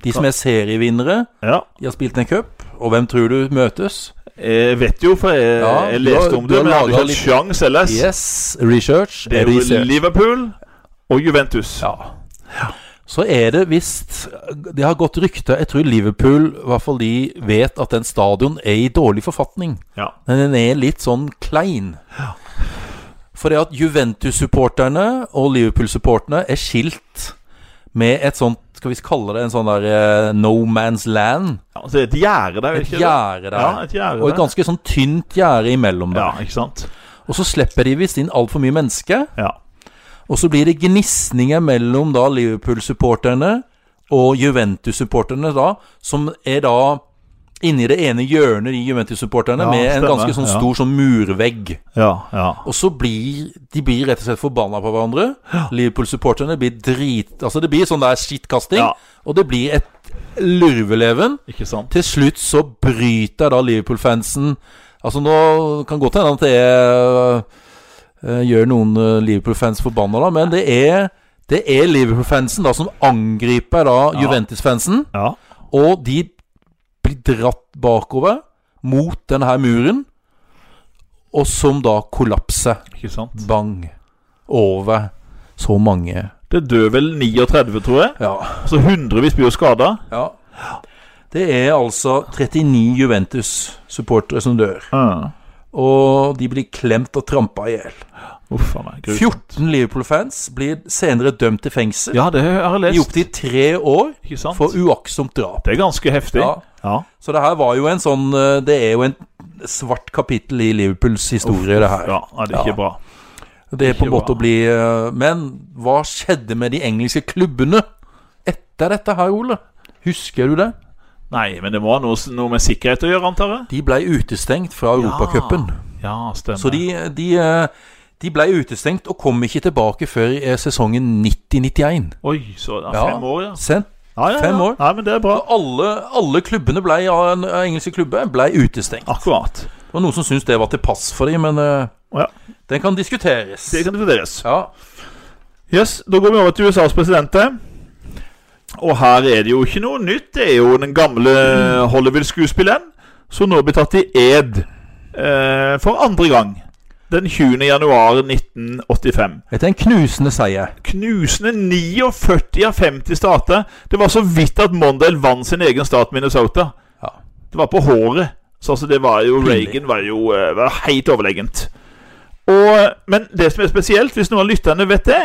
[SPEAKER 1] De som er serievinnere,
[SPEAKER 2] ja.
[SPEAKER 1] de har spilt en cup, og hvem tror du møtes?
[SPEAKER 2] Jeg vet jo, for jeg,
[SPEAKER 1] Ja,
[SPEAKER 2] jeg
[SPEAKER 1] du har-
[SPEAKER 2] leste om
[SPEAKER 1] du
[SPEAKER 2] det,
[SPEAKER 1] har
[SPEAKER 2] men jeg hadde ikke
[SPEAKER 1] laget
[SPEAKER 2] hatt sjans ellers.
[SPEAKER 1] Yes, research.
[SPEAKER 2] Det er jo
[SPEAKER 1] research.
[SPEAKER 2] Liverpool og Juventus.
[SPEAKER 1] Ja. Så er det visst Det har gått rykter Jeg tror Liverpool, i hvert fall de, vet at den stadion er i dårlig forfatning.
[SPEAKER 2] Ja.
[SPEAKER 1] Men den er litt sånn klein. For det at Juventus-supporterne og Liverpool-supporterne er skilt med et sånt Skal vi kalle det en sånn der eh, no man's land?
[SPEAKER 2] Ja, så det er et gjerde der,
[SPEAKER 1] Et
[SPEAKER 2] ikke
[SPEAKER 1] gjerde
[SPEAKER 2] det? Ja,
[SPEAKER 1] der.
[SPEAKER 2] et gjerde
[SPEAKER 1] Og et
[SPEAKER 2] der.
[SPEAKER 1] ganske sånn tynt gjerde imellom
[SPEAKER 2] Ja,
[SPEAKER 1] der.
[SPEAKER 2] ikke sant?
[SPEAKER 1] Og så slipper de visst inn altfor mye mennesker.
[SPEAKER 2] Ja.
[SPEAKER 1] Og så blir det gnisninger mellom da Liverpool-supporterne og Juventus-supporterne da, som er da inni det ene hjørnet i Juventus-supporterne
[SPEAKER 2] Ja,
[SPEAKER 1] med en
[SPEAKER 2] stemmer,
[SPEAKER 1] ganske sånn
[SPEAKER 2] ja.
[SPEAKER 1] stor sånn murvegg.
[SPEAKER 2] Ja, ja.
[SPEAKER 1] Og så blir de blir rett og slett forbanna på hverandre. Liverpool-supporterne blir drit... Altså, det blir sånn der skittkasting,
[SPEAKER 2] Ja.
[SPEAKER 1] og det blir et lurveleven.
[SPEAKER 2] Ikke sant?
[SPEAKER 1] Til slutt så bryter da Liverpool-fansen Altså nå kan godt hende at det er, eh, gjør noen eh, Liverpool-fans forbanna, da, men det er, det er Liverpool-fansen da som angriper da
[SPEAKER 2] Ja.
[SPEAKER 1] Juventus-fansen.
[SPEAKER 2] Ja.
[SPEAKER 1] Og de blir dratt bakover mot denne her muren, og som da kollapser.
[SPEAKER 2] Ikke sant?
[SPEAKER 1] Bang. Over så mange.
[SPEAKER 2] Det dør vel 39, tror jeg.
[SPEAKER 1] Ja.
[SPEAKER 2] Så hundrevis blir jo skada.
[SPEAKER 1] ja. Det er altså 39 Juventus-supportere som dør. Og de blir klemt og trampa i hjel.
[SPEAKER 2] Uff a meg. Grusomt.
[SPEAKER 1] 14 Liverpool-fans blir senere dømt til fengsel
[SPEAKER 2] Ja, det har jeg
[SPEAKER 1] i
[SPEAKER 2] lest.
[SPEAKER 1] opptil tre år
[SPEAKER 2] Ikke sant?
[SPEAKER 1] for uaktsomt drap.
[SPEAKER 2] Det er ganske heftig.
[SPEAKER 1] Ja.
[SPEAKER 2] Ja.
[SPEAKER 1] Så det her var jo en sånn eh, Det er jo en svart kapittel i Liverpools historie, det her.
[SPEAKER 2] Ja, ja, det er
[SPEAKER 1] Ja.
[SPEAKER 2] ikke bra.
[SPEAKER 1] Det er på en
[SPEAKER 2] Ikke
[SPEAKER 1] måte å
[SPEAKER 2] bra.
[SPEAKER 1] bli eh, Men hva skjedde med de engelske klubbene etter dette her, Ole? Husker du det?
[SPEAKER 2] Nei, men det må ha noe, noe med sikkerhet å gjøre, antar jeg?
[SPEAKER 1] De ble utestengt fra Europacupen.
[SPEAKER 2] Ja, stemmer.
[SPEAKER 1] Så de, de, eh, de ble utestengt og kom ikke tilbake før eh, sesongen 90-91.
[SPEAKER 2] Oi, så ja,
[SPEAKER 1] Ja.
[SPEAKER 2] fem år, ja.
[SPEAKER 1] Sendt
[SPEAKER 2] Ja, ja, ja.
[SPEAKER 1] Fem år.
[SPEAKER 2] Nei, men det er bra.
[SPEAKER 1] Og alle, alle klubbene ble, ja, en- engelske klubber ble utestengt.
[SPEAKER 2] Akkurat.
[SPEAKER 1] Det var noen som syntes det var til pass for dem, men eh,
[SPEAKER 2] Ja.
[SPEAKER 1] Den kan diskuteres.
[SPEAKER 2] Det kan vurderes.
[SPEAKER 1] Ja.
[SPEAKER 2] Yes, Da går vi over til USAs president. eh. Og her er det jo ikke noe nytt. Det er jo den gamle eh, Hollywood-skuespilleren som nå blir tatt i ed eh, for andre gang. Den 20. januar 1985.
[SPEAKER 1] Dette er en knusende seier.
[SPEAKER 2] Knusende 49 av 50 stater. Det var så vidt at Mondale vant sin egen stat, Minnesota.
[SPEAKER 1] Ja.
[SPEAKER 2] Det var på håret. Så altså, det var jo
[SPEAKER 1] Pinlig.
[SPEAKER 2] Reagan var jo eh, var helt overlegent. Og, men det som er spesielt, hvis noen av lytterne vet det,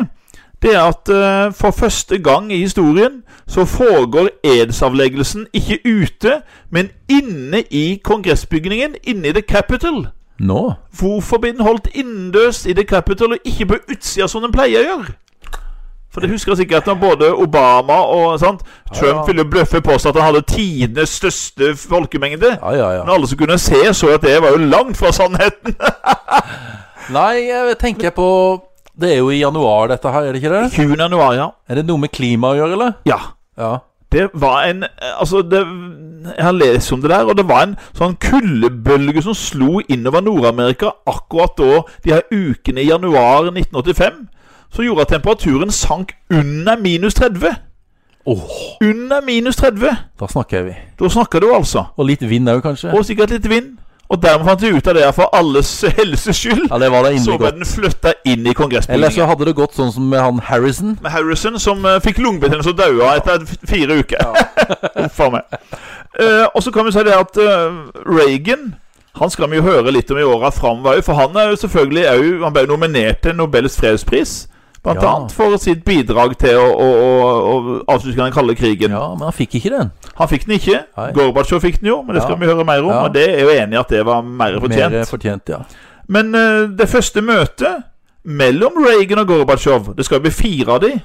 [SPEAKER 2] det er at eh, for første gang i historien så foregår edsavleggelsen ikke ute, men inne i kongressbygningen, inne i The Capitol.
[SPEAKER 1] Nå?
[SPEAKER 2] Hvorfor blir den holdt innendørs i The Capitol og ikke på utsida, som den pleier å gjøre? For det husker jeg sikkert når både Obama og sant,
[SPEAKER 1] Ja.
[SPEAKER 2] Trump ville bløffe på seg at han hadde tidenes største folkemengde.
[SPEAKER 1] Ja, ja, ja.
[SPEAKER 2] Men alle som kunne se, så at det var jo langt fra sannheten.
[SPEAKER 1] Nei, jeg tenker på Det er jo i januar, dette her, er det ikke det?
[SPEAKER 2] 20. januar, ja.
[SPEAKER 1] Er det noe med klima å gjøre, eller?
[SPEAKER 2] Ja.
[SPEAKER 1] Ja.
[SPEAKER 2] Det var en Altså, det, jeg har lest om det der, og det var en sånn kuldebølge som slo innover Nord-Amerika akkurat da, de her ukene i januar 1985, som gjorde at temperaturen sank under minus 30.
[SPEAKER 1] Åh,
[SPEAKER 2] Under minus 30.
[SPEAKER 1] da snakker vi.
[SPEAKER 2] Da snakker du, altså.
[SPEAKER 1] Og litt vind òg, kanskje?
[SPEAKER 2] Og sikkert litt vind. Og dermed fant vi ut av det for alles helses skyld.
[SPEAKER 1] Ja, det var da
[SPEAKER 2] Så
[SPEAKER 1] inderlig
[SPEAKER 2] ble
[SPEAKER 1] godt.
[SPEAKER 2] den flytta inn i
[SPEAKER 1] Eller
[SPEAKER 2] kongressbygningen.
[SPEAKER 1] så hadde det gått sånn som med han Harrison.
[SPEAKER 2] Med Harrison, som eh, fikk lungebetennelse og daua etter f- fire uker. Uff a meg. Eh, og så kan vi si det at eh, Reagan han skal vi jo høre litt om i åra framover, for han er jo selvfølgelig er jo, han ble jo nominert til Nobels fredspris. Blant
[SPEAKER 1] Ja.
[SPEAKER 2] annet for sitt bidrag til å, å, å, å avslutte den kalde krigen.
[SPEAKER 1] Ja, men han fikk ikke den.
[SPEAKER 2] Han fikk den ikke.
[SPEAKER 1] Nei.
[SPEAKER 2] Gorbatsjov fikk den jo, men det skal
[SPEAKER 1] Ja.
[SPEAKER 2] vi høre mer om.
[SPEAKER 1] Ja.
[SPEAKER 2] Og det er jo enig i at det var mer fortjent.
[SPEAKER 1] Mer eh, fortjent, ja.
[SPEAKER 2] Men eh, det første møtet mellom Reagan og Gorbatsjov Det skal bli fire av de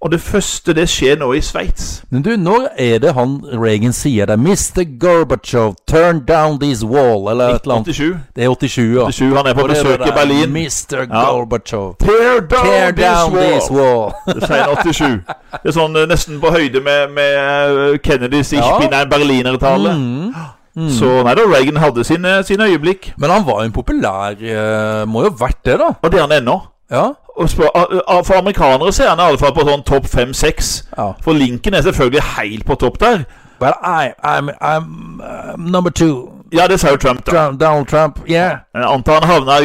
[SPEAKER 2] Og det første det skjer nå i Sveits.
[SPEAKER 1] Men du, når er det han Reagan sier det? Mr. Gorbatsjov, turn down this wall, eller et eller annet.
[SPEAKER 2] 1987.
[SPEAKER 1] Det er 87, ja.
[SPEAKER 2] 87, han er på
[SPEAKER 1] Og det er
[SPEAKER 2] besøk
[SPEAKER 1] det
[SPEAKER 2] i
[SPEAKER 1] der,
[SPEAKER 2] Berlin.
[SPEAKER 1] Mr.
[SPEAKER 2] Ja.
[SPEAKER 1] Gorbatsjov,
[SPEAKER 2] Tear down,
[SPEAKER 1] tear down
[SPEAKER 2] this
[SPEAKER 1] this
[SPEAKER 2] wall!
[SPEAKER 1] wall.
[SPEAKER 2] Det sier han 87. Det er sånn eh, nesten på høyde med, med eh, Kennedys
[SPEAKER 1] Ja.
[SPEAKER 2] ikke-binære berlinertale.
[SPEAKER 1] Mm.
[SPEAKER 2] Så nei da, Reagan hadde sine, sine øyeblikk.
[SPEAKER 1] Men han var jo en populær eh, Må jo ha vært det, da.
[SPEAKER 2] Og det er han ennå.
[SPEAKER 1] Ja.
[SPEAKER 2] Og spør, a- a- for amerikanere ser han i alle fall på sånn topp fem-seks.
[SPEAKER 1] ja.
[SPEAKER 2] For Lincoln er selvfølgelig helt på topp der.
[SPEAKER 1] Well, I, I'm, I'm uh, number two.
[SPEAKER 2] Ja, det sa jo Trump, da.
[SPEAKER 1] Trump, Donald Trump, yeah.
[SPEAKER 2] Jeg antar han havna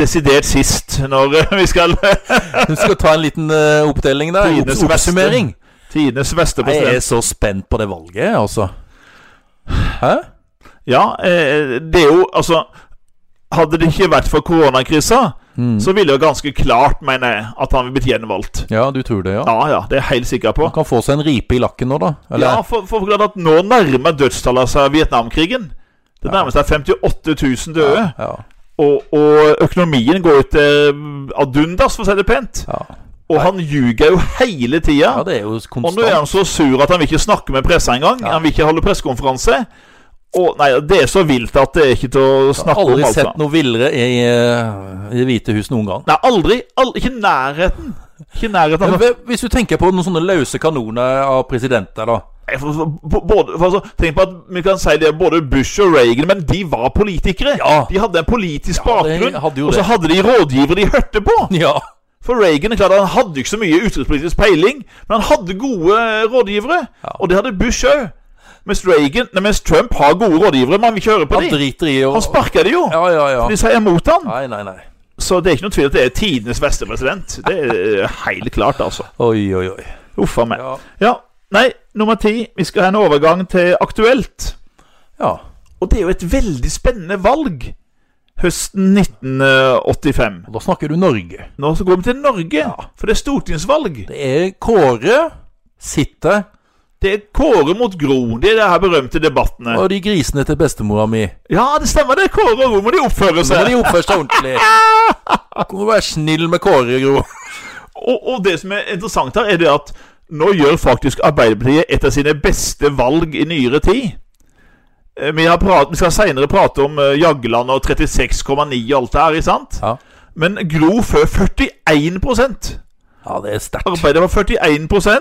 [SPEAKER 2] desidert sist når eh, vi skal
[SPEAKER 1] Du skal ta en liten eh, oppdeling der.
[SPEAKER 2] Tidenes
[SPEAKER 1] opps- Oppsummering.
[SPEAKER 2] Tidenes beste
[SPEAKER 1] Jeg er
[SPEAKER 2] president.
[SPEAKER 1] så spent på det valget, jeg, altså. Hæ?
[SPEAKER 2] Ja, eh, det er jo Altså, hadde det ikke vært for koronakrisa,
[SPEAKER 1] Mm. Hmm.
[SPEAKER 2] så ville det ganske klart, mener jeg, at han ville blitt gjenvalgt.
[SPEAKER 1] Ja, du tror det, ja.
[SPEAKER 2] Ja, ja, det er jeg helt sikker på.
[SPEAKER 1] Han kan få seg en ripe i lakken nå, da.
[SPEAKER 2] Ja,
[SPEAKER 1] Eller?
[SPEAKER 2] for, for klart at nå nærmer dødstallet seg Vietnamkrigen. Det nærmer seg 58 000 døde.
[SPEAKER 1] ja.
[SPEAKER 2] Og, og økonomien går ut eh, ad undas, for å si det pent.
[SPEAKER 1] Ja.
[SPEAKER 2] Og han ljuger jo hele tida.
[SPEAKER 1] ja, det er jo
[SPEAKER 2] Og nå er
[SPEAKER 1] konstant.
[SPEAKER 2] han så sur at han vil ikke snakke med pressa engang. Han vil ikke holde pressekonferanse. Og nei, det er så vilt at det er ikke til å snakke om.
[SPEAKER 1] Aldri
[SPEAKER 2] Altså.
[SPEAKER 1] sett noe villere i, eh, i Det hvite hus noen gang.
[SPEAKER 2] Nei, aldri. Al ikke i nærheten. Ikke i nærheten.
[SPEAKER 1] Men
[SPEAKER 2] Altså.
[SPEAKER 1] hve- hvis du tenker på noen sånne løse kanoner av presidenter, da.
[SPEAKER 2] Nei, for, for, bo- både, for, altså, tenk på at vi kan si det er både Bush og Reagan, men de var politikere.
[SPEAKER 1] Ja.
[SPEAKER 2] De hadde en politisk
[SPEAKER 1] Ja, det
[SPEAKER 2] bakgrunn,
[SPEAKER 1] hadde jo
[SPEAKER 2] og
[SPEAKER 1] det.
[SPEAKER 2] så hadde de rådgivere de hørte på.
[SPEAKER 1] Ja.
[SPEAKER 2] For Reagan er klart han hadde jo ikke så mye utenrikspolitisk peiling, men han hadde gode eh, rådgivere.
[SPEAKER 1] Ja.
[SPEAKER 2] Og det hadde Bush òg. Mens, Reagan- nei, mens Trump har gode rådgivere, men han vil ikke høre på
[SPEAKER 1] Han
[SPEAKER 2] dem.
[SPEAKER 1] driter i å
[SPEAKER 2] Han sparker det jo.
[SPEAKER 1] Ja, ja, ja.
[SPEAKER 2] De sier mot han.
[SPEAKER 1] Nei, nei, nei.
[SPEAKER 2] Så det er ikke noen tvil at det er tidenes beste president. Det er helt klart, altså.
[SPEAKER 1] Oi, oi, oi.
[SPEAKER 2] Uff a meg.
[SPEAKER 1] Ja.
[SPEAKER 2] Ja. Nei, nummer ti. Vi skal ha en overgang til aktuelt.
[SPEAKER 1] ja.
[SPEAKER 2] Og det er jo et veldig spennende valg. Høsten 1985.
[SPEAKER 1] Og da snakker du Norge.
[SPEAKER 2] Nå så går vi til Norge, for det er stortingsvalg.
[SPEAKER 1] Det er Kåre sitter
[SPEAKER 2] Det er Kåre mot Gro. Det er de her berømte debattene.
[SPEAKER 1] og de grisene til bestemora mi.
[SPEAKER 2] Ja, det stemmer det. Kåre og Gro må de oppføre
[SPEAKER 1] Nå må
[SPEAKER 2] seg.
[SPEAKER 1] de oppføre seg ordentlig. Må være snill med Kåre, Gro.
[SPEAKER 2] Og, og det som er interessant her, er det at nå gjør faktisk Arbeiderpartiet et av sine beste valg i nyere tid. Eh, Vi, har prat, vi skal seinere prate om eh, Jagland og 36,9 og alt det her, ikke sant?
[SPEAKER 1] Ja.
[SPEAKER 2] Men Gro før 41
[SPEAKER 1] Ja, det er sterkt.
[SPEAKER 2] Arbeidet var 41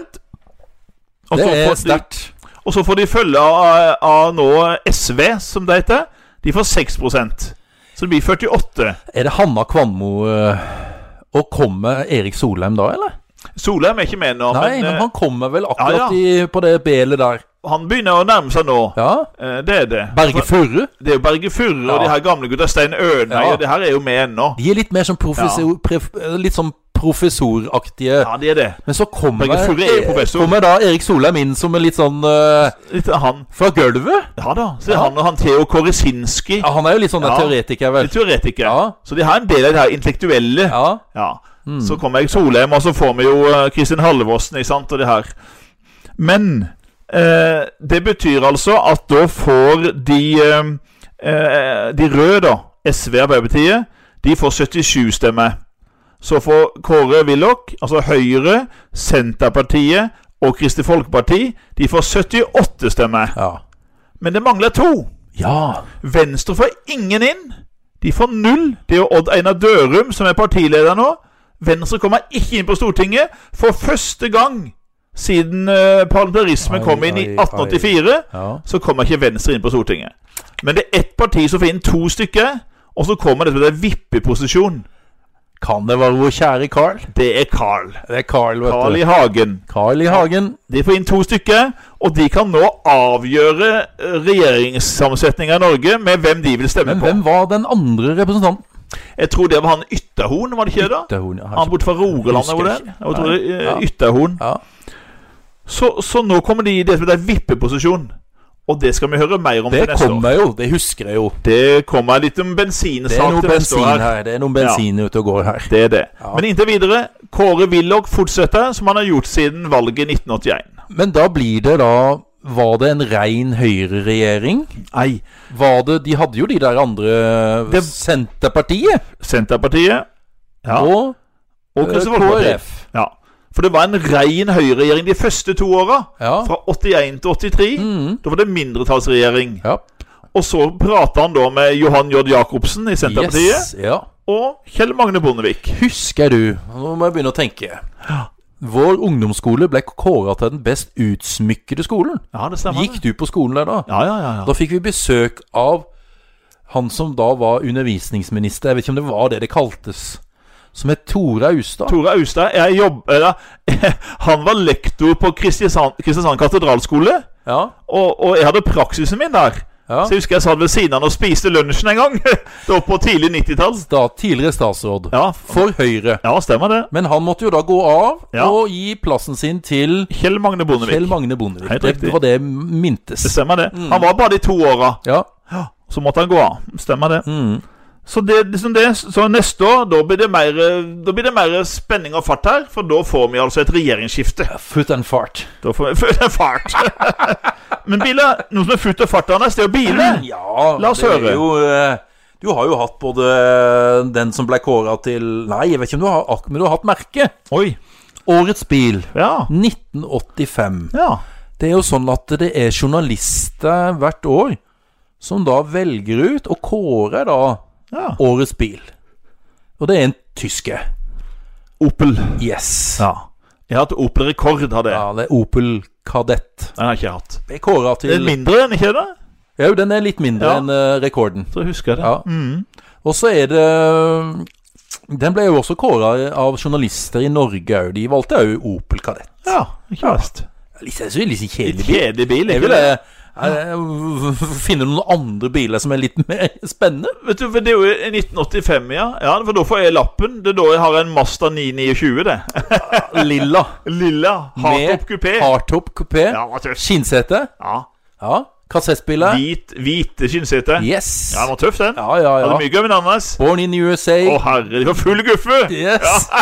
[SPEAKER 2] og
[SPEAKER 1] Det
[SPEAKER 2] så
[SPEAKER 1] er
[SPEAKER 2] får de-
[SPEAKER 1] sterkt.
[SPEAKER 2] Og så får de følge av, av nå SV, som det heter. De får 6 Så det blir 48.
[SPEAKER 1] Er det Hanna Kvammo eh, Og kommer Erik Solheim da, eller?
[SPEAKER 2] Solheim er ikke med nå,
[SPEAKER 1] Nei,
[SPEAKER 2] men,
[SPEAKER 1] men
[SPEAKER 2] eh,
[SPEAKER 1] han kommer vel
[SPEAKER 2] ja,
[SPEAKER 1] akkurat
[SPEAKER 2] ja.
[SPEAKER 1] I, på det belet der.
[SPEAKER 2] han begynner å nærme seg nå.
[SPEAKER 1] Ja.
[SPEAKER 2] Eh, Det er det.
[SPEAKER 1] Berge Furre.
[SPEAKER 2] Det er jo Berge Furre og
[SPEAKER 1] Ja.
[SPEAKER 2] de her gamle gutta. Stein Ørnøy
[SPEAKER 1] Ja.
[SPEAKER 2] og det her er jo med ennå.
[SPEAKER 1] De er litt mer sånn professor, pref, eh, litt sånn professoraktige.
[SPEAKER 2] Ja, de er det.
[SPEAKER 1] Men så kommer,
[SPEAKER 2] Berge Furre er jo professor.
[SPEAKER 1] kommer da Erik Solheim inn som en litt sånn eh,
[SPEAKER 2] Litt av han.
[SPEAKER 1] fra gulvet.
[SPEAKER 2] Ja da. Så det er
[SPEAKER 1] Ja.
[SPEAKER 2] han og han Theo Koresinski.
[SPEAKER 1] Ja, han er jo litt sånn en
[SPEAKER 2] Ja.
[SPEAKER 1] teoretiker, vel.
[SPEAKER 2] Teoretiker.
[SPEAKER 1] Ja.
[SPEAKER 2] Så de har en del av det her intellektuelle. Ja.
[SPEAKER 1] Ja. Hmm.
[SPEAKER 2] Så
[SPEAKER 1] Mm.
[SPEAKER 2] kommer jeg Solheim, og så får vi jo eh, Kristin Halvorsen, ikke sant, og det her. Men eh, det betyr altså at da får de eh, eh, De røde, da, SV og Arbeiderpartiet, de får 77 stemmer. Så får Kåre Willoch, altså Høyre, Senterpartiet og Kristelig Folkeparti, de får 78 stemmer.
[SPEAKER 1] Ja.
[SPEAKER 2] Men det mangler to.
[SPEAKER 1] ja.
[SPEAKER 2] Venstre får ingen inn. De får null. Det er jo Odd Einar Dørum som er partileder nå. Venstre kommer ikke inn på Stortinget for første gang siden eh, parlamentarismen
[SPEAKER 1] Ai,
[SPEAKER 2] kom inn i
[SPEAKER 1] ai, ai.
[SPEAKER 2] 1884.
[SPEAKER 1] ja.
[SPEAKER 2] Så kommer ikke Venstre inn på Stortinget. Men det er ett parti som får inn to stykker, og så kommer det som heter vippeposisjon.
[SPEAKER 1] Kan det være vår kjære Carl?
[SPEAKER 2] Det er Carl.
[SPEAKER 1] Det er Carl, vet
[SPEAKER 2] Carl
[SPEAKER 1] du.
[SPEAKER 2] i Hagen.
[SPEAKER 1] Carl i Hagen.
[SPEAKER 2] De får inn to stykker, og de kan nå avgjøre eh, regjeringssammensetninga i Norge med hvem de vil stemme
[SPEAKER 1] Men
[SPEAKER 2] på.
[SPEAKER 1] hvem var den andre representanten?
[SPEAKER 2] Jeg tror det var han Ytterhorn, var det ikke det? da?
[SPEAKER 1] Det er hun, ja.
[SPEAKER 2] Han borte fra Rogaland,
[SPEAKER 1] Husker
[SPEAKER 2] var det?
[SPEAKER 1] ikke.
[SPEAKER 2] Jeg tror
[SPEAKER 1] Nei.
[SPEAKER 2] det
[SPEAKER 1] Ja.
[SPEAKER 2] eh, Ytterhorn.
[SPEAKER 1] Ja.
[SPEAKER 2] Så, så nå kommer de i det som heter vippeposisjon. Og det skal vi høre mer om
[SPEAKER 1] Det
[SPEAKER 2] til neste år.
[SPEAKER 1] kommer jo, det husker jeg jo.
[SPEAKER 2] Det kommer litt om
[SPEAKER 1] Det er
[SPEAKER 2] bensinsak
[SPEAKER 1] noe
[SPEAKER 2] til neste
[SPEAKER 1] bensin
[SPEAKER 2] år. her.
[SPEAKER 1] her. Det er noe bensin ute og går her.
[SPEAKER 2] Det er det.
[SPEAKER 1] Ja.
[SPEAKER 2] Men inntil videre, Kåre Willoch fortsetter som han har gjort siden valget i 1981.
[SPEAKER 1] Men da blir det da Var det en rein høyreregjering?
[SPEAKER 2] Nei,
[SPEAKER 1] Var det De hadde jo de der andre
[SPEAKER 2] Det-
[SPEAKER 1] Senterpartiet
[SPEAKER 2] Senterpartiet ja. og,
[SPEAKER 1] og,
[SPEAKER 2] Kristelig
[SPEAKER 1] eh,
[SPEAKER 2] Folkeparti.
[SPEAKER 1] KrF.
[SPEAKER 2] Ja. For det var en rein høyreregjering de første to åra.
[SPEAKER 1] Ja.
[SPEAKER 2] Fra 81 til 83.
[SPEAKER 1] Mhm.
[SPEAKER 2] Da var det mindretallsregjering.
[SPEAKER 1] ja.
[SPEAKER 2] Og så prater han da med Johan J. Jacobsen i Senterpartiet
[SPEAKER 1] Yes, ja.
[SPEAKER 2] og Kjell Magne Bondevik.
[SPEAKER 1] Husker du Nå må jeg begynne å tenke. Vår ungdomsskole ble kåra til den best utsmykkede skolen.
[SPEAKER 2] Ja, det stemmer.
[SPEAKER 1] Gikk du på skolen der da?
[SPEAKER 2] Ja, ja, ja. ja.
[SPEAKER 1] Da fikk vi besøk av han som da var undervisningsminister, jeg vet ikke om det var det det kaltes, som het Tore Austad.
[SPEAKER 2] Tore Austad jeg jobb, eller, Han var lektor på Kristiansand, Kristiansand katedralskole.
[SPEAKER 1] Ja,
[SPEAKER 2] Og, og jeg hadde praksisen min der.
[SPEAKER 1] ja.
[SPEAKER 2] Så jeg husker jeg satt ved siden av han og spiste lunsjen en gang. Det var på tidlig 90-tall.
[SPEAKER 1] Da, tidligere statsråd
[SPEAKER 2] Ja, f-
[SPEAKER 1] for Høyre.
[SPEAKER 2] ja, stemmer det.
[SPEAKER 1] Men han måtte jo da gå av
[SPEAKER 2] Ja.
[SPEAKER 1] og gi plassen sin til
[SPEAKER 2] Kjell Mm. Magne Bondevik.
[SPEAKER 1] Kjell Magne Bondevik.
[SPEAKER 2] Helt
[SPEAKER 1] Det
[SPEAKER 2] riktig.
[SPEAKER 1] var det jeg
[SPEAKER 2] Det
[SPEAKER 1] mintes.
[SPEAKER 2] stemmer det. Han var bare de to åra.
[SPEAKER 1] Ja.
[SPEAKER 2] Så måtte han gå av. Stemmer det.
[SPEAKER 1] Mm.
[SPEAKER 2] Så, det, liksom det, så neste år, da blir, det mer, eh, da blir det mer spenning og fart her. For da får vi altså et regjeringsskifte.
[SPEAKER 1] Foot and fart.
[SPEAKER 2] Da får vi føle en fart. Men biler, noe som er futt og fart, Anders, det er jo biler.
[SPEAKER 1] Ja,
[SPEAKER 2] La oss
[SPEAKER 1] det er
[SPEAKER 2] høre.
[SPEAKER 1] Jo, eh, du har jo hatt både den som ble kåra til Nei, jeg vet ikke om du har ak- men du har hatt merke.
[SPEAKER 2] Oi.
[SPEAKER 1] Årets bil.
[SPEAKER 2] Ja.
[SPEAKER 1] 1985.
[SPEAKER 2] ja.
[SPEAKER 1] Det er jo sånn at det er journalister hvert år som da velger ut og kårer da
[SPEAKER 2] Ja.
[SPEAKER 1] årets bil. Og det er en tysker.
[SPEAKER 2] Opel.
[SPEAKER 1] Yes.
[SPEAKER 2] Ja. Jeg har hatt Opel Rekord, hadde jeg.
[SPEAKER 1] Ja, det er Opel Kadett.
[SPEAKER 2] Den har jeg ikke hatt.
[SPEAKER 1] Det er kåra
[SPEAKER 2] Det er
[SPEAKER 1] til
[SPEAKER 2] mindre enn ikke det?
[SPEAKER 1] Jo, den er litt mindre
[SPEAKER 2] Ja.
[SPEAKER 1] enn eh, rekorden.
[SPEAKER 2] Så husker jeg det.
[SPEAKER 1] Ja.
[SPEAKER 2] Mm.
[SPEAKER 1] Og så er det Den ble jo også kåra av journalister i Norge òg. De valgte òg Opel Kadett.
[SPEAKER 2] ja ikke verst.
[SPEAKER 1] Litt, jeg synes det er litt sånn
[SPEAKER 2] Litt
[SPEAKER 1] kjedelig bil.
[SPEAKER 2] kjedelig bil,
[SPEAKER 1] Jeg
[SPEAKER 2] ikke
[SPEAKER 1] vil
[SPEAKER 2] det?
[SPEAKER 1] eh, eh, finne noen andre biler som er litt mer spennende.
[SPEAKER 2] Vet du, for Det er jo i 1985, ja. ja. For da får jeg lappen. Det er da jeg har en Mazda 929, det.
[SPEAKER 1] Lilla.
[SPEAKER 2] Lilla. Hardtop
[SPEAKER 1] Med
[SPEAKER 2] kupé.
[SPEAKER 1] Hardtop kupé.
[SPEAKER 2] Ja, var tøff.
[SPEAKER 1] Skinnsete.
[SPEAKER 2] Ja.
[SPEAKER 1] Ja. Kassettspiller.
[SPEAKER 2] Hvit, hvite skinnsete.
[SPEAKER 1] Yes.
[SPEAKER 2] Ja, den var tøff, den.
[SPEAKER 1] Ja, ja,
[SPEAKER 2] Hadde
[SPEAKER 1] ja.
[SPEAKER 2] mye gøy med den, Anders.
[SPEAKER 1] Born in USA.
[SPEAKER 2] Å herre, de var full guffe!
[SPEAKER 1] Yes.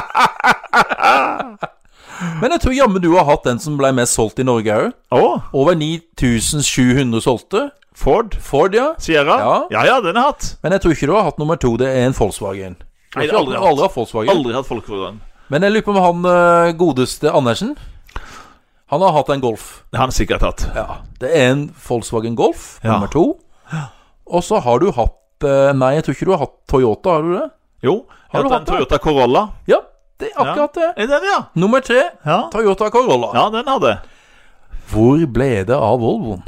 [SPEAKER 1] Men jeg tror jammen du har hatt den som ble mest solgt i Norge òg.
[SPEAKER 2] Å,
[SPEAKER 1] Over 9700 solgte.
[SPEAKER 2] Ford
[SPEAKER 1] Ford, ja.
[SPEAKER 2] Sierra? Ja.
[SPEAKER 1] Ja.
[SPEAKER 2] ja den har jeg hatt.
[SPEAKER 1] Men jeg tror ikke du har hatt nummer to. Det er en Volkswagen. Du har
[SPEAKER 2] Nei, det
[SPEAKER 1] ikke
[SPEAKER 2] har aldri
[SPEAKER 1] hatt- aldri
[SPEAKER 2] hatt.
[SPEAKER 1] hatt Volkswagen.
[SPEAKER 2] Aldri hatt folk for den.
[SPEAKER 1] Men jeg lurer på om han eh, godeste Andersen Han har hatt en Golf.
[SPEAKER 2] Det har han sikkert hatt.
[SPEAKER 1] Ja. Det er en Volkswagen Golf,
[SPEAKER 2] Ja.
[SPEAKER 1] nummer to. Og så har du hatt eh, Nei, jeg tror ikke du har hatt Toyota, har du det?
[SPEAKER 2] Jo,
[SPEAKER 1] Har
[SPEAKER 2] jeg har
[SPEAKER 1] du
[SPEAKER 2] hatt en
[SPEAKER 1] hatt det?
[SPEAKER 2] Toyota Corolla.
[SPEAKER 1] Ja, det er akkurat det.
[SPEAKER 2] Er det den, ja?
[SPEAKER 1] Nummer tre,
[SPEAKER 2] Ja,
[SPEAKER 1] Toyota Corolla.
[SPEAKER 2] ja den hadde jeg.
[SPEAKER 1] Hvor ble det av Volvoen?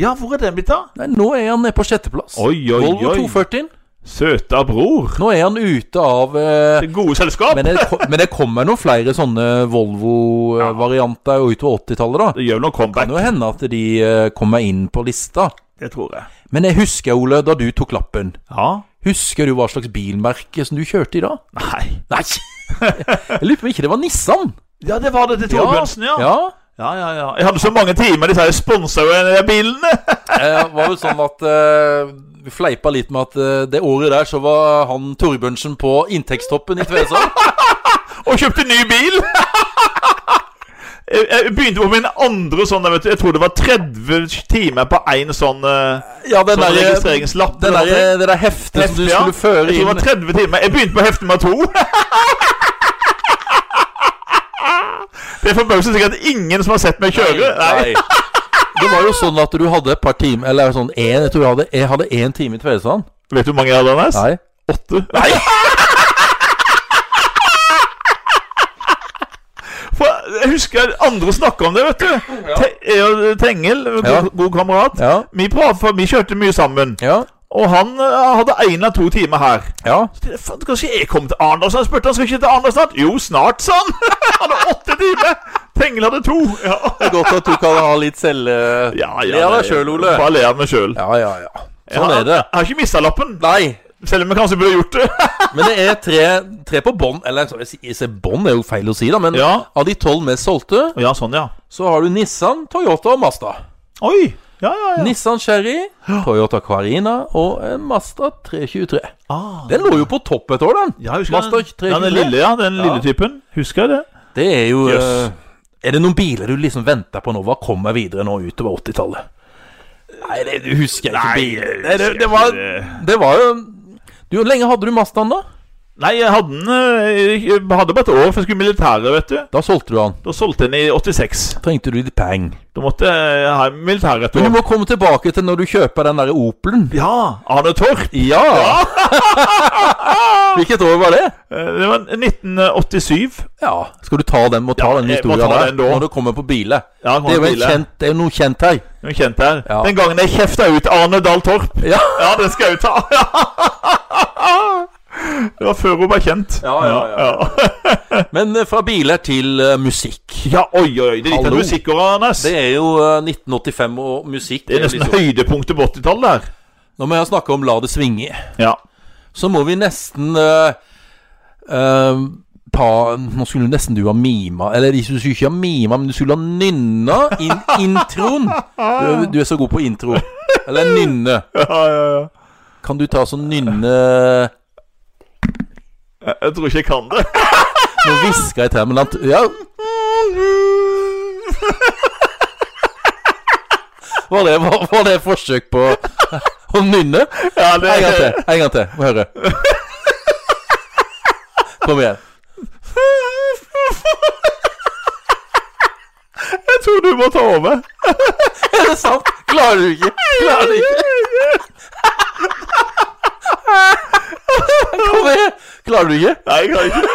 [SPEAKER 2] Ja, hvor er den blitt av?
[SPEAKER 1] Nei, Nå er han nede på sjetteplass.
[SPEAKER 2] Oi, oi,
[SPEAKER 1] Volvo
[SPEAKER 2] oi.
[SPEAKER 1] 240.
[SPEAKER 2] Søta bror.
[SPEAKER 1] Nå er han ute av eh,
[SPEAKER 2] Det gode selskap.
[SPEAKER 1] men, det, ko- men det kommer noen flere sånne Volvo-varianter utover 80-tallet, da.
[SPEAKER 2] det gjør noe
[SPEAKER 1] Det
[SPEAKER 2] comeback.
[SPEAKER 1] kan jo hende at de eh, kommer inn på lista.
[SPEAKER 2] Det tror jeg.
[SPEAKER 1] Men jeg husker, Ole, da du tok lappen.
[SPEAKER 2] Ja.
[SPEAKER 1] Husker du hva slags bilmerke som du kjørte i da?
[SPEAKER 2] Nei.
[SPEAKER 1] Nei! Jeg lurer på om ikke det var Nissan.
[SPEAKER 2] Ja, det var det til Torbjørnsen, ja.
[SPEAKER 1] ja.
[SPEAKER 2] Ja, ja, ja. Jeg hadde så mange timer disse her sponsa jo de bilene.
[SPEAKER 1] Eh, var jo sånn at eh, Vi fleipa litt med at eh, det året der så var han Torbjørnsen på inntektstoppen i Tvesand.
[SPEAKER 2] Og kjøpte ny bil. Jeg jeg begynte på min andre sånn der, vet du. Jeg tror det var 30 timer på én sånn, eh,
[SPEAKER 1] Ja, den
[SPEAKER 2] sånn
[SPEAKER 1] der-
[SPEAKER 2] registreringslapp.
[SPEAKER 1] den
[SPEAKER 2] eller noe.
[SPEAKER 1] der- eh, det der heftet som du
[SPEAKER 2] Ja,
[SPEAKER 1] skulle føre
[SPEAKER 2] Jeg tror det
[SPEAKER 1] inn.
[SPEAKER 2] var 30 timer. Jeg begynte på hefte nummer to. Det er forbausende sikkert at ingen som har sett meg kjøre. Nei.
[SPEAKER 1] Det var jo sånn at du hadde et par timer Eller sånn en, jeg tror jeg hadde Jeg hadde én time i Tvedestrand.
[SPEAKER 2] Vet du hvor mange jeg hadde, Anders?
[SPEAKER 1] Nei.
[SPEAKER 2] Åtte. Nei. For jeg husker andre snakka om det, vet du. Te jeg og Tengel, god,
[SPEAKER 1] Ja.
[SPEAKER 2] god kamerat.
[SPEAKER 1] Ja.
[SPEAKER 2] Vi, pratet, for vi kjørte mye sammen.
[SPEAKER 1] Ja.
[SPEAKER 2] Og han eh, hadde én av to timer her.
[SPEAKER 1] ja.
[SPEAKER 2] Faen, Kanskje jeg kom til Arendalsand? Spurte han skal ikke til Arendal snart? Jo, snart, sa han! Han hadde åtte timer! Tengel hadde to. Ja,
[SPEAKER 1] Det er godt at du kan ha litt selv... eh,
[SPEAKER 2] ja,
[SPEAKER 1] Le av deg selv, Ole.
[SPEAKER 2] Bare le av meg sjøl.
[SPEAKER 1] Ja, ja, ja. Sånn er det.
[SPEAKER 2] Jeg har ikke mista lappen,
[SPEAKER 1] Nei.
[SPEAKER 2] selv om jeg kanskje burde gjort det.
[SPEAKER 1] Men det er tre, tre på bånn Eller så jeg si- jeg sier bånn er jo feil å si, da. Men
[SPEAKER 2] Ja.
[SPEAKER 1] av de tolv mest solgte,
[SPEAKER 2] Ja, sånn, ja.
[SPEAKER 1] så har du Nissan, Toyota og Mazda.
[SPEAKER 2] Oi! Ja, ja, ja.
[SPEAKER 1] Nissan Cherry, Toyota Carina og en Mazda 323.
[SPEAKER 2] Ah.
[SPEAKER 1] Den lå jo på topp et år, den.
[SPEAKER 2] Ja, jeg husker
[SPEAKER 1] Mazda
[SPEAKER 2] den.
[SPEAKER 1] 323.
[SPEAKER 2] Ja, den lille, ja, den lille typen. Husker jeg det?
[SPEAKER 1] Det er jo
[SPEAKER 2] Jøss.
[SPEAKER 1] eh, Er det noen biler du liksom venter på nå? Hva kommer videre nå utover 80-tallet? Nei, det du husker jeg ikke. biler.
[SPEAKER 2] jeg
[SPEAKER 1] Nei, det,
[SPEAKER 2] husker
[SPEAKER 1] det, var,
[SPEAKER 2] ikke
[SPEAKER 1] det var jo du, Hvor lenge hadde du Mazdaen, da?
[SPEAKER 2] Nei, jeg hadde den eh, Jeg hadde bare et år, for jeg skulle i militæret, vet du.
[SPEAKER 1] Da solgte du den.
[SPEAKER 2] Da solgte jeg den i 86.
[SPEAKER 1] Trengte du litt penger.
[SPEAKER 2] Da måtte jeg ha i militæret et
[SPEAKER 1] Men du
[SPEAKER 2] år.
[SPEAKER 1] må komme tilbake til når du kjøper den derre Opelen.
[SPEAKER 2] Ja, Arne Torp.
[SPEAKER 1] Ja! Hvilket år var det?
[SPEAKER 2] Eh, Det var 1987.
[SPEAKER 1] Ja. Skal du ta den? Må ta
[SPEAKER 2] Ja,
[SPEAKER 1] den
[SPEAKER 2] jeg må
[SPEAKER 1] historien
[SPEAKER 2] ta
[SPEAKER 1] der
[SPEAKER 2] den da.
[SPEAKER 1] når du kommer på biler.
[SPEAKER 2] Ja,
[SPEAKER 1] Det er jo en
[SPEAKER 2] bilen.
[SPEAKER 1] kjent, det er jo noe kjent her.
[SPEAKER 2] Den er kjent her.
[SPEAKER 1] Ja.
[SPEAKER 2] Den gangen jeg kjefta ut Arne Dahl Torp.
[SPEAKER 1] Ja.
[SPEAKER 2] Ja, den skal jeg jo ta. Det var før hun ble kjent.
[SPEAKER 1] Ja, ja,
[SPEAKER 2] ja.
[SPEAKER 1] Men eh, fra biler til eh, musikk.
[SPEAKER 2] Ja, oi, oi, oi. Det er litt av
[SPEAKER 1] Hallo.
[SPEAKER 2] musikkåret, Anders.
[SPEAKER 1] Det er jo eh, 1985 og musikk.
[SPEAKER 2] Det er sånn-
[SPEAKER 1] jo
[SPEAKER 2] nesten
[SPEAKER 1] liksom-
[SPEAKER 2] høydepunktet på 80-tallet her.
[SPEAKER 1] Når vi har snakka om La det svinge,
[SPEAKER 2] Ja.
[SPEAKER 1] så må vi nesten eh, eh, ta, Nå skulle nesten du ha mima Eller du skulle ikke ha mima, men du skulle ha nynna inn introen. Du, er- du er så god på intro. Eller nynne.
[SPEAKER 2] Ja, ja, ja.
[SPEAKER 1] Kan du ta sånn nynne
[SPEAKER 2] Jeg, jeg tror ikke jeg kan det.
[SPEAKER 1] Nå hvisker jeg til deg, men at Ja, var det, var, var det et forsøk på å nynne?
[SPEAKER 2] Ja, det
[SPEAKER 1] En gang til. En gang til. Må høre. Kom igjen.
[SPEAKER 2] Jeg tror du må ta over.
[SPEAKER 1] Er det sant? Klarer du ikke? Klarer du ikke? Kom igjen. Klarer du ikke?
[SPEAKER 2] Nei, jeg kan ikke.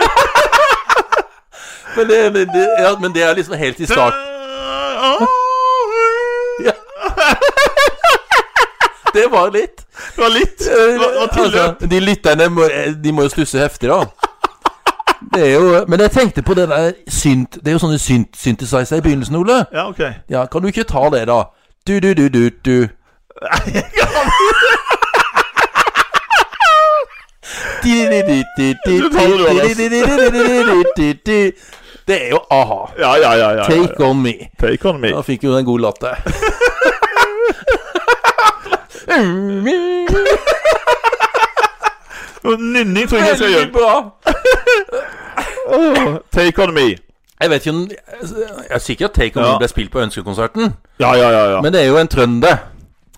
[SPEAKER 1] Men det, men det, ja, men det er liksom helt i starten. Ja. Det var litt. eh,
[SPEAKER 2] Det var litt. Det var, det var tilløp.
[SPEAKER 1] Altså, de lytterne må, eh, de må jo stusse heftig, da. Det er jo, men jeg tenkte på det der synt Det er jo sånne synt synthesizer i begynnelsen, Ole.
[SPEAKER 2] Ja, ok.
[SPEAKER 1] Ja, Kan du ikke ta det, da? Du-du-du-du-du. Det er jo a-ha.
[SPEAKER 2] Ja, ja, ja. ja, ja, ja.
[SPEAKER 1] Take on me.
[SPEAKER 2] Take on me.
[SPEAKER 1] Da fikk jo en god latter.
[SPEAKER 2] Nynning tror jeg ikke jeg skal
[SPEAKER 1] Veldig
[SPEAKER 2] gjøre.
[SPEAKER 1] bra.
[SPEAKER 2] Take on me.
[SPEAKER 1] Jeg vet ikke om Jeg er sikker at Take On
[SPEAKER 2] Ja.
[SPEAKER 1] Me ble spilt på Ønskekonserten,
[SPEAKER 2] Ja, ja, ja. ja.
[SPEAKER 1] men det er jo en trønder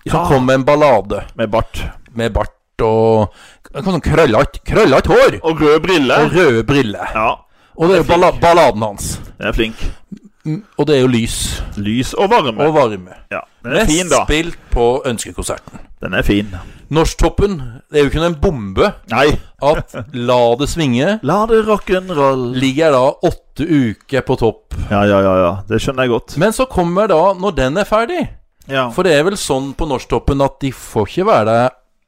[SPEAKER 1] som
[SPEAKER 2] Ja.
[SPEAKER 1] kom med en ballade
[SPEAKER 2] Med bart.
[SPEAKER 1] med bart og en sånn krøllete krøllet hår
[SPEAKER 2] Og røde briller.
[SPEAKER 1] og røde briller.
[SPEAKER 2] Ja.
[SPEAKER 1] Og det er jo balla balladen hans.
[SPEAKER 2] Den er flink.
[SPEAKER 1] Og det er jo lys
[SPEAKER 2] Lys og varme.
[SPEAKER 1] og varme.
[SPEAKER 2] Ja. Den er fin, da.
[SPEAKER 1] spilt på Ønskekonserten.
[SPEAKER 2] Den er fin.
[SPEAKER 1] Norsktoppen. Det er jo ikke noen bombe
[SPEAKER 2] Nei.
[SPEAKER 1] at La det svinge
[SPEAKER 2] La det rock'n'roll.
[SPEAKER 1] ligger da åtte uker på topp.
[SPEAKER 2] Ja, ja, ja, ja. Det skjønner jeg godt.
[SPEAKER 1] Men så kommer da, når den er ferdig
[SPEAKER 2] Ja.
[SPEAKER 1] For det er vel sånn på Norsktoppen at de får ikke være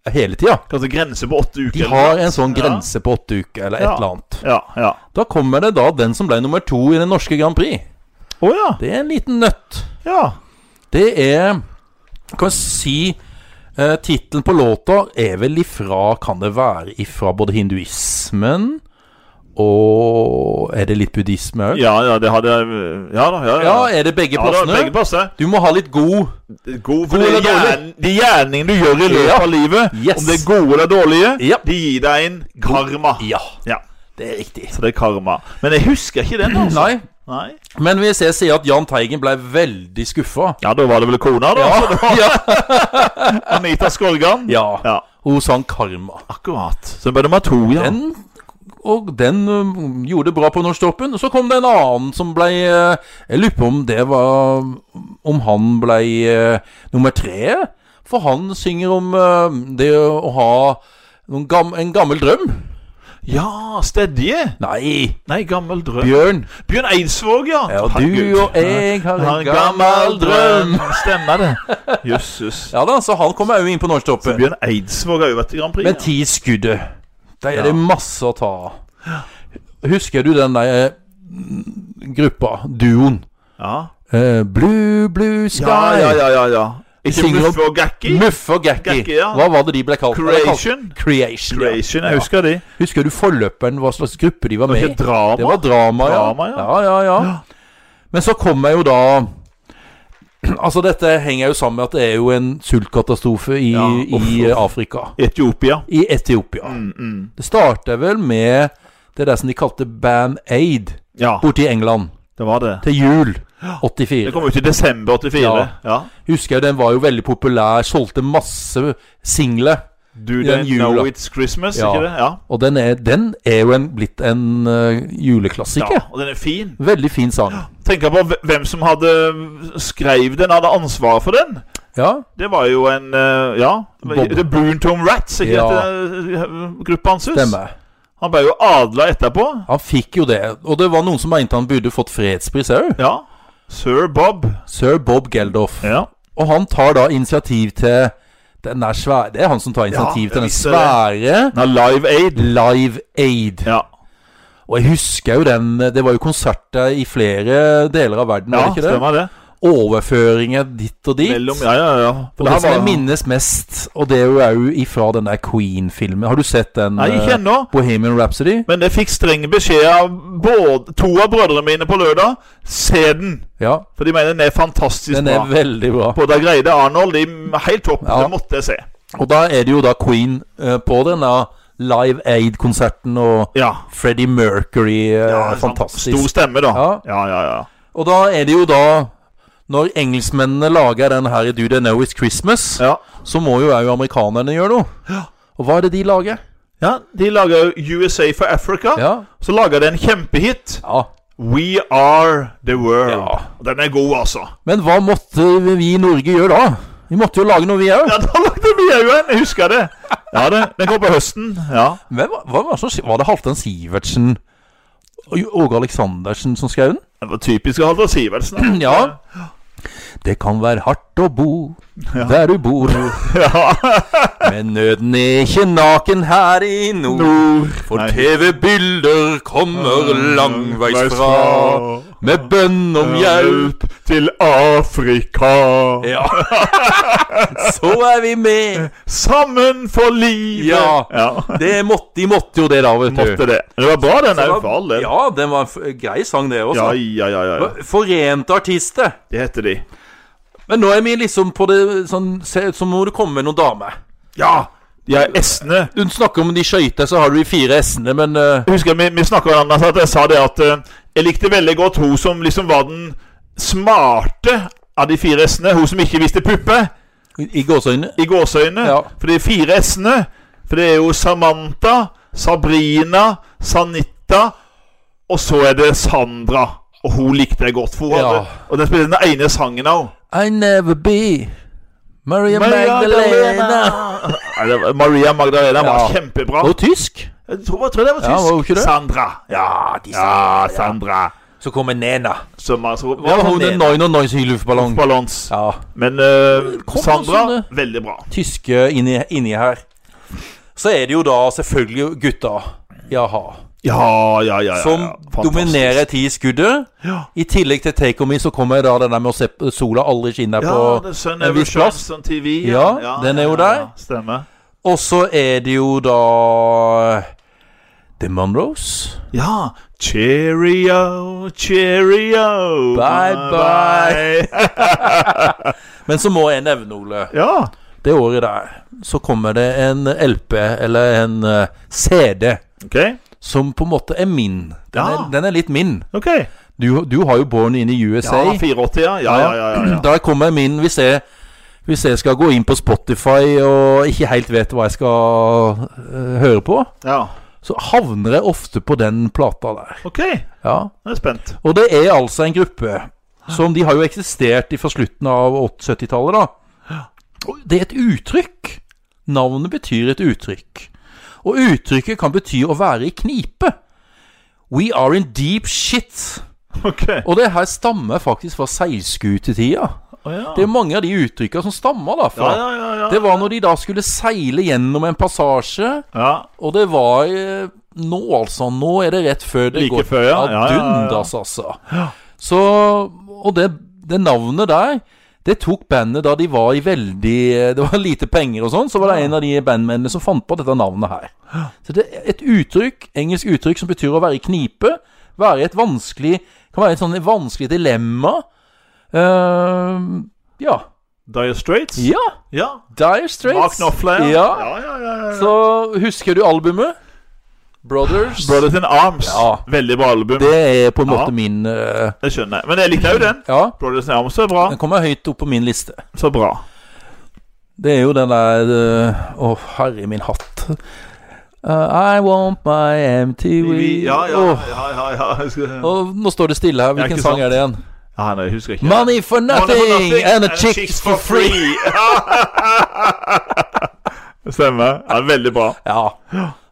[SPEAKER 1] der hele tida.
[SPEAKER 2] Kanskje grense på åtte uker.
[SPEAKER 1] De har en sånn grense på åtte uker, eller et
[SPEAKER 2] Ja.
[SPEAKER 1] eller annet.
[SPEAKER 2] Ja, ja.
[SPEAKER 1] Da kommer det da den som ble nummer to i den norske Grand Prix.
[SPEAKER 2] Å ja.
[SPEAKER 1] Det er en liten nøtt.
[SPEAKER 2] Ja.
[SPEAKER 1] Det er Kan jeg si eh, Tittelen på låta er vel ifra Kan det være ifra både hinduismen og Er det litt buddhisme òg?
[SPEAKER 2] Ja, ja, det hadde Ja da, ja.
[SPEAKER 1] Ja, er det begge
[SPEAKER 2] ja, det var
[SPEAKER 1] plassene?
[SPEAKER 2] begge plasser.
[SPEAKER 1] Du må ha litt god
[SPEAKER 2] God, for
[SPEAKER 1] God
[SPEAKER 2] de,
[SPEAKER 1] eller dårlig?
[SPEAKER 2] gjern, de gjerningene du gjør i løpet
[SPEAKER 1] Ja.
[SPEAKER 2] av livet,
[SPEAKER 1] Yes.
[SPEAKER 2] om det er gode eller dårlige,
[SPEAKER 1] Ja.
[SPEAKER 2] de gir deg en karma.
[SPEAKER 1] Ja,
[SPEAKER 2] Ja,
[SPEAKER 1] det er riktig.
[SPEAKER 2] så det er karma. Men jeg husker ikke den, altså.
[SPEAKER 1] Nei,
[SPEAKER 2] Nei.
[SPEAKER 1] men hvis jeg sier at Jahn Teigen ble veldig skuffa
[SPEAKER 2] Ja, da var det vel kona, da. Så det var
[SPEAKER 1] ja,
[SPEAKER 2] Anita Skorgan.
[SPEAKER 1] ja.
[SPEAKER 2] Ja,
[SPEAKER 1] Hun sang 'Karma'.
[SPEAKER 2] akkurat. Så det ble nummer to, ja.
[SPEAKER 1] Den, og den ø, gjorde det bra på Norsktoppen. Og Så kom det en annen som ble ø, Jeg lurer på om det var Om han ble ø, nummer tre? For han synger om ø, det å ha noen gam, en gammel drøm.
[SPEAKER 2] Ja, Stedje.
[SPEAKER 1] Nei,
[SPEAKER 2] Nei, gammel drøm.
[SPEAKER 1] Bjørn.
[SPEAKER 2] Bjørn Eidsvåg, ja.
[SPEAKER 1] Ja,
[SPEAKER 2] Herregud.
[SPEAKER 1] du og jeg har
[SPEAKER 2] Han
[SPEAKER 1] en gammel drøm.
[SPEAKER 2] Stemmer det. Jøsses.
[SPEAKER 1] Ja da, så han kommer òg inn på Norsktoppen.
[SPEAKER 2] Bjørn Eidsvåg har jo vært i Grand Prix.
[SPEAKER 1] Med ti skuddet. Der er
[SPEAKER 2] Ja.
[SPEAKER 1] det masse å ta av. Husker du den der mm, gruppa, duoen?
[SPEAKER 2] Ja.
[SPEAKER 1] Eh, blue, blue sky.
[SPEAKER 2] Ja, ja, ja, ja, ja. Ikke
[SPEAKER 1] Singer-
[SPEAKER 2] Muffe og Gakki?
[SPEAKER 1] Muff og Gakki.
[SPEAKER 2] Gakki, ja.
[SPEAKER 1] Hva var det de ble kalt?
[SPEAKER 2] Creation?
[SPEAKER 1] Creation, ja.
[SPEAKER 2] Creation, jeg husker de.
[SPEAKER 1] Ja. Husker du forløperen, hva slags gruppe de var med
[SPEAKER 2] Det var
[SPEAKER 1] i?
[SPEAKER 2] ikke drama.
[SPEAKER 1] Det var drama, ja.
[SPEAKER 2] Drama, ja.
[SPEAKER 1] ja, ja, ja. Men så kommer jo da Altså, dette henger jo sammen med at det er jo en sultkatastrofe i,
[SPEAKER 2] Ja, uff,
[SPEAKER 1] i
[SPEAKER 2] uff.
[SPEAKER 1] Afrika.
[SPEAKER 2] Etiopia.
[SPEAKER 1] I Etiopia.
[SPEAKER 2] Mm, mm.
[SPEAKER 1] Det starter vel med det der som de kalte Band Aid
[SPEAKER 2] Ja,
[SPEAKER 1] borte i England.
[SPEAKER 2] det var det.
[SPEAKER 1] Til jul
[SPEAKER 2] Det
[SPEAKER 1] 84.
[SPEAKER 2] kom ut i desember 84. Ja.
[SPEAKER 1] Ja. Husker jeg den var jo veldig populær, solgte masse singler.
[SPEAKER 2] Do
[SPEAKER 1] I
[SPEAKER 2] they
[SPEAKER 1] den jula.
[SPEAKER 2] know it's Christmas?
[SPEAKER 1] Ja.
[SPEAKER 2] Ikke det? Ja.
[SPEAKER 1] Og den er, den er jo en, blitt en ø,
[SPEAKER 2] ja.
[SPEAKER 1] juleklassiker.
[SPEAKER 2] Og den er fin.
[SPEAKER 1] Veldig fin sang.
[SPEAKER 2] Tenk på hve- hvem som hadde skrev den, hadde ansvaret for den.
[SPEAKER 1] Ja,
[SPEAKER 2] Det var jo en eh, Ja.
[SPEAKER 1] Bob.
[SPEAKER 2] The Boon Tom Rats, ikke
[SPEAKER 1] Ja.
[SPEAKER 2] ja. gruppa hans?
[SPEAKER 1] stemmer.
[SPEAKER 2] Han ble jo adla etterpå.
[SPEAKER 1] Han fikk jo det. Og det var noen som mente han burde fått fredspris òg.
[SPEAKER 2] Ja. Sir Bob.
[SPEAKER 1] Sir Bob Geldof.
[SPEAKER 2] Ja.
[SPEAKER 1] Og han tar da initiativ til den der svære Det er han som tar
[SPEAKER 2] jeg
[SPEAKER 1] initiativ til den
[SPEAKER 2] visste
[SPEAKER 1] svære
[SPEAKER 2] Nei, Live Aid.
[SPEAKER 1] Live Aid.
[SPEAKER 2] Ja.
[SPEAKER 1] Og jeg husker jo den Det var jo konserter i flere deler av verden,
[SPEAKER 2] ja,
[SPEAKER 1] var det ikke det?
[SPEAKER 2] stemmer det.
[SPEAKER 1] Overføringer ditt og dit.
[SPEAKER 2] Mellom Ja, ja, ja. For
[SPEAKER 1] Og det
[SPEAKER 2] her
[SPEAKER 1] som
[SPEAKER 2] var-
[SPEAKER 1] jeg minnes mest, og det er jo òg ifra den der Queen-filmen Har du sett den?
[SPEAKER 2] Nei, ikke
[SPEAKER 1] eh,
[SPEAKER 2] ennå.
[SPEAKER 1] Bohemian Rhapsody?
[SPEAKER 2] Men jeg fikk streng beskjed av både, to av brødrene mine på lørdag. Se den!
[SPEAKER 1] Ja,
[SPEAKER 2] For de mener den er fantastisk
[SPEAKER 1] den er
[SPEAKER 2] bra.
[SPEAKER 1] veldig bra.
[SPEAKER 2] Både Greide Arnold de er helt topp.
[SPEAKER 1] Ja.
[SPEAKER 2] Det måtte jeg se.
[SPEAKER 1] Og da er det jo da Queen eh, på den da Live Aid-konserten og
[SPEAKER 2] Ja.
[SPEAKER 1] Freddie Mercury. eh,
[SPEAKER 2] ja
[SPEAKER 1] fantastisk.
[SPEAKER 2] Stor stemme, da.
[SPEAKER 1] Ja.
[SPEAKER 2] ja, ja. ja.
[SPEAKER 1] Og da er det jo da Når engelskmennene lager den her i Do They Know It's Christmas,
[SPEAKER 2] ja.
[SPEAKER 1] så må jo òg amerikanerne gjøre noe. Og hva er det de lager?
[SPEAKER 2] ja de lager jo USA for Africa.
[SPEAKER 1] Ja.
[SPEAKER 2] Så lager de en kjempehit.
[SPEAKER 1] ja.
[SPEAKER 2] We Are The World.
[SPEAKER 1] Ja.
[SPEAKER 2] Den er god, altså.
[SPEAKER 1] Men hva måtte vi i Norge gjøre da? Vi måtte jo lage noe, vi òg.
[SPEAKER 2] Ja, Da lagde vi òg en! Jeg husker det. Ja, det, Den går på høsten. Ja.
[SPEAKER 1] Hvem var, hva var, det som skri- var det Halvdan Sivertsen og Åge Aleksandersen som skrev den?
[SPEAKER 2] Det var typisk Halvor Sivertsen.
[SPEAKER 1] Ja. Det kan være hardt å bo der du bor,
[SPEAKER 2] ja.
[SPEAKER 1] men nøden er ikke naken her i nord. For
[SPEAKER 2] Nei.
[SPEAKER 1] TV-bilder kommer langveis fra, med bønn om hjelp.
[SPEAKER 2] til Afrika.
[SPEAKER 1] Ja. Så er vi med.
[SPEAKER 2] Sammen for livet.
[SPEAKER 1] Ja. Det måtte, de måtte jo det, da, vet
[SPEAKER 2] Måtte
[SPEAKER 1] du.
[SPEAKER 2] det. Det var altså. bra, den
[SPEAKER 1] Det
[SPEAKER 2] òg,
[SPEAKER 1] var-
[SPEAKER 2] for all del.
[SPEAKER 1] Ja, den var en f- grei sang, det
[SPEAKER 2] ja,
[SPEAKER 1] også.
[SPEAKER 2] ja, ja. ja.
[SPEAKER 1] Forente artister.
[SPEAKER 2] Det heter de.
[SPEAKER 1] Men nå er vi liksom på det sånn se- Så må det komme noen damer.
[SPEAKER 2] Ja! De er S-ene.
[SPEAKER 1] Du snakker om de skøyter, så har du de fire s-ene, men eh,
[SPEAKER 2] Jeg husker vi, vi snakka om det, altså, at jeg sa det at eh, jeg likte veldig godt hun som liksom var den smarte av de fire S-ene. Hun som ikke visste puppe,
[SPEAKER 1] I i gåseøyne
[SPEAKER 2] i gåseøyne.
[SPEAKER 1] Ja.
[SPEAKER 2] For de fire S-ene For det er jo Samantha, Sabrina, Sanita, og så er det Sandra. Og hun likte jeg godt. For hun
[SPEAKER 1] Ja.
[SPEAKER 2] hadde, og den spilte den ene sangen av henne.
[SPEAKER 1] I never be Maria Magdalena.
[SPEAKER 2] Magdalena. Nei, det var- Maria Magdalena var
[SPEAKER 1] Ja.
[SPEAKER 2] kjempebra.
[SPEAKER 1] Og tysk.
[SPEAKER 2] Jeg tror, jeg tror det var tysk.
[SPEAKER 1] Ja, var hun ikke det?
[SPEAKER 2] Sandra. Ja,
[SPEAKER 1] de
[SPEAKER 2] ja Sandra.
[SPEAKER 1] Så kommer Nena.
[SPEAKER 2] Som altså
[SPEAKER 1] Hva var hun den Nine og Nines hyllufballong?
[SPEAKER 2] Balans.
[SPEAKER 1] Ja.
[SPEAKER 2] Men eh,
[SPEAKER 1] Kom,
[SPEAKER 2] Sandra,
[SPEAKER 1] sånn,
[SPEAKER 2] veldig bra.
[SPEAKER 1] Tyske inni, inni her. Så er det jo da selvfølgelig gutta i a-ha
[SPEAKER 2] Ja, ja, ja. ja,
[SPEAKER 1] som
[SPEAKER 2] ja. Fantastisk.
[SPEAKER 1] dominerer ti i skuddet.
[SPEAKER 2] Ja.
[SPEAKER 1] I tillegg til Take On Me så kommer da den der med å se på sola aldri skinner
[SPEAKER 2] Ja,
[SPEAKER 1] på
[SPEAKER 2] The Sun
[SPEAKER 1] en
[SPEAKER 2] Ever
[SPEAKER 1] viss plass.
[SPEAKER 2] Shines on TV.
[SPEAKER 1] Ja, den er jo der.
[SPEAKER 2] Stemmer.
[SPEAKER 1] Og så er det jo da eh, The Monroes.
[SPEAKER 2] Ja. Cheerio, cheerio.
[SPEAKER 1] Bye,
[SPEAKER 2] bye.
[SPEAKER 1] Men så må jeg nevne, Ole,
[SPEAKER 2] ja.
[SPEAKER 1] det året der så kommer det en LP, eller en eh, CD,
[SPEAKER 2] OK.
[SPEAKER 1] som på en måte er min. Den,
[SPEAKER 2] Ja.
[SPEAKER 1] er, den er litt min.
[SPEAKER 2] ok
[SPEAKER 1] Du, du har jo Born in the USA.
[SPEAKER 2] Ja, 84, ja. Ja, ja, ja, ja, ja.
[SPEAKER 1] Der kommer min hvis jeg, hvis jeg skal gå inn på Spotify og ikke helt vet hva jeg skal eh, høre på,
[SPEAKER 2] ja.
[SPEAKER 1] så havner jeg ofte på den plata der.
[SPEAKER 2] OK. Jeg
[SPEAKER 1] Ja.
[SPEAKER 2] er spent.
[SPEAKER 1] Og det er altså en gruppe som de har jo eksistert fra slutten av 70-tallet, da. Og det er et uttrykk. Navnet betyr et uttrykk. Og uttrykket kan bety å være i knipe. We are in deep shit.
[SPEAKER 2] OK.
[SPEAKER 1] Og det her stammer faktisk fra seilskutetida.
[SPEAKER 2] Å, ja.
[SPEAKER 1] Det er mange av de uttrykka som stammer derfra.
[SPEAKER 2] ja, ja, ja, ja.
[SPEAKER 1] Det var når de da skulle seile gjennom en passasje,
[SPEAKER 2] ja.
[SPEAKER 1] og det var eh, Nå, altså. Nå er det rett før det
[SPEAKER 2] Like
[SPEAKER 1] går
[SPEAKER 2] før, ja. Ja, ja, ja, ja.
[SPEAKER 1] dundas, altså. Så Og det, det navnet der det tok bandet da de var i veldig eh, Det var lite penger og sånn, så var det en av de bandmennene som fant på dette navnet her. Så det er et uttrykk, engelsk uttrykk, som betyr å være i knipe. Være i et vanskelig Kan være et sånn vanskelig dilemma. Eh, ja.
[SPEAKER 2] Dire Straits?
[SPEAKER 1] Ja!
[SPEAKER 2] ja.
[SPEAKER 1] Dire Straits.
[SPEAKER 2] Mark Knopfler?
[SPEAKER 1] Ja.
[SPEAKER 2] ja, ja, ja, ja.
[SPEAKER 1] Så husker du albumet? Brothers.
[SPEAKER 2] Brothers in Arms.
[SPEAKER 1] Ja.
[SPEAKER 2] Veldig bra album. Det,
[SPEAKER 1] Det er på en måte
[SPEAKER 2] Ja.
[SPEAKER 1] min eh,
[SPEAKER 2] skjønner jeg. Men jeg likte jo den.
[SPEAKER 1] Ja.
[SPEAKER 2] Brothers in Arms er bra.
[SPEAKER 1] Den kommer høyt opp på min liste.
[SPEAKER 2] Så bra.
[SPEAKER 1] Det er jo den der eh, Å, herre min hatt. Uh, I want my MTV
[SPEAKER 2] Ja, ja,
[SPEAKER 1] Åh,
[SPEAKER 2] ja, ja, ja. Jeg skal...
[SPEAKER 1] og Nå står det stille her.
[SPEAKER 2] Ja,
[SPEAKER 1] Hvilken
[SPEAKER 2] ikke
[SPEAKER 1] sang
[SPEAKER 2] sant?
[SPEAKER 1] er det igjen?
[SPEAKER 2] Ja, nei, jeg husker ikke.
[SPEAKER 1] Money for nothing, and a chick for free.
[SPEAKER 2] Stemmer. Ja, veldig bra.
[SPEAKER 1] Ja.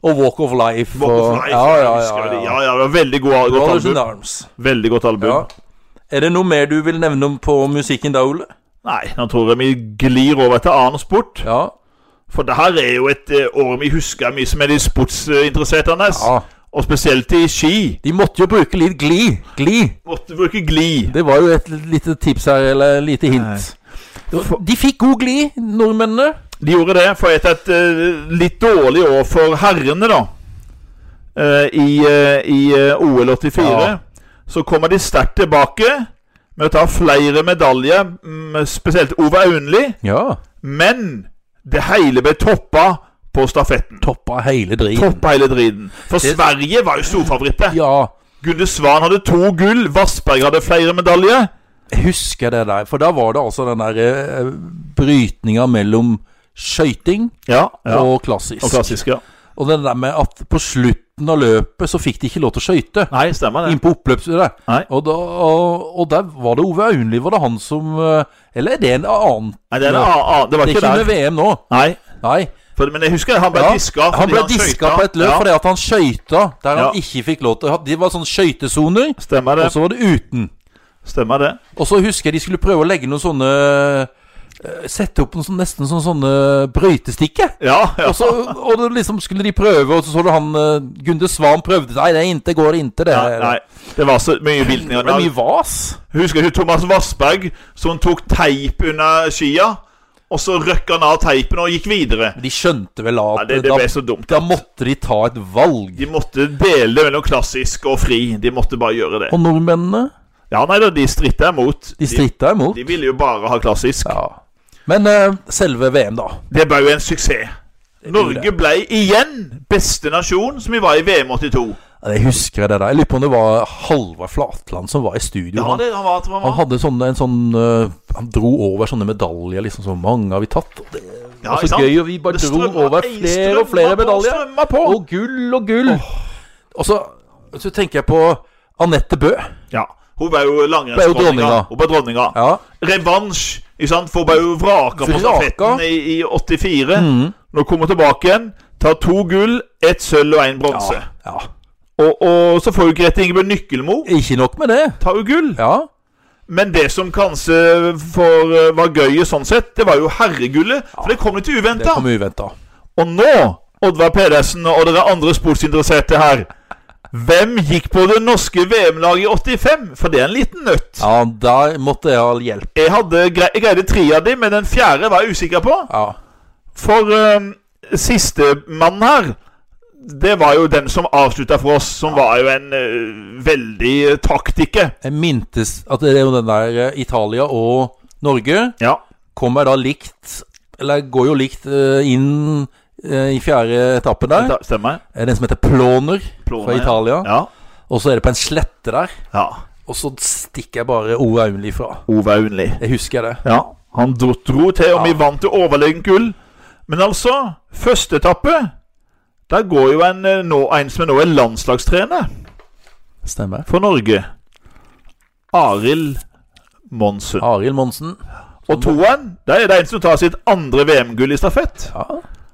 [SPEAKER 1] Og Walk of Life.
[SPEAKER 2] Walk of
[SPEAKER 1] og-
[SPEAKER 2] Life,
[SPEAKER 1] ja, ja,
[SPEAKER 2] jeg
[SPEAKER 1] ja,
[SPEAKER 2] husker det.
[SPEAKER 1] ja.
[SPEAKER 2] ja, ja, det var veldig god, godt
[SPEAKER 1] Brothers in
[SPEAKER 2] album.
[SPEAKER 1] Arms.
[SPEAKER 2] Veldig godt album.
[SPEAKER 1] Ja. Er det noe mer du vil nevne om på musikken da, Ole?
[SPEAKER 2] Nei, nå tror jeg vi glir over til annen sport.
[SPEAKER 1] Ja.
[SPEAKER 2] For det her er jo et eh, år vi husker mye som er de sportsinteresserte.
[SPEAKER 1] ja.
[SPEAKER 2] Og spesielt i ski.
[SPEAKER 1] De måtte jo bruke litt gli. Gli.
[SPEAKER 2] Måtte bruke gli.
[SPEAKER 1] Det var jo et lite tips her, eller et lite hint. Det var- De fikk god gli, nordmennene.
[SPEAKER 2] De gjorde det, for etter et eh, litt dårlig år for herrene, da eh, I, eh, i eh, OL 84,
[SPEAKER 1] Ja.
[SPEAKER 2] så kommer de sterkt tilbake med å ta flere medaljer, mm, spesielt Ove Aunli,
[SPEAKER 1] Ja.
[SPEAKER 2] men det hele ble toppa på stafetten.
[SPEAKER 1] Toppa hele driten.
[SPEAKER 2] Toppa hele driten. For
[SPEAKER 1] Det-
[SPEAKER 2] Sverige var jo storfavorittet.
[SPEAKER 1] Ja.
[SPEAKER 2] Gunde Svan hadde to gull, Vassberg hadde flere medaljer.
[SPEAKER 1] Jeg husker det der. For da var det altså den der eh, brytninga mellom skøyting
[SPEAKER 2] Ja, ja. Og,
[SPEAKER 1] og klassisk.
[SPEAKER 2] og klassisk, ja.
[SPEAKER 1] Og det der med at på slutten av løpet så fikk de ikke lov til å skøyte.
[SPEAKER 2] Nei, stemmer det.
[SPEAKER 1] Inn på oppløpet.
[SPEAKER 2] Nei.
[SPEAKER 1] Og, da, og, og der var det Ove Aunli, var det han som eh, Eller er det en annen?
[SPEAKER 2] Nei, det, er en annen- annen- det var
[SPEAKER 1] Det er
[SPEAKER 2] ikke
[SPEAKER 1] ikke under
[SPEAKER 2] der.
[SPEAKER 1] VM nå.
[SPEAKER 2] Nei.
[SPEAKER 1] Nei.
[SPEAKER 2] For, men jeg husker han ble
[SPEAKER 1] Ja,
[SPEAKER 2] diska.
[SPEAKER 1] Han
[SPEAKER 2] fordi
[SPEAKER 1] ble diska
[SPEAKER 2] skøyta.
[SPEAKER 1] på et løp
[SPEAKER 2] Ja,
[SPEAKER 1] fordi at han skøyta der
[SPEAKER 2] Ja.
[SPEAKER 1] han ikke fikk lov til Det var sånne skøytesoner,
[SPEAKER 2] Stemmer det.
[SPEAKER 1] og så var det uten.
[SPEAKER 2] Stemmer det.
[SPEAKER 1] Og så husker jeg de skulle prøve å legge noen sånne eh, Sette opp noen sånne, nesten sånne, sånne brøytestikke.
[SPEAKER 2] Ja, ja.
[SPEAKER 1] Og, så, og det liksom skulle de prøve, og så så du han eh, Gunde Svan prøvde Nei, det er inte, går inte, det.
[SPEAKER 2] Nei, nei, det var så mye
[SPEAKER 1] Det ble mye
[SPEAKER 2] bildninger.
[SPEAKER 1] vas.
[SPEAKER 2] Husker du Thomas Vassberg som tok teip under skia? Og så røkka han av teipen og gikk videre.
[SPEAKER 1] De skjønte vel
[SPEAKER 2] Nei,
[SPEAKER 1] at
[SPEAKER 2] det, det
[SPEAKER 1] da,
[SPEAKER 2] ble så dumt.
[SPEAKER 1] da måtte de ta et valg.
[SPEAKER 2] De måtte dele mellom klassisk og fri. De måtte bare gjøre det.
[SPEAKER 1] Og nordmennene,
[SPEAKER 2] Ja, nei da, de stritta imot.
[SPEAKER 1] de stritta imot.
[SPEAKER 2] de ville jo bare ha klassisk.
[SPEAKER 1] Ja. Men eh, selve VM, da.
[SPEAKER 2] Det ble jo en suksess. Norge ble igjen beste nasjon som vi var i VM 82.
[SPEAKER 1] Ja, Jeg husker det der. Jeg lurer på om det var Halvard Flatland som var i studio.
[SPEAKER 2] Ja,
[SPEAKER 1] han,
[SPEAKER 2] det han var, tror jeg
[SPEAKER 1] han
[SPEAKER 2] var.
[SPEAKER 1] hadde sånn, en sånn øh, Han dro over sånne medaljer, liksom. Så mange har vi tatt. Og det
[SPEAKER 2] Ja,
[SPEAKER 1] var
[SPEAKER 2] ikke
[SPEAKER 1] så
[SPEAKER 2] sant?
[SPEAKER 1] gøy, og vi bare
[SPEAKER 2] Det
[SPEAKER 1] dro
[SPEAKER 2] strømmer-
[SPEAKER 1] over
[SPEAKER 2] ei,
[SPEAKER 1] flere og flere
[SPEAKER 2] strømmer på,
[SPEAKER 1] medaljer.
[SPEAKER 2] strømmer på.
[SPEAKER 1] Og gull og gull. Og så, så tenker jeg på Anette Bø.
[SPEAKER 2] Ja. Hun ble jo
[SPEAKER 1] Ble jo dronninga.
[SPEAKER 2] langrennsdronninga. Hun ble dronninga.
[SPEAKER 1] Ja.
[SPEAKER 2] Revansj. Ikke sant? For hun ble jo vraka på
[SPEAKER 1] Vraka.
[SPEAKER 2] stafetten i, i 84.
[SPEAKER 1] Mhm.
[SPEAKER 2] Når hun kommer tilbake igjen, tar to gull, ett sølv og én bronse.
[SPEAKER 1] ja. ja.
[SPEAKER 2] Og, og så får jo Grete Ingeborg Nykkelmo
[SPEAKER 1] Ikke nok med det.
[SPEAKER 2] tar jo gull.
[SPEAKER 1] Ja.
[SPEAKER 2] Men det som kanskje for, eh, var gøy i sånn sett, det var jo herregullet. For det kom litt
[SPEAKER 1] Det
[SPEAKER 2] uventa.
[SPEAKER 1] kom uventa.
[SPEAKER 2] Og nå Oddvar Pedersen og dere andre sportsinteresserte her. Hvem gikk på det norske VM-laget i 85? For det er en liten nøtt.
[SPEAKER 1] Ja, der måtte jeg ha hjelp.
[SPEAKER 2] Jeg hadde grei, jeg greide tre av dem, men den fjerde var jeg usikker på.
[SPEAKER 1] Ja.
[SPEAKER 2] For um, sistemann her, det var jo den som avslutta for oss, som var jo en eh, veldig taktiker.
[SPEAKER 1] Jeg mintes at det er jo den der eh, Italia og Norge
[SPEAKER 2] Ja.
[SPEAKER 1] kommer da likt Eller går jo likt eh, inn eh, i fjerde etappen der.
[SPEAKER 2] Da- Stemmer.
[SPEAKER 1] Det er Den som heter Ploner,
[SPEAKER 2] Ploner,
[SPEAKER 1] fra Italia.
[SPEAKER 2] Ja.
[SPEAKER 1] Og så er det på en slette der.
[SPEAKER 2] ja.
[SPEAKER 1] Og så stikker jeg bare ordet Aunli fra.
[SPEAKER 2] Ove Aunli.
[SPEAKER 1] Jeg husker det.
[SPEAKER 2] Ja. Han dro, dro til om
[SPEAKER 1] Ja.
[SPEAKER 2] vi vant til overlegen gull. Men altså, første etappe Der går jo en, eh, nå, en som nå er landslagstrener
[SPEAKER 1] Stemmer.
[SPEAKER 2] for Norge. Arild Monsen.
[SPEAKER 1] Arild Monsen.
[SPEAKER 2] Og toeren, der er det en som tar sitt andre VM-gull i stafett.
[SPEAKER 1] Ja,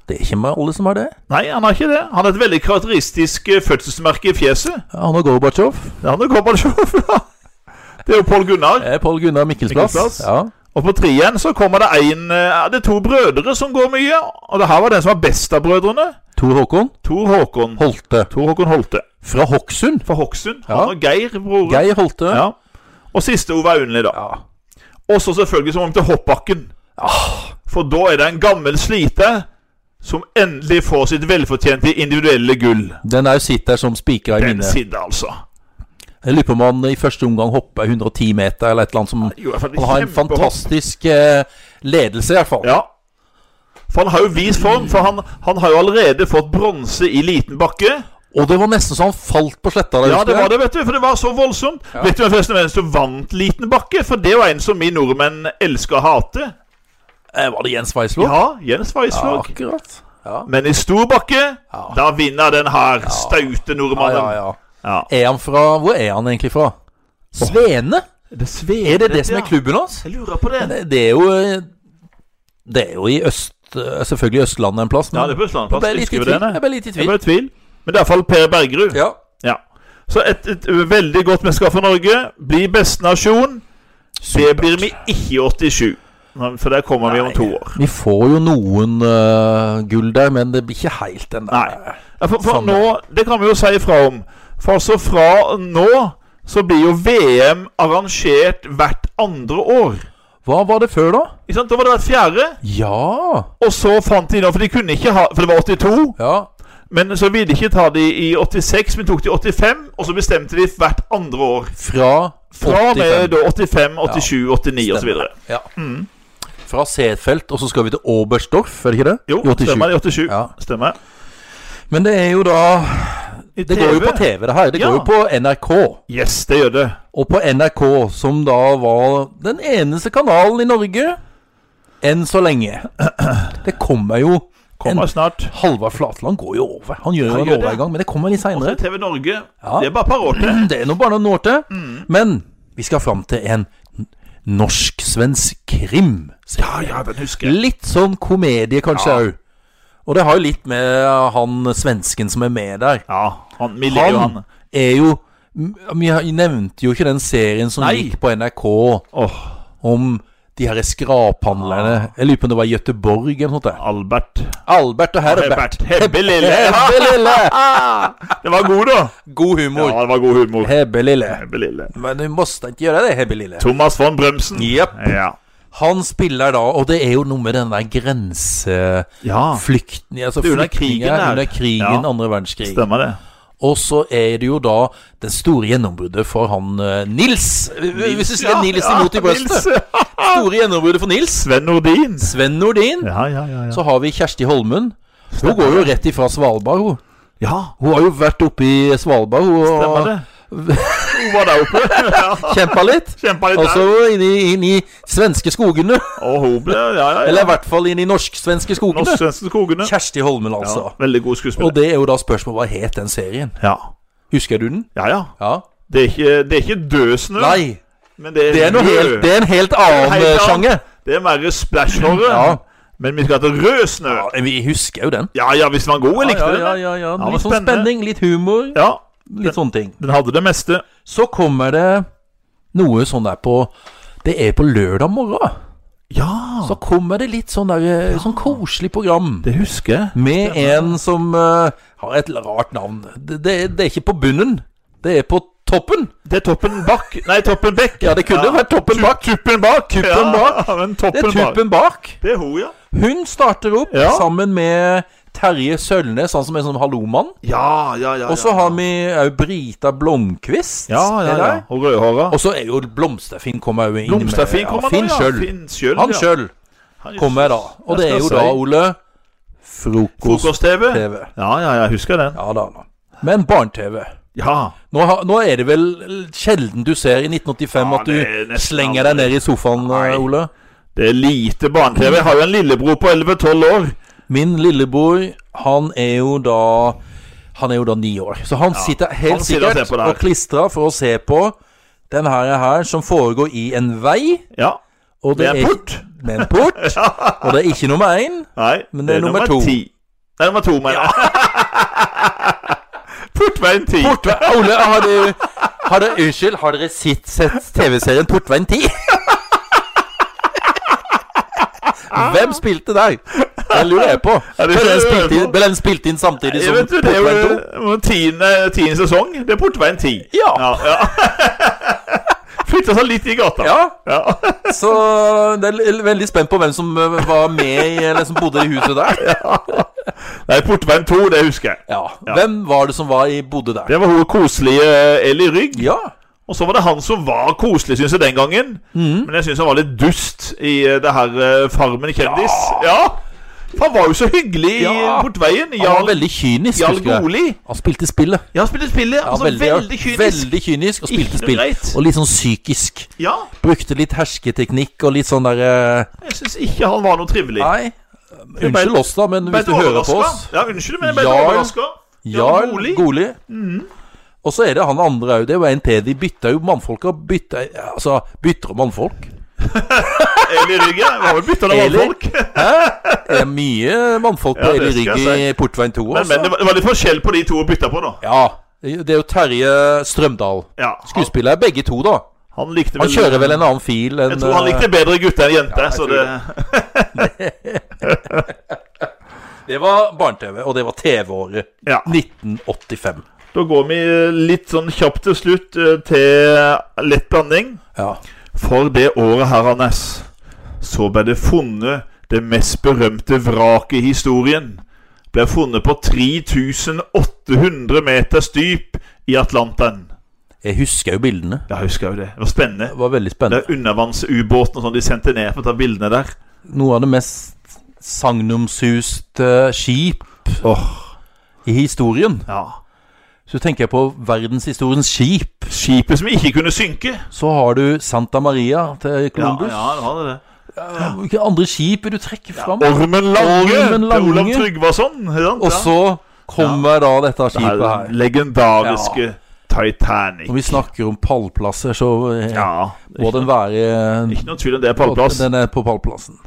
[SPEAKER 1] det er ikke med alle som har det.
[SPEAKER 2] Nei, han har ikke det. Han har et veldig karakteristisk eh, fødselsmerke i fjeset.
[SPEAKER 1] Ja, Han og Gorbatsjov.
[SPEAKER 2] Han er Gorbatsjov, ja. Det er jo Pål Gunnar.
[SPEAKER 1] Det er Pål Gunnar Mikkelsplass.
[SPEAKER 2] Mikkelsplass.
[SPEAKER 1] Ja.
[SPEAKER 2] Og på trien så kommer det en eh, Det er to brødre som går mye. Og det her var den som var best av brødrene.
[SPEAKER 1] Tor Håkon
[SPEAKER 2] Tor Håkon.
[SPEAKER 1] Holte.
[SPEAKER 2] Tor Håkon Holte.
[SPEAKER 1] Fra Hokksund.
[SPEAKER 2] Fra Hokksund.
[SPEAKER 1] Ja.
[SPEAKER 2] Han og Geir, broren.
[SPEAKER 1] Geir Holte.
[SPEAKER 2] Ja. Og siste Ove Aunli, da.
[SPEAKER 1] Ja.
[SPEAKER 2] Og så selvfølgelig så må vi til hoppbakken. For da er det en gammel sliter som endelig får sitt velfortjente individuelle gull.
[SPEAKER 1] Den er jo sitter som spikra i
[SPEAKER 2] Den
[SPEAKER 1] minnet.
[SPEAKER 2] sidde, altså.
[SPEAKER 1] Jeg lurer på om han i første omgang hopper 110 meter eller et eller annet som
[SPEAKER 2] Jo, i hvert fall
[SPEAKER 1] Han har en
[SPEAKER 2] kjempehopp.
[SPEAKER 1] fantastisk eh, ledelse, i hvert fall.
[SPEAKER 2] Ja. For han har jo vist form, for han, han har jo allerede fått bronse i liten bakke.
[SPEAKER 1] Og det var nesten så han falt på sletta. der,
[SPEAKER 2] Ja,
[SPEAKER 1] husker
[SPEAKER 2] det
[SPEAKER 1] jeg.
[SPEAKER 2] var det, vet du, for det var så voldsomt. Vet du hvem forresten hvem som vant liten bakke? For det var en som vi nordmenn elsker å hate.
[SPEAKER 1] Eh, var det Jens Weislov?
[SPEAKER 2] Ja, Jens Weisslog.
[SPEAKER 1] akkurat. Ja.
[SPEAKER 2] Men i stor bakke,
[SPEAKER 1] Ja.
[SPEAKER 2] da vinner den her staute
[SPEAKER 1] Ja,
[SPEAKER 2] nordmannen.
[SPEAKER 1] ja, ja.
[SPEAKER 2] Ja.
[SPEAKER 1] Er han fra Hvor er han egentlig fra? Svene?
[SPEAKER 2] Det svever
[SPEAKER 1] Er det det
[SPEAKER 2] litt,
[SPEAKER 1] som er
[SPEAKER 2] ja.
[SPEAKER 1] klubben hans?
[SPEAKER 2] Jeg lurer på det.
[SPEAKER 1] Det, det er jo eh, Det er jo i øst... eh, Selvfølgelig Østlandet en plass, men
[SPEAKER 2] Ja, det er på
[SPEAKER 1] jeg ble
[SPEAKER 2] Østlandet.
[SPEAKER 1] litt i
[SPEAKER 2] Husker du
[SPEAKER 1] tvil.
[SPEAKER 2] det? nei?
[SPEAKER 1] Jeg ble litt i
[SPEAKER 2] Jeg
[SPEAKER 1] tvil.
[SPEAKER 2] ble i tvil. Men det er iallfall Per Bergerud.
[SPEAKER 1] Ja.
[SPEAKER 2] Ja. Så et, et veldig godt mesterskap for Norge. Bli beste nasjon. Det blir vi ikke i 87. Nei, For der kommer vi om
[SPEAKER 1] Nei.
[SPEAKER 2] to år.
[SPEAKER 1] Vi får jo noen eh, gull der, men det blir ikke helt den der.
[SPEAKER 2] Nei. Ja, For, for
[SPEAKER 1] Samme.
[SPEAKER 2] nå Det kan vi jo si ifra om. For altså fra nå så blir jo VM arrangert hvert andre år.
[SPEAKER 1] Hva var det før, da?
[SPEAKER 2] Ikke sant? Da var det hvert fjerde.
[SPEAKER 1] Ja.
[SPEAKER 2] Og så fant de nå For de kunne ikke ha For det var 82.
[SPEAKER 1] ja.
[SPEAKER 2] Men så ville de ikke ta de i 86, men tok de i 85. Og så bestemte de hvert andre år.
[SPEAKER 1] Fra
[SPEAKER 2] Fra og
[SPEAKER 1] 85.
[SPEAKER 2] med da 85, 87, 89 osv.
[SPEAKER 1] Stemmer. Ja. Mm. Fra Setfeldt, og så skal vi til Oberstdorf, er det ikke det?
[SPEAKER 2] Jo,
[SPEAKER 1] I 87.
[SPEAKER 2] stemmer det. 87.
[SPEAKER 1] Ja.
[SPEAKER 2] Stemmer.
[SPEAKER 1] Men det er jo da
[SPEAKER 2] I
[SPEAKER 1] Det går jo på TV, det her. Det
[SPEAKER 2] Ja.
[SPEAKER 1] går jo på NRK.
[SPEAKER 2] Yes, det gjør det.
[SPEAKER 1] Og på NRK, som da var den eneste kanalen i Norge enn så lenge. Det kommer jo
[SPEAKER 2] Kommer
[SPEAKER 1] en-
[SPEAKER 2] snart.
[SPEAKER 1] Halvard Flatland går jo over. Han gjør jo
[SPEAKER 2] Han
[SPEAKER 1] en
[SPEAKER 2] gjør det.
[SPEAKER 1] overgang, men det kommer litt seinere.
[SPEAKER 2] Også TV Norge.
[SPEAKER 1] Ja.
[SPEAKER 2] Det er bare et par år til.
[SPEAKER 1] Det er nå bare noen år til.
[SPEAKER 2] Mm.
[SPEAKER 1] Men vi skal fram til en n- norsk-svensk krim.
[SPEAKER 2] Ja, ja, den husker jeg.
[SPEAKER 1] Litt sånn komedie, kanskje òg. Og det har jo litt med eh, han svensken som er med der.
[SPEAKER 2] Ja, han, vi liker jo han.
[SPEAKER 1] Han er jo m- Vi har- nevnte jo ikke den serien som
[SPEAKER 2] Nei.
[SPEAKER 1] gikk på NRK
[SPEAKER 2] Åh,
[SPEAKER 1] om de her skraphandlerne Jeg lurer på om det var i Gøteborg eller noe sånt. der.
[SPEAKER 2] Albert.
[SPEAKER 1] Albert og Herbert.
[SPEAKER 2] Herbert. Hebbe lille.
[SPEAKER 1] Hebbe lille!
[SPEAKER 2] Det var god, da.
[SPEAKER 1] God
[SPEAKER 2] Ja,
[SPEAKER 1] humor.
[SPEAKER 2] det var god humor.
[SPEAKER 1] Hebbe lille.
[SPEAKER 2] Hebbe lille.
[SPEAKER 1] Men du måtte ikke gjøre det, Hebbe lille.
[SPEAKER 2] Thomas von Brømsen.
[SPEAKER 1] Jepp.
[SPEAKER 2] Ja.
[SPEAKER 1] Han spiller da, og det er jo noe med den der grenseflykten
[SPEAKER 2] ja.
[SPEAKER 1] altså
[SPEAKER 2] Det er under
[SPEAKER 1] flyktninger
[SPEAKER 2] krigen her.
[SPEAKER 1] under krigen,
[SPEAKER 2] Ja.
[SPEAKER 1] andre verdenskrig.
[SPEAKER 2] Stemmer det.
[SPEAKER 1] Og så er det jo da det store gjennombruddet for han eh, Nils. Hvis du sier
[SPEAKER 2] Ja,
[SPEAKER 1] Nils
[SPEAKER 2] ja,
[SPEAKER 1] imot i brøstet.
[SPEAKER 2] Nils.
[SPEAKER 1] Store gjennombruddet for Nils.
[SPEAKER 2] Sven Nordin.
[SPEAKER 1] Sven Nordin.
[SPEAKER 2] Ja, ja, ja. ja.
[SPEAKER 1] Så har vi Kjersti Holmen. Hun går jo rett ifra Svalbard, hun.
[SPEAKER 2] ja.
[SPEAKER 1] Hun har jo vært oppe i Svalbard
[SPEAKER 2] Stemmer
[SPEAKER 1] hun,
[SPEAKER 2] det. Hun var der oppe.
[SPEAKER 1] og kjempa litt.
[SPEAKER 2] Kjempa litt
[SPEAKER 1] Og så
[SPEAKER 2] der.
[SPEAKER 1] inn i, inn i svenske skogene.
[SPEAKER 2] Og hun ble Ja, ja.
[SPEAKER 1] Eller i
[SPEAKER 2] ja.
[SPEAKER 1] hvert fall inn i norsk-svenske skogene.
[SPEAKER 2] Norsk-svenske skogene.
[SPEAKER 1] Kjersti Holmen, altså.
[SPEAKER 2] Ja, veldig god skuespiller.
[SPEAKER 1] Og det er jo da spørsmålet hva het den serien?
[SPEAKER 2] Ja.
[SPEAKER 1] Husker du den?
[SPEAKER 2] ja, ja.
[SPEAKER 1] Ja.
[SPEAKER 2] Det er ikke, det er ikke død snø.
[SPEAKER 1] Nei.
[SPEAKER 2] men det er,
[SPEAKER 1] Det er, noe
[SPEAKER 2] rød.
[SPEAKER 1] helt, det er en helt annen
[SPEAKER 2] Helt
[SPEAKER 1] eh, sjanger.
[SPEAKER 2] Det er mer
[SPEAKER 1] Ja.
[SPEAKER 2] splash-horror. Men vi skal til rød snø.
[SPEAKER 1] Ja, vi husker jo den.
[SPEAKER 2] Ja ja, hvis den var god, jeg likte
[SPEAKER 1] ja,
[SPEAKER 2] den.
[SPEAKER 1] ja,
[SPEAKER 2] jeg.
[SPEAKER 1] ja, ja.
[SPEAKER 2] Ja,
[SPEAKER 1] Litt
[SPEAKER 2] men
[SPEAKER 1] sånn
[SPEAKER 2] spennende.
[SPEAKER 1] spenning, litt humor,
[SPEAKER 2] Ja,
[SPEAKER 1] litt sånne ting.
[SPEAKER 2] den hadde det meste.
[SPEAKER 1] Så kommer det noe sånn der på Det er på lørdag morgen.
[SPEAKER 2] Ja!
[SPEAKER 1] Så kommer det litt sånn, der, eh, sånn koselig program.
[SPEAKER 2] Det husker jeg.
[SPEAKER 1] Med en som eh, har et rart navn. Det, det, det er ikke på bunnen, det er på toppen.
[SPEAKER 2] Det er Toppen Bakk Nei, Toppen Bekk.
[SPEAKER 1] Ja, det kunne vært Toppen
[SPEAKER 2] Tu-
[SPEAKER 1] Bakk.
[SPEAKER 2] Tuppen Bak.
[SPEAKER 1] Tuppen Bak.
[SPEAKER 2] Ja, men
[SPEAKER 1] Det
[SPEAKER 2] toppen
[SPEAKER 1] er
[SPEAKER 2] bak.
[SPEAKER 1] tuppen bak.
[SPEAKER 2] Det er hun, ja.
[SPEAKER 1] Hun starter opp
[SPEAKER 2] Ja.
[SPEAKER 1] sammen med Terje Sølnes, han som er sånn hallomann.
[SPEAKER 2] Ja, ja, ja.
[SPEAKER 1] Og så
[SPEAKER 2] ja.
[SPEAKER 1] har vi òg Brita Blomkvist.
[SPEAKER 2] Ja, ja,
[SPEAKER 1] er
[SPEAKER 2] ja.
[SPEAKER 1] det?
[SPEAKER 2] Og rødhåra.
[SPEAKER 1] Og så er jo Blomsterfinn kommer jo inn. med-
[SPEAKER 2] Blomsterfin kommer
[SPEAKER 1] ja, Finn
[SPEAKER 2] nå, ja.
[SPEAKER 1] sjøl.
[SPEAKER 2] Finn sjøl.
[SPEAKER 1] Han
[SPEAKER 2] ja.
[SPEAKER 1] sjøl
[SPEAKER 2] Han-
[SPEAKER 1] kommer da. Og det
[SPEAKER 2] Jeg
[SPEAKER 1] er jo
[SPEAKER 2] skal
[SPEAKER 1] da,
[SPEAKER 2] si.
[SPEAKER 1] Ole, frokost-TV.
[SPEAKER 2] Frokost-TV. Ja, ja, ja, jeg husker den.
[SPEAKER 1] Ja da. da. Men barne-TV.
[SPEAKER 2] Ja.
[SPEAKER 1] Nå, har- nå er det vel sjelden du ser i 1985
[SPEAKER 2] Ja,
[SPEAKER 1] at
[SPEAKER 2] det er
[SPEAKER 1] du
[SPEAKER 2] nesten
[SPEAKER 1] slenger deg
[SPEAKER 2] aldri.
[SPEAKER 1] ned i sofaen,
[SPEAKER 2] Nei.
[SPEAKER 1] Ole.
[SPEAKER 2] Det er lite barne-TV. Jeg har jo en lillebror på 11-12 år.
[SPEAKER 1] Min lillebror, han er jo da Han er jo da ni år. Så han sitter helt
[SPEAKER 2] han sitter og
[SPEAKER 1] sikkert
[SPEAKER 2] ser på det her.
[SPEAKER 1] og klistrer for å se på den her, her som foregår i en vei.
[SPEAKER 2] Ja.
[SPEAKER 1] Og
[SPEAKER 2] Med en
[SPEAKER 1] er-
[SPEAKER 2] port.
[SPEAKER 1] Med en port. Og det er ikke nummer én.
[SPEAKER 2] Nei,
[SPEAKER 1] Men det er nummer to.
[SPEAKER 2] ti. Det er nummer to, mener jeg. Portveien 10.
[SPEAKER 1] Portve- Ole, har du har du- Unnskyld, har dere sett, sett TV-serien Portveien 10? Hvem spilte der? Det lurer jeg på.
[SPEAKER 2] Ja, det
[SPEAKER 1] Ble den
[SPEAKER 2] lurer jeg
[SPEAKER 1] spilt inn,
[SPEAKER 2] på.
[SPEAKER 1] ble den spilt inn samtidig
[SPEAKER 2] Jeg
[SPEAKER 1] som
[SPEAKER 2] vet du, det er
[SPEAKER 1] Portveien 2?
[SPEAKER 2] jo eh, tiende, tiende sesong. Det er Portveien 10.
[SPEAKER 1] Ja.
[SPEAKER 2] ja, ja. Flytta seg litt i gata.
[SPEAKER 1] Ja,
[SPEAKER 2] Ja.
[SPEAKER 1] Så det er l- veldig spent på hvem som eh, var med i, eller som bodde i huset der.
[SPEAKER 2] Nei, Portveien 2, det husker jeg.
[SPEAKER 1] Ja, Hvem var det som var i, bodde der?
[SPEAKER 2] Det var hun koselige eh, Eli Rygg.
[SPEAKER 1] Ja.
[SPEAKER 2] Og så var det han som var koselig, syns jeg, den gangen.
[SPEAKER 1] Mhm.
[SPEAKER 2] Men jeg syns han var litt dust i eh, det her eh, Farmen kjendis. Ja. For han var jo så hyggelig i
[SPEAKER 1] Ja.
[SPEAKER 2] Portveien.
[SPEAKER 1] Han var
[SPEAKER 2] Jarl,
[SPEAKER 1] veldig kynisk,
[SPEAKER 2] Jarl
[SPEAKER 1] husker jeg.
[SPEAKER 2] Goli.
[SPEAKER 1] Han spilte spillet.
[SPEAKER 2] Ja, han spilte spillet.
[SPEAKER 1] Ja,
[SPEAKER 2] altså, veldig, kynisk.
[SPEAKER 1] veldig kynisk og
[SPEAKER 2] Ikke
[SPEAKER 1] spilte
[SPEAKER 2] noe
[SPEAKER 1] spill.
[SPEAKER 2] greit.
[SPEAKER 1] Og litt sånn psykisk.
[SPEAKER 2] Ja,
[SPEAKER 1] Brukte litt hersketeknikk og litt sånn derre
[SPEAKER 2] jeg syns ikke han var noe trivelig.
[SPEAKER 1] Nei, unnskyld oss, da, men hvis
[SPEAKER 2] Ble
[SPEAKER 1] du hører på oss
[SPEAKER 2] overrasket. Ja, unnskyld, men jeg ble
[SPEAKER 1] Jarl-
[SPEAKER 2] overraska.
[SPEAKER 1] Jarl Goli.
[SPEAKER 2] Mm.
[SPEAKER 1] Og så er det han andre òg. Det er jo en til. De bytter jo mannfolk og bytter Altså, bytter om mannfolk.
[SPEAKER 2] Eli Rygge. Vi har vel bytta navn
[SPEAKER 1] Eli.
[SPEAKER 2] på folk.
[SPEAKER 1] Det er mye mannfolk på
[SPEAKER 2] Ja, det
[SPEAKER 1] Eli
[SPEAKER 2] skal
[SPEAKER 1] Rygg
[SPEAKER 2] jeg si.
[SPEAKER 1] i Portveien 2.
[SPEAKER 2] Men,
[SPEAKER 1] Også.
[SPEAKER 2] men det, var, det var litt forskjell på de to å bytte på, da.
[SPEAKER 1] Ja, det er jo Terje Strømdal.
[SPEAKER 2] Ja, han,
[SPEAKER 1] Skuespiller er begge to, da.
[SPEAKER 2] han likte
[SPEAKER 1] Han kjører vel en annen fil enn
[SPEAKER 2] Jeg tror han likte bedre gutter enn jenter. så
[SPEAKER 1] tror
[SPEAKER 2] det,
[SPEAKER 1] eh, Det var barne-TV, og det var TV-året.
[SPEAKER 2] Ja.
[SPEAKER 1] 1985.
[SPEAKER 2] Da går vi litt sånn kjapt til slutt eh, til lett blanding.
[SPEAKER 1] Ja.
[SPEAKER 2] For det året her, Anders, så ble det funnet det mest berømte vraket i historien. Ble funnet på 3800 meters dyp i Atlanteren.
[SPEAKER 1] Jeg husker jo bildene.
[SPEAKER 2] Ja, husker jeg jo det. Det var spennende.
[SPEAKER 1] Det var veldig
[SPEAKER 2] Det
[SPEAKER 1] spennende.
[SPEAKER 2] er undervannsubåten og sånn de sendte ned for å ta bildene der.
[SPEAKER 1] Noe av det mest sagnomsuste skip
[SPEAKER 2] Åh,
[SPEAKER 1] i historien.
[SPEAKER 2] ja.
[SPEAKER 1] Så tenker jeg på verdenshistoriens skip.
[SPEAKER 2] Skipet som ikke kunne synke.
[SPEAKER 1] Så har du Santa Maria til Columbus.
[SPEAKER 2] ja, det var det.
[SPEAKER 1] Hvilke andre skip vil du trekke fram?
[SPEAKER 2] Ormen Lange,
[SPEAKER 1] Ormen
[SPEAKER 2] til Olav
[SPEAKER 1] Lange.
[SPEAKER 2] Tryggvason. ikke sant?
[SPEAKER 1] Og
[SPEAKER 2] Ja.
[SPEAKER 1] så kommer da dette
[SPEAKER 2] Det er
[SPEAKER 1] skipet her.
[SPEAKER 2] den legendariske Titanic.
[SPEAKER 1] Når vi snakker om pallplasser, så eh,
[SPEAKER 2] Ja,
[SPEAKER 1] må den være eh,
[SPEAKER 2] ikke noe tvil om det er pallplass.
[SPEAKER 1] Den er på pallplassen.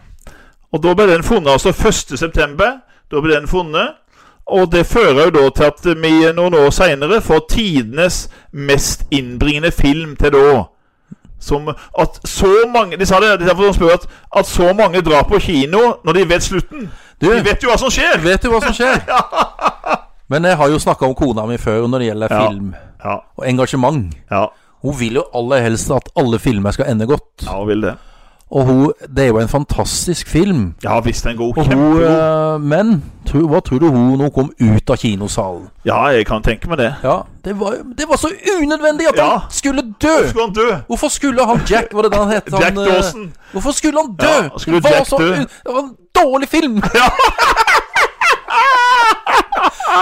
[SPEAKER 2] Og da ble den funnet altså 1. september. Da ble den funnet. Og det fører jo da til at vi noen år seinere får tidenes mest innbringende film til da. Som at så mange De sa det, de sa for å spørre at, at så mange drar på kino når de vet slutten.
[SPEAKER 1] Du,
[SPEAKER 2] De vet jo hva som skjer!
[SPEAKER 1] vet du hva som skjer? Men jeg har jo snakka om kona mi før når det gjelder
[SPEAKER 2] Ja.
[SPEAKER 1] film
[SPEAKER 2] Ja,
[SPEAKER 1] og engasjement.
[SPEAKER 2] ja,
[SPEAKER 1] Hun vil jo aller helst at alle filmer skal ende godt.
[SPEAKER 2] ja hun vil det.
[SPEAKER 1] Og hun, det er jo en fantastisk film.
[SPEAKER 2] Ja visst, den er god.
[SPEAKER 1] Og hun,
[SPEAKER 2] Kjempegod.
[SPEAKER 1] eh, men tro, hva tror du hun når hun kom ut av kinosalen?
[SPEAKER 2] Ja, jeg kan tenke meg det.
[SPEAKER 1] Ja, det var, det var så unødvendig at
[SPEAKER 2] Ja.
[SPEAKER 1] han skulle dø!
[SPEAKER 2] Skulle han dø?
[SPEAKER 1] Hvorfor skulle han Jack Var det det han het?
[SPEAKER 2] Jack
[SPEAKER 1] han, eh,
[SPEAKER 2] Dawson.
[SPEAKER 1] Hvorfor skulle han dø?
[SPEAKER 2] Ja, skulle
[SPEAKER 1] det, var
[SPEAKER 2] Jack
[SPEAKER 1] så,
[SPEAKER 2] dø?
[SPEAKER 1] un- det var en dårlig film!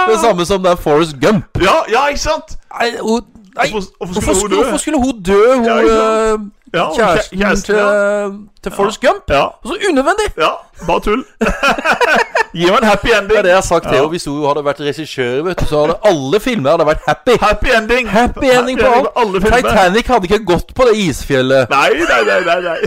[SPEAKER 1] det samme som den Forrest Gump.
[SPEAKER 2] Ja, ja, ikke sant?
[SPEAKER 1] Nei, hun, nei
[SPEAKER 2] Hvorfor-
[SPEAKER 1] hvorfor,
[SPEAKER 2] hvorfor skulle hun dø?
[SPEAKER 1] skulle, hvorfor skulle hun dø, hun
[SPEAKER 2] Ja, ikke sant?
[SPEAKER 1] eh,
[SPEAKER 2] Ja, hun kjæ-
[SPEAKER 1] kjæresten,
[SPEAKER 2] kjæresten,
[SPEAKER 1] til, eh,
[SPEAKER 2] ja.
[SPEAKER 1] til Forrest Gump?
[SPEAKER 2] Ja.
[SPEAKER 1] Så unødvendig!
[SPEAKER 2] Ja, bare tull. Gi meg en happy ending.
[SPEAKER 1] Det er det jeg har sagt til henne. Hvis hun hadde vært regissør, vet du, så hadde alle filmer hadde vært happy.
[SPEAKER 2] Happy ending.
[SPEAKER 1] Happy ending på alt.
[SPEAKER 2] alle filmer.
[SPEAKER 1] Titanic hadde ikke gått på det isfjellet.
[SPEAKER 2] Nei, nei, nei, nei, nei.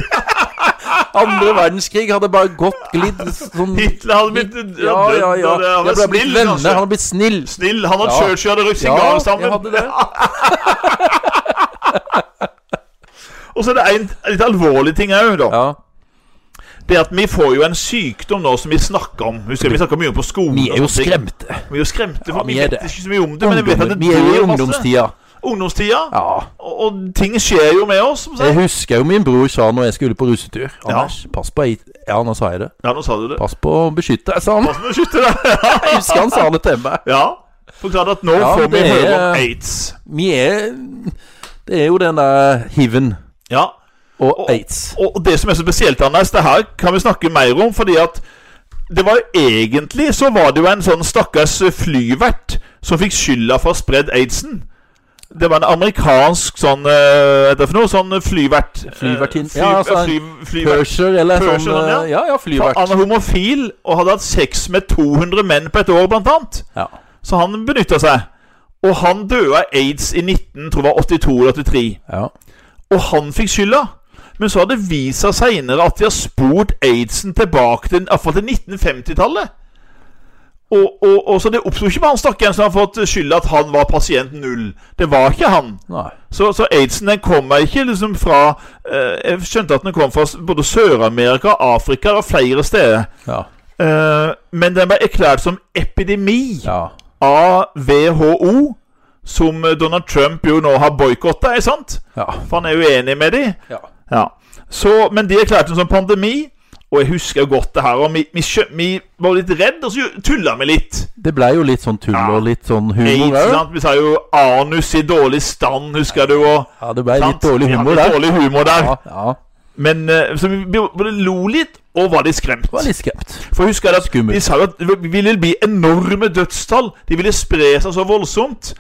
[SPEAKER 1] Andre verdenskrig hadde bare gått glidd sånn
[SPEAKER 2] Hitler hadde blitt dødd.
[SPEAKER 1] Ja, ja, ja.
[SPEAKER 2] og det
[SPEAKER 1] Jeg
[SPEAKER 2] hadde
[SPEAKER 1] ble
[SPEAKER 2] vært
[SPEAKER 1] blitt
[SPEAKER 2] snill, altså.
[SPEAKER 1] venner.
[SPEAKER 2] kanskje.
[SPEAKER 1] Han hadde blitt snill.
[SPEAKER 2] Snill. Han og
[SPEAKER 1] Ja.
[SPEAKER 2] Churchill hadde røykt
[SPEAKER 1] Ja,
[SPEAKER 2] sigar
[SPEAKER 1] jeg
[SPEAKER 2] sammen.
[SPEAKER 1] hadde det.
[SPEAKER 2] Og så er det en litt alvorlig ting òg, da.
[SPEAKER 1] Ja.
[SPEAKER 2] Det at vi får jo en sykdom nå som vi snakker om. Husker jeg, Vi snakker mye om på skolen.
[SPEAKER 1] Vi er jo
[SPEAKER 2] og sånne ting.
[SPEAKER 1] skremte.
[SPEAKER 2] Vi er jo skremte, for
[SPEAKER 1] Ja,
[SPEAKER 2] vi
[SPEAKER 1] vi er
[SPEAKER 2] vet
[SPEAKER 1] det.
[SPEAKER 2] ikke så mye om det. Sånn Men jeg vet at det
[SPEAKER 1] vi er jo i
[SPEAKER 2] dør masse.
[SPEAKER 1] ungdomstida.
[SPEAKER 2] Ungdomstida.
[SPEAKER 1] Ja.
[SPEAKER 2] Og, og ting skjer jo med oss. Som sagt.
[SPEAKER 1] Jeg husker jo min bror sa når jeg skulle på russetur
[SPEAKER 2] Ja.
[SPEAKER 1] Anders, pass på ei- Ja, nå sa jeg det.
[SPEAKER 2] Ja, nå sa du det.
[SPEAKER 1] Pass på å beskytte deg, sa han.
[SPEAKER 2] Pass med å skyte deg.
[SPEAKER 1] Jeg husker han sa det til meg.
[SPEAKER 2] ja. Forklart at nå
[SPEAKER 1] Ja,
[SPEAKER 2] får vi
[SPEAKER 1] det er-
[SPEAKER 2] høre om aids.
[SPEAKER 1] Vi er Det er jo den der hiven
[SPEAKER 2] Ja.
[SPEAKER 1] og aids.
[SPEAKER 2] Og og det som er så spesielt, Anders, det her kan vi snakke mer om, fordi at det var jo egentlig så var det jo en sånn stakkars flyvert som fikk skylda for å ha spredd aidsen. Det var en amerikansk sånn eh, Hva er det for noe? Sånn flyvert. eh,
[SPEAKER 1] Flyvertin-
[SPEAKER 2] Fly,
[SPEAKER 1] ja, altså en
[SPEAKER 2] fly, flyvert.
[SPEAKER 1] Purser eller
[SPEAKER 2] Purser,
[SPEAKER 1] sånn
[SPEAKER 2] sånn, ja.
[SPEAKER 1] eh, Ja, ja, flyvert.
[SPEAKER 2] Han er homofil og hadde hatt sex med 200 menn på et år, blant annet.
[SPEAKER 1] Ja.
[SPEAKER 2] Så han benytta seg. Og han døde av aids i 19, tror jeg var 82 eller 83.
[SPEAKER 1] ja.
[SPEAKER 2] Og han fikk skylda. Men så har det vist seg seinere at de har spurt aidsen tilbake til, i hvert fall til 1950-tallet. Og, og, og Så det oppsto ikke bare han stakkaren som har fått skylda at han var pasient null. Det var ikke han.
[SPEAKER 1] Nei.
[SPEAKER 2] Så, så aidsen den kommer ikke liksom fra eh, Jeg skjønte at den kom fra s- både Sør-Amerika, Afrika og flere steder.
[SPEAKER 1] Ja.
[SPEAKER 2] Eh, men den ble erklært som epidemi
[SPEAKER 1] ja.
[SPEAKER 2] av WHO, som eh, Donald Trump jo nå har boikotta, ikke sant?
[SPEAKER 1] Ja.
[SPEAKER 2] For han er uenig med de.
[SPEAKER 1] ja.
[SPEAKER 2] Ja. Så, men de erklærte den som pandemi, og jeg husker jo godt det her. Og vi, vi, skjø- vi var litt redd, og så tulla vi litt.
[SPEAKER 1] Det blei jo litt sånn tull og litt sånn humor
[SPEAKER 2] Ikke
[SPEAKER 1] òg.
[SPEAKER 2] sant? Vi sa jo 'anus i dårlig stand', husker du? Og,
[SPEAKER 1] Ja, det blei litt
[SPEAKER 2] sant?
[SPEAKER 1] dårlig
[SPEAKER 2] Vi hadde
[SPEAKER 1] humor der.
[SPEAKER 2] Dårlig humor der.
[SPEAKER 1] Ja, ja.
[SPEAKER 2] Men eh, så vi både lo litt og var litt skremt.
[SPEAKER 1] Det var litt skremt.
[SPEAKER 2] For husker jeg at
[SPEAKER 1] Skummelt.
[SPEAKER 2] De sa jo at det ville bli enorme dødstall. De ville spre seg så voldsomt.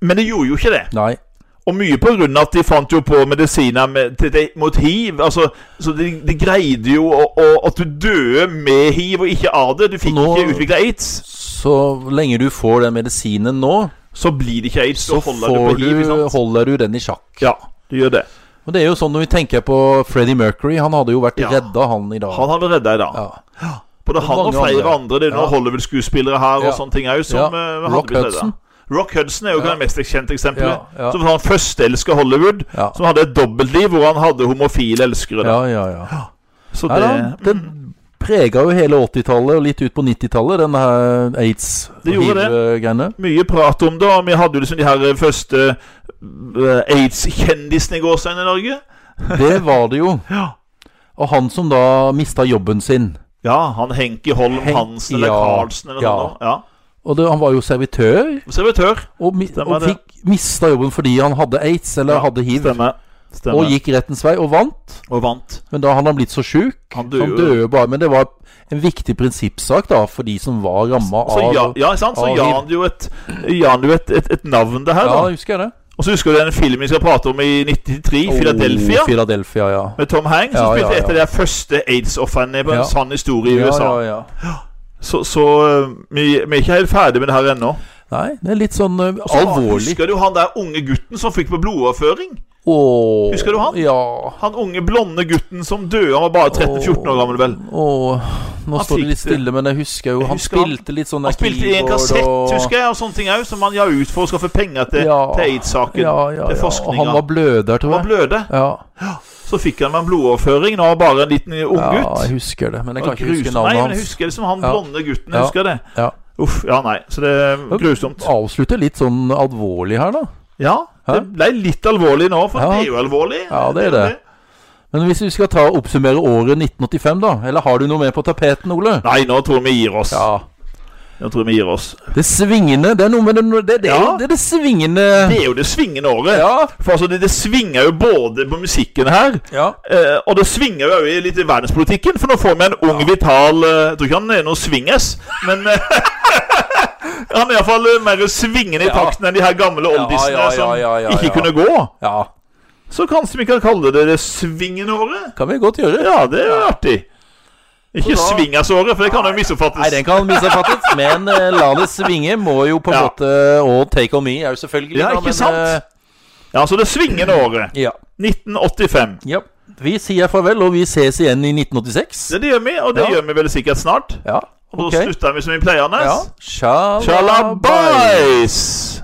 [SPEAKER 2] Men det gjorde jo ikke det.
[SPEAKER 1] Nei.
[SPEAKER 2] Og mye på grunn av at de fant jo på medisiner med, til, til, mot hiv. Altså, så de, de greide jo å, å, at du døde med hiv og ikke av det. Du fikk
[SPEAKER 1] Nå-
[SPEAKER 2] ikke utvikla aids.
[SPEAKER 1] Så lenge du får den medisinen nå,
[SPEAKER 2] Så blir det ikke aids.
[SPEAKER 1] så
[SPEAKER 2] Så holder du på
[SPEAKER 1] får
[SPEAKER 2] hiv.
[SPEAKER 1] du,
[SPEAKER 2] ikke sant?
[SPEAKER 1] holder du den i sjakk.
[SPEAKER 2] Ja, du gjør det.
[SPEAKER 1] Og det er jo sånn når vi tenker på Freddie Mercury. Han hadde jo vært
[SPEAKER 2] Ja.
[SPEAKER 1] redda, han i dag.
[SPEAKER 2] Han hadde redda i dag.
[SPEAKER 1] ja.
[SPEAKER 2] Både han og
[SPEAKER 1] mange
[SPEAKER 2] flere
[SPEAKER 1] andre.
[SPEAKER 2] andre. Det er
[SPEAKER 1] Ja.
[SPEAKER 2] noen Hollywood-skuespillere her og
[SPEAKER 1] Ja.
[SPEAKER 2] sånne ting òg som
[SPEAKER 1] Ja. Rock
[SPEAKER 2] eh, hadde blitt redda.
[SPEAKER 1] Hudson.
[SPEAKER 2] Rock Hudson er jo
[SPEAKER 1] Ja.
[SPEAKER 2] det mest kjente eksempelet.
[SPEAKER 1] Ja, ja.
[SPEAKER 2] Som var en førsteelsker Hollywood,
[SPEAKER 1] Ja.
[SPEAKER 2] som hadde et dobbeltliv hvor han hadde homofile elskere. da.
[SPEAKER 1] ja, ja, ja.
[SPEAKER 2] Så
[SPEAKER 1] Nei
[SPEAKER 2] det,
[SPEAKER 1] da, det prega jo hele 80-tallet og litt ut på 90-tallet, denne her aids- og
[SPEAKER 2] Det gjorde det.
[SPEAKER 1] hiv-greiene.
[SPEAKER 2] mye prat om det, og vi hadde jo liksom de her eh, første eh, aids-kjendisene i gårsdagen i Norge.
[SPEAKER 1] Det var det jo.
[SPEAKER 2] Ja.
[SPEAKER 1] Og han som da mista jobben sin.
[SPEAKER 2] Ja, han Henki Holm
[SPEAKER 1] Henk-
[SPEAKER 2] Hansen eller
[SPEAKER 1] ja,
[SPEAKER 2] Karlsen eller
[SPEAKER 1] ja.
[SPEAKER 2] noe sånt. Ja.
[SPEAKER 1] Og det, han var jo servitør,
[SPEAKER 2] Servitør.
[SPEAKER 1] og, mi,
[SPEAKER 2] Stemmer
[SPEAKER 1] og
[SPEAKER 2] det.
[SPEAKER 1] fikk mista jobben fordi han hadde aids, eller
[SPEAKER 2] Ja,
[SPEAKER 1] hadde hiv,
[SPEAKER 2] Stemmer. Stemmer.
[SPEAKER 1] og gikk rettens vei, og vant.
[SPEAKER 2] Og vant.
[SPEAKER 1] Men da hadde han blitt så sjuk.
[SPEAKER 2] Han
[SPEAKER 1] Han
[SPEAKER 2] døde jo.
[SPEAKER 1] døde bare. Men det var en viktig prinsippsak da for de som var ramma
[SPEAKER 2] Så
[SPEAKER 1] av
[SPEAKER 2] Altså, ja, ja, ikke sant? Så
[SPEAKER 1] av hiv.
[SPEAKER 2] ga han jo et, ga han jo et, et, et navn, det her.
[SPEAKER 1] Ja,
[SPEAKER 2] da
[SPEAKER 1] husker jeg det.
[SPEAKER 2] Og så husker du den filmen vi skal prate om i 93, Philadelphia.
[SPEAKER 1] Oh, Philadelphia, ja.
[SPEAKER 2] Med Tom Hanks,
[SPEAKER 1] Ja,
[SPEAKER 2] som
[SPEAKER 1] ja,
[SPEAKER 2] spilte et av
[SPEAKER 1] ja.
[SPEAKER 2] de første aids-ofrene på en
[SPEAKER 1] Ja.
[SPEAKER 2] sann historie i USA.
[SPEAKER 1] Ja, ja, ja.
[SPEAKER 2] Så, så eh, vi, vi er ikke helt ferdig med det her ennå.
[SPEAKER 1] Nei, det er litt sånn eh,
[SPEAKER 2] Og så
[SPEAKER 1] alvorlig.
[SPEAKER 2] Husker du han der unge gutten som fikk på blodoverføring?
[SPEAKER 1] Åh,
[SPEAKER 2] Husker du han?
[SPEAKER 1] Ja.
[SPEAKER 2] Han unge blonde gutten som døde, han var bare 13-14 år gammel, vel.
[SPEAKER 1] Åh, nå
[SPEAKER 2] Han
[SPEAKER 1] står
[SPEAKER 2] fikk
[SPEAKER 1] det litt
[SPEAKER 2] det.
[SPEAKER 1] stille, men jeg husker jo
[SPEAKER 2] Jeg
[SPEAKER 1] Han
[SPEAKER 2] husker han.
[SPEAKER 1] spilte litt sånn
[SPEAKER 2] Han spilte i en kassett, husker jeg, og sånne ting òg, som han ga ut for å skaffe penger til,
[SPEAKER 1] Ja.
[SPEAKER 2] til aids-saken.
[SPEAKER 1] Ja, ja,
[SPEAKER 2] til
[SPEAKER 1] ja. Og
[SPEAKER 2] forskninga.
[SPEAKER 1] han var bløder,
[SPEAKER 2] Han
[SPEAKER 1] tror
[SPEAKER 2] var
[SPEAKER 1] jeg.
[SPEAKER 2] bløde.
[SPEAKER 1] Ja.
[SPEAKER 2] Så fikk han med en blodoverføring, nå var han bare en liten uh, ung
[SPEAKER 1] ja,
[SPEAKER 2] gutt.
[SPEAKER 1] jeg husker det, men jeg
[SPEAKER 2] Og
[SPEAKER 1] kan ikke huske
[SPEAKER 2] grusom-
[SPEAKER 1] navnet
[SPEAKER 2] Nei, men jeg
[SPEAKER 1] hans.
[SPEAKER 2] husker liksom han
[SPEAKER 1] Ja.
[SPEAKER 2] blonde gutten. Jeg
[SPEAKER 1] Ja.
[SPEAKER 2] husker det.
[SPEAKER 1] Ja.
[SPEAKER 2] Uff, ja, nei. Så det er grusomt.
[SPEAKER 1] Avslutter litt sånn alvorlig her, da.
[SPEAKER 2] Ja, det ble litt alvorlig nå, for
[SPEAKER 1] Ja.
[SPEAKER 2] det er jo alvorlig.
[SPEAKER 1] Ja, det er det. Men hvis vi skal ta og oppsummere året 1985, da? Eller har du noe mer på tapeten, Ole?
[SPEAKER 2] Nei, nå tror jeg vi gir oss.
[SPEAKER 1] Ja.
[SPEAKER 2] Nå tror jeg vi gir oss.
[SPEAKER 1] Det svingende Det er noe med det Det, det, er jo-
[SPEAKER 2] Ja.
[SPEAKER 1] det, er det svingende
[SPEAKER 2] Det er jo det svingende året.
[SPEAKER 1] Ja.
[SPEAKER 2] For altså, det, det svinger jo både på musikken her,
[SPEAKER 1] ja.
[SPEAKER 2] eh, og det svinger jo også i litt i verdenspolitikken. For nå får vi en ung, vital eh, Jeg tror ikke han er noe swingers, men eh, Han er iallfall eh, mer svingende i
[SPEAKER 1] Ja.
[SPEAKER 2] takten enn de her gamle oldisene
[SPEAKER 1] ja, ja, ja, ja,
[SPEAKER 2] som ikke
[SPEAKER 1] ja.
[SPEAKER 2] kunne gå.
[SPEAKER 1] Ja.
[SPEAKER 2] Så kanskje vi kan kalle det det svingende året?
[SPEAKER 1] Kan vi godt gjøre.
[SPEAKER 2] Ja, det er jo artig. Ikke
[SPEAKER 1] Og da-
[SPEAKER 2] swingersåret, for det kan jo
[SPEAKER 1] Nei,
[SPEAKER 2] misoppfattes.
[SPEAKER 1] den kan misoppfattes, men eh, La det svinge må jo på en
[SPEAKER 2] Ja.
[SPEAKER 1] måte Og Take On Me er jo selvfølgelig
[SPEAKER 2] Ja,
[SPEAKER 1] da,
[SPEAKER 2] ikke
[SPEAKER 1] men,
[SPEAKER 2] sant?
[SPEAKER 1] eh,
[SPEAKER 2] Ja, så det svingende året.
[SPEAKER 1] ja.
[SPEAKER 2] 1985.
[SPEAKER 1] ja. Vi sier farvel, og vi ses igjen i 1986.
[SPEAKER 2] Det, det gjør vi, og det
[SPEAKER 1] Ja.
[SPEAKER 2] gjør vi vel sikkert snart.
[SPEAKER 1] Ja,
[SPEAKER 2] Og
[SPEAKER 1] ok.
[SPEAKER 2] da slutter vi som vi pleier, Anders.
[SPEAKER 1] Ja. Shalabais!
[SPEAKER 2] Shalabais!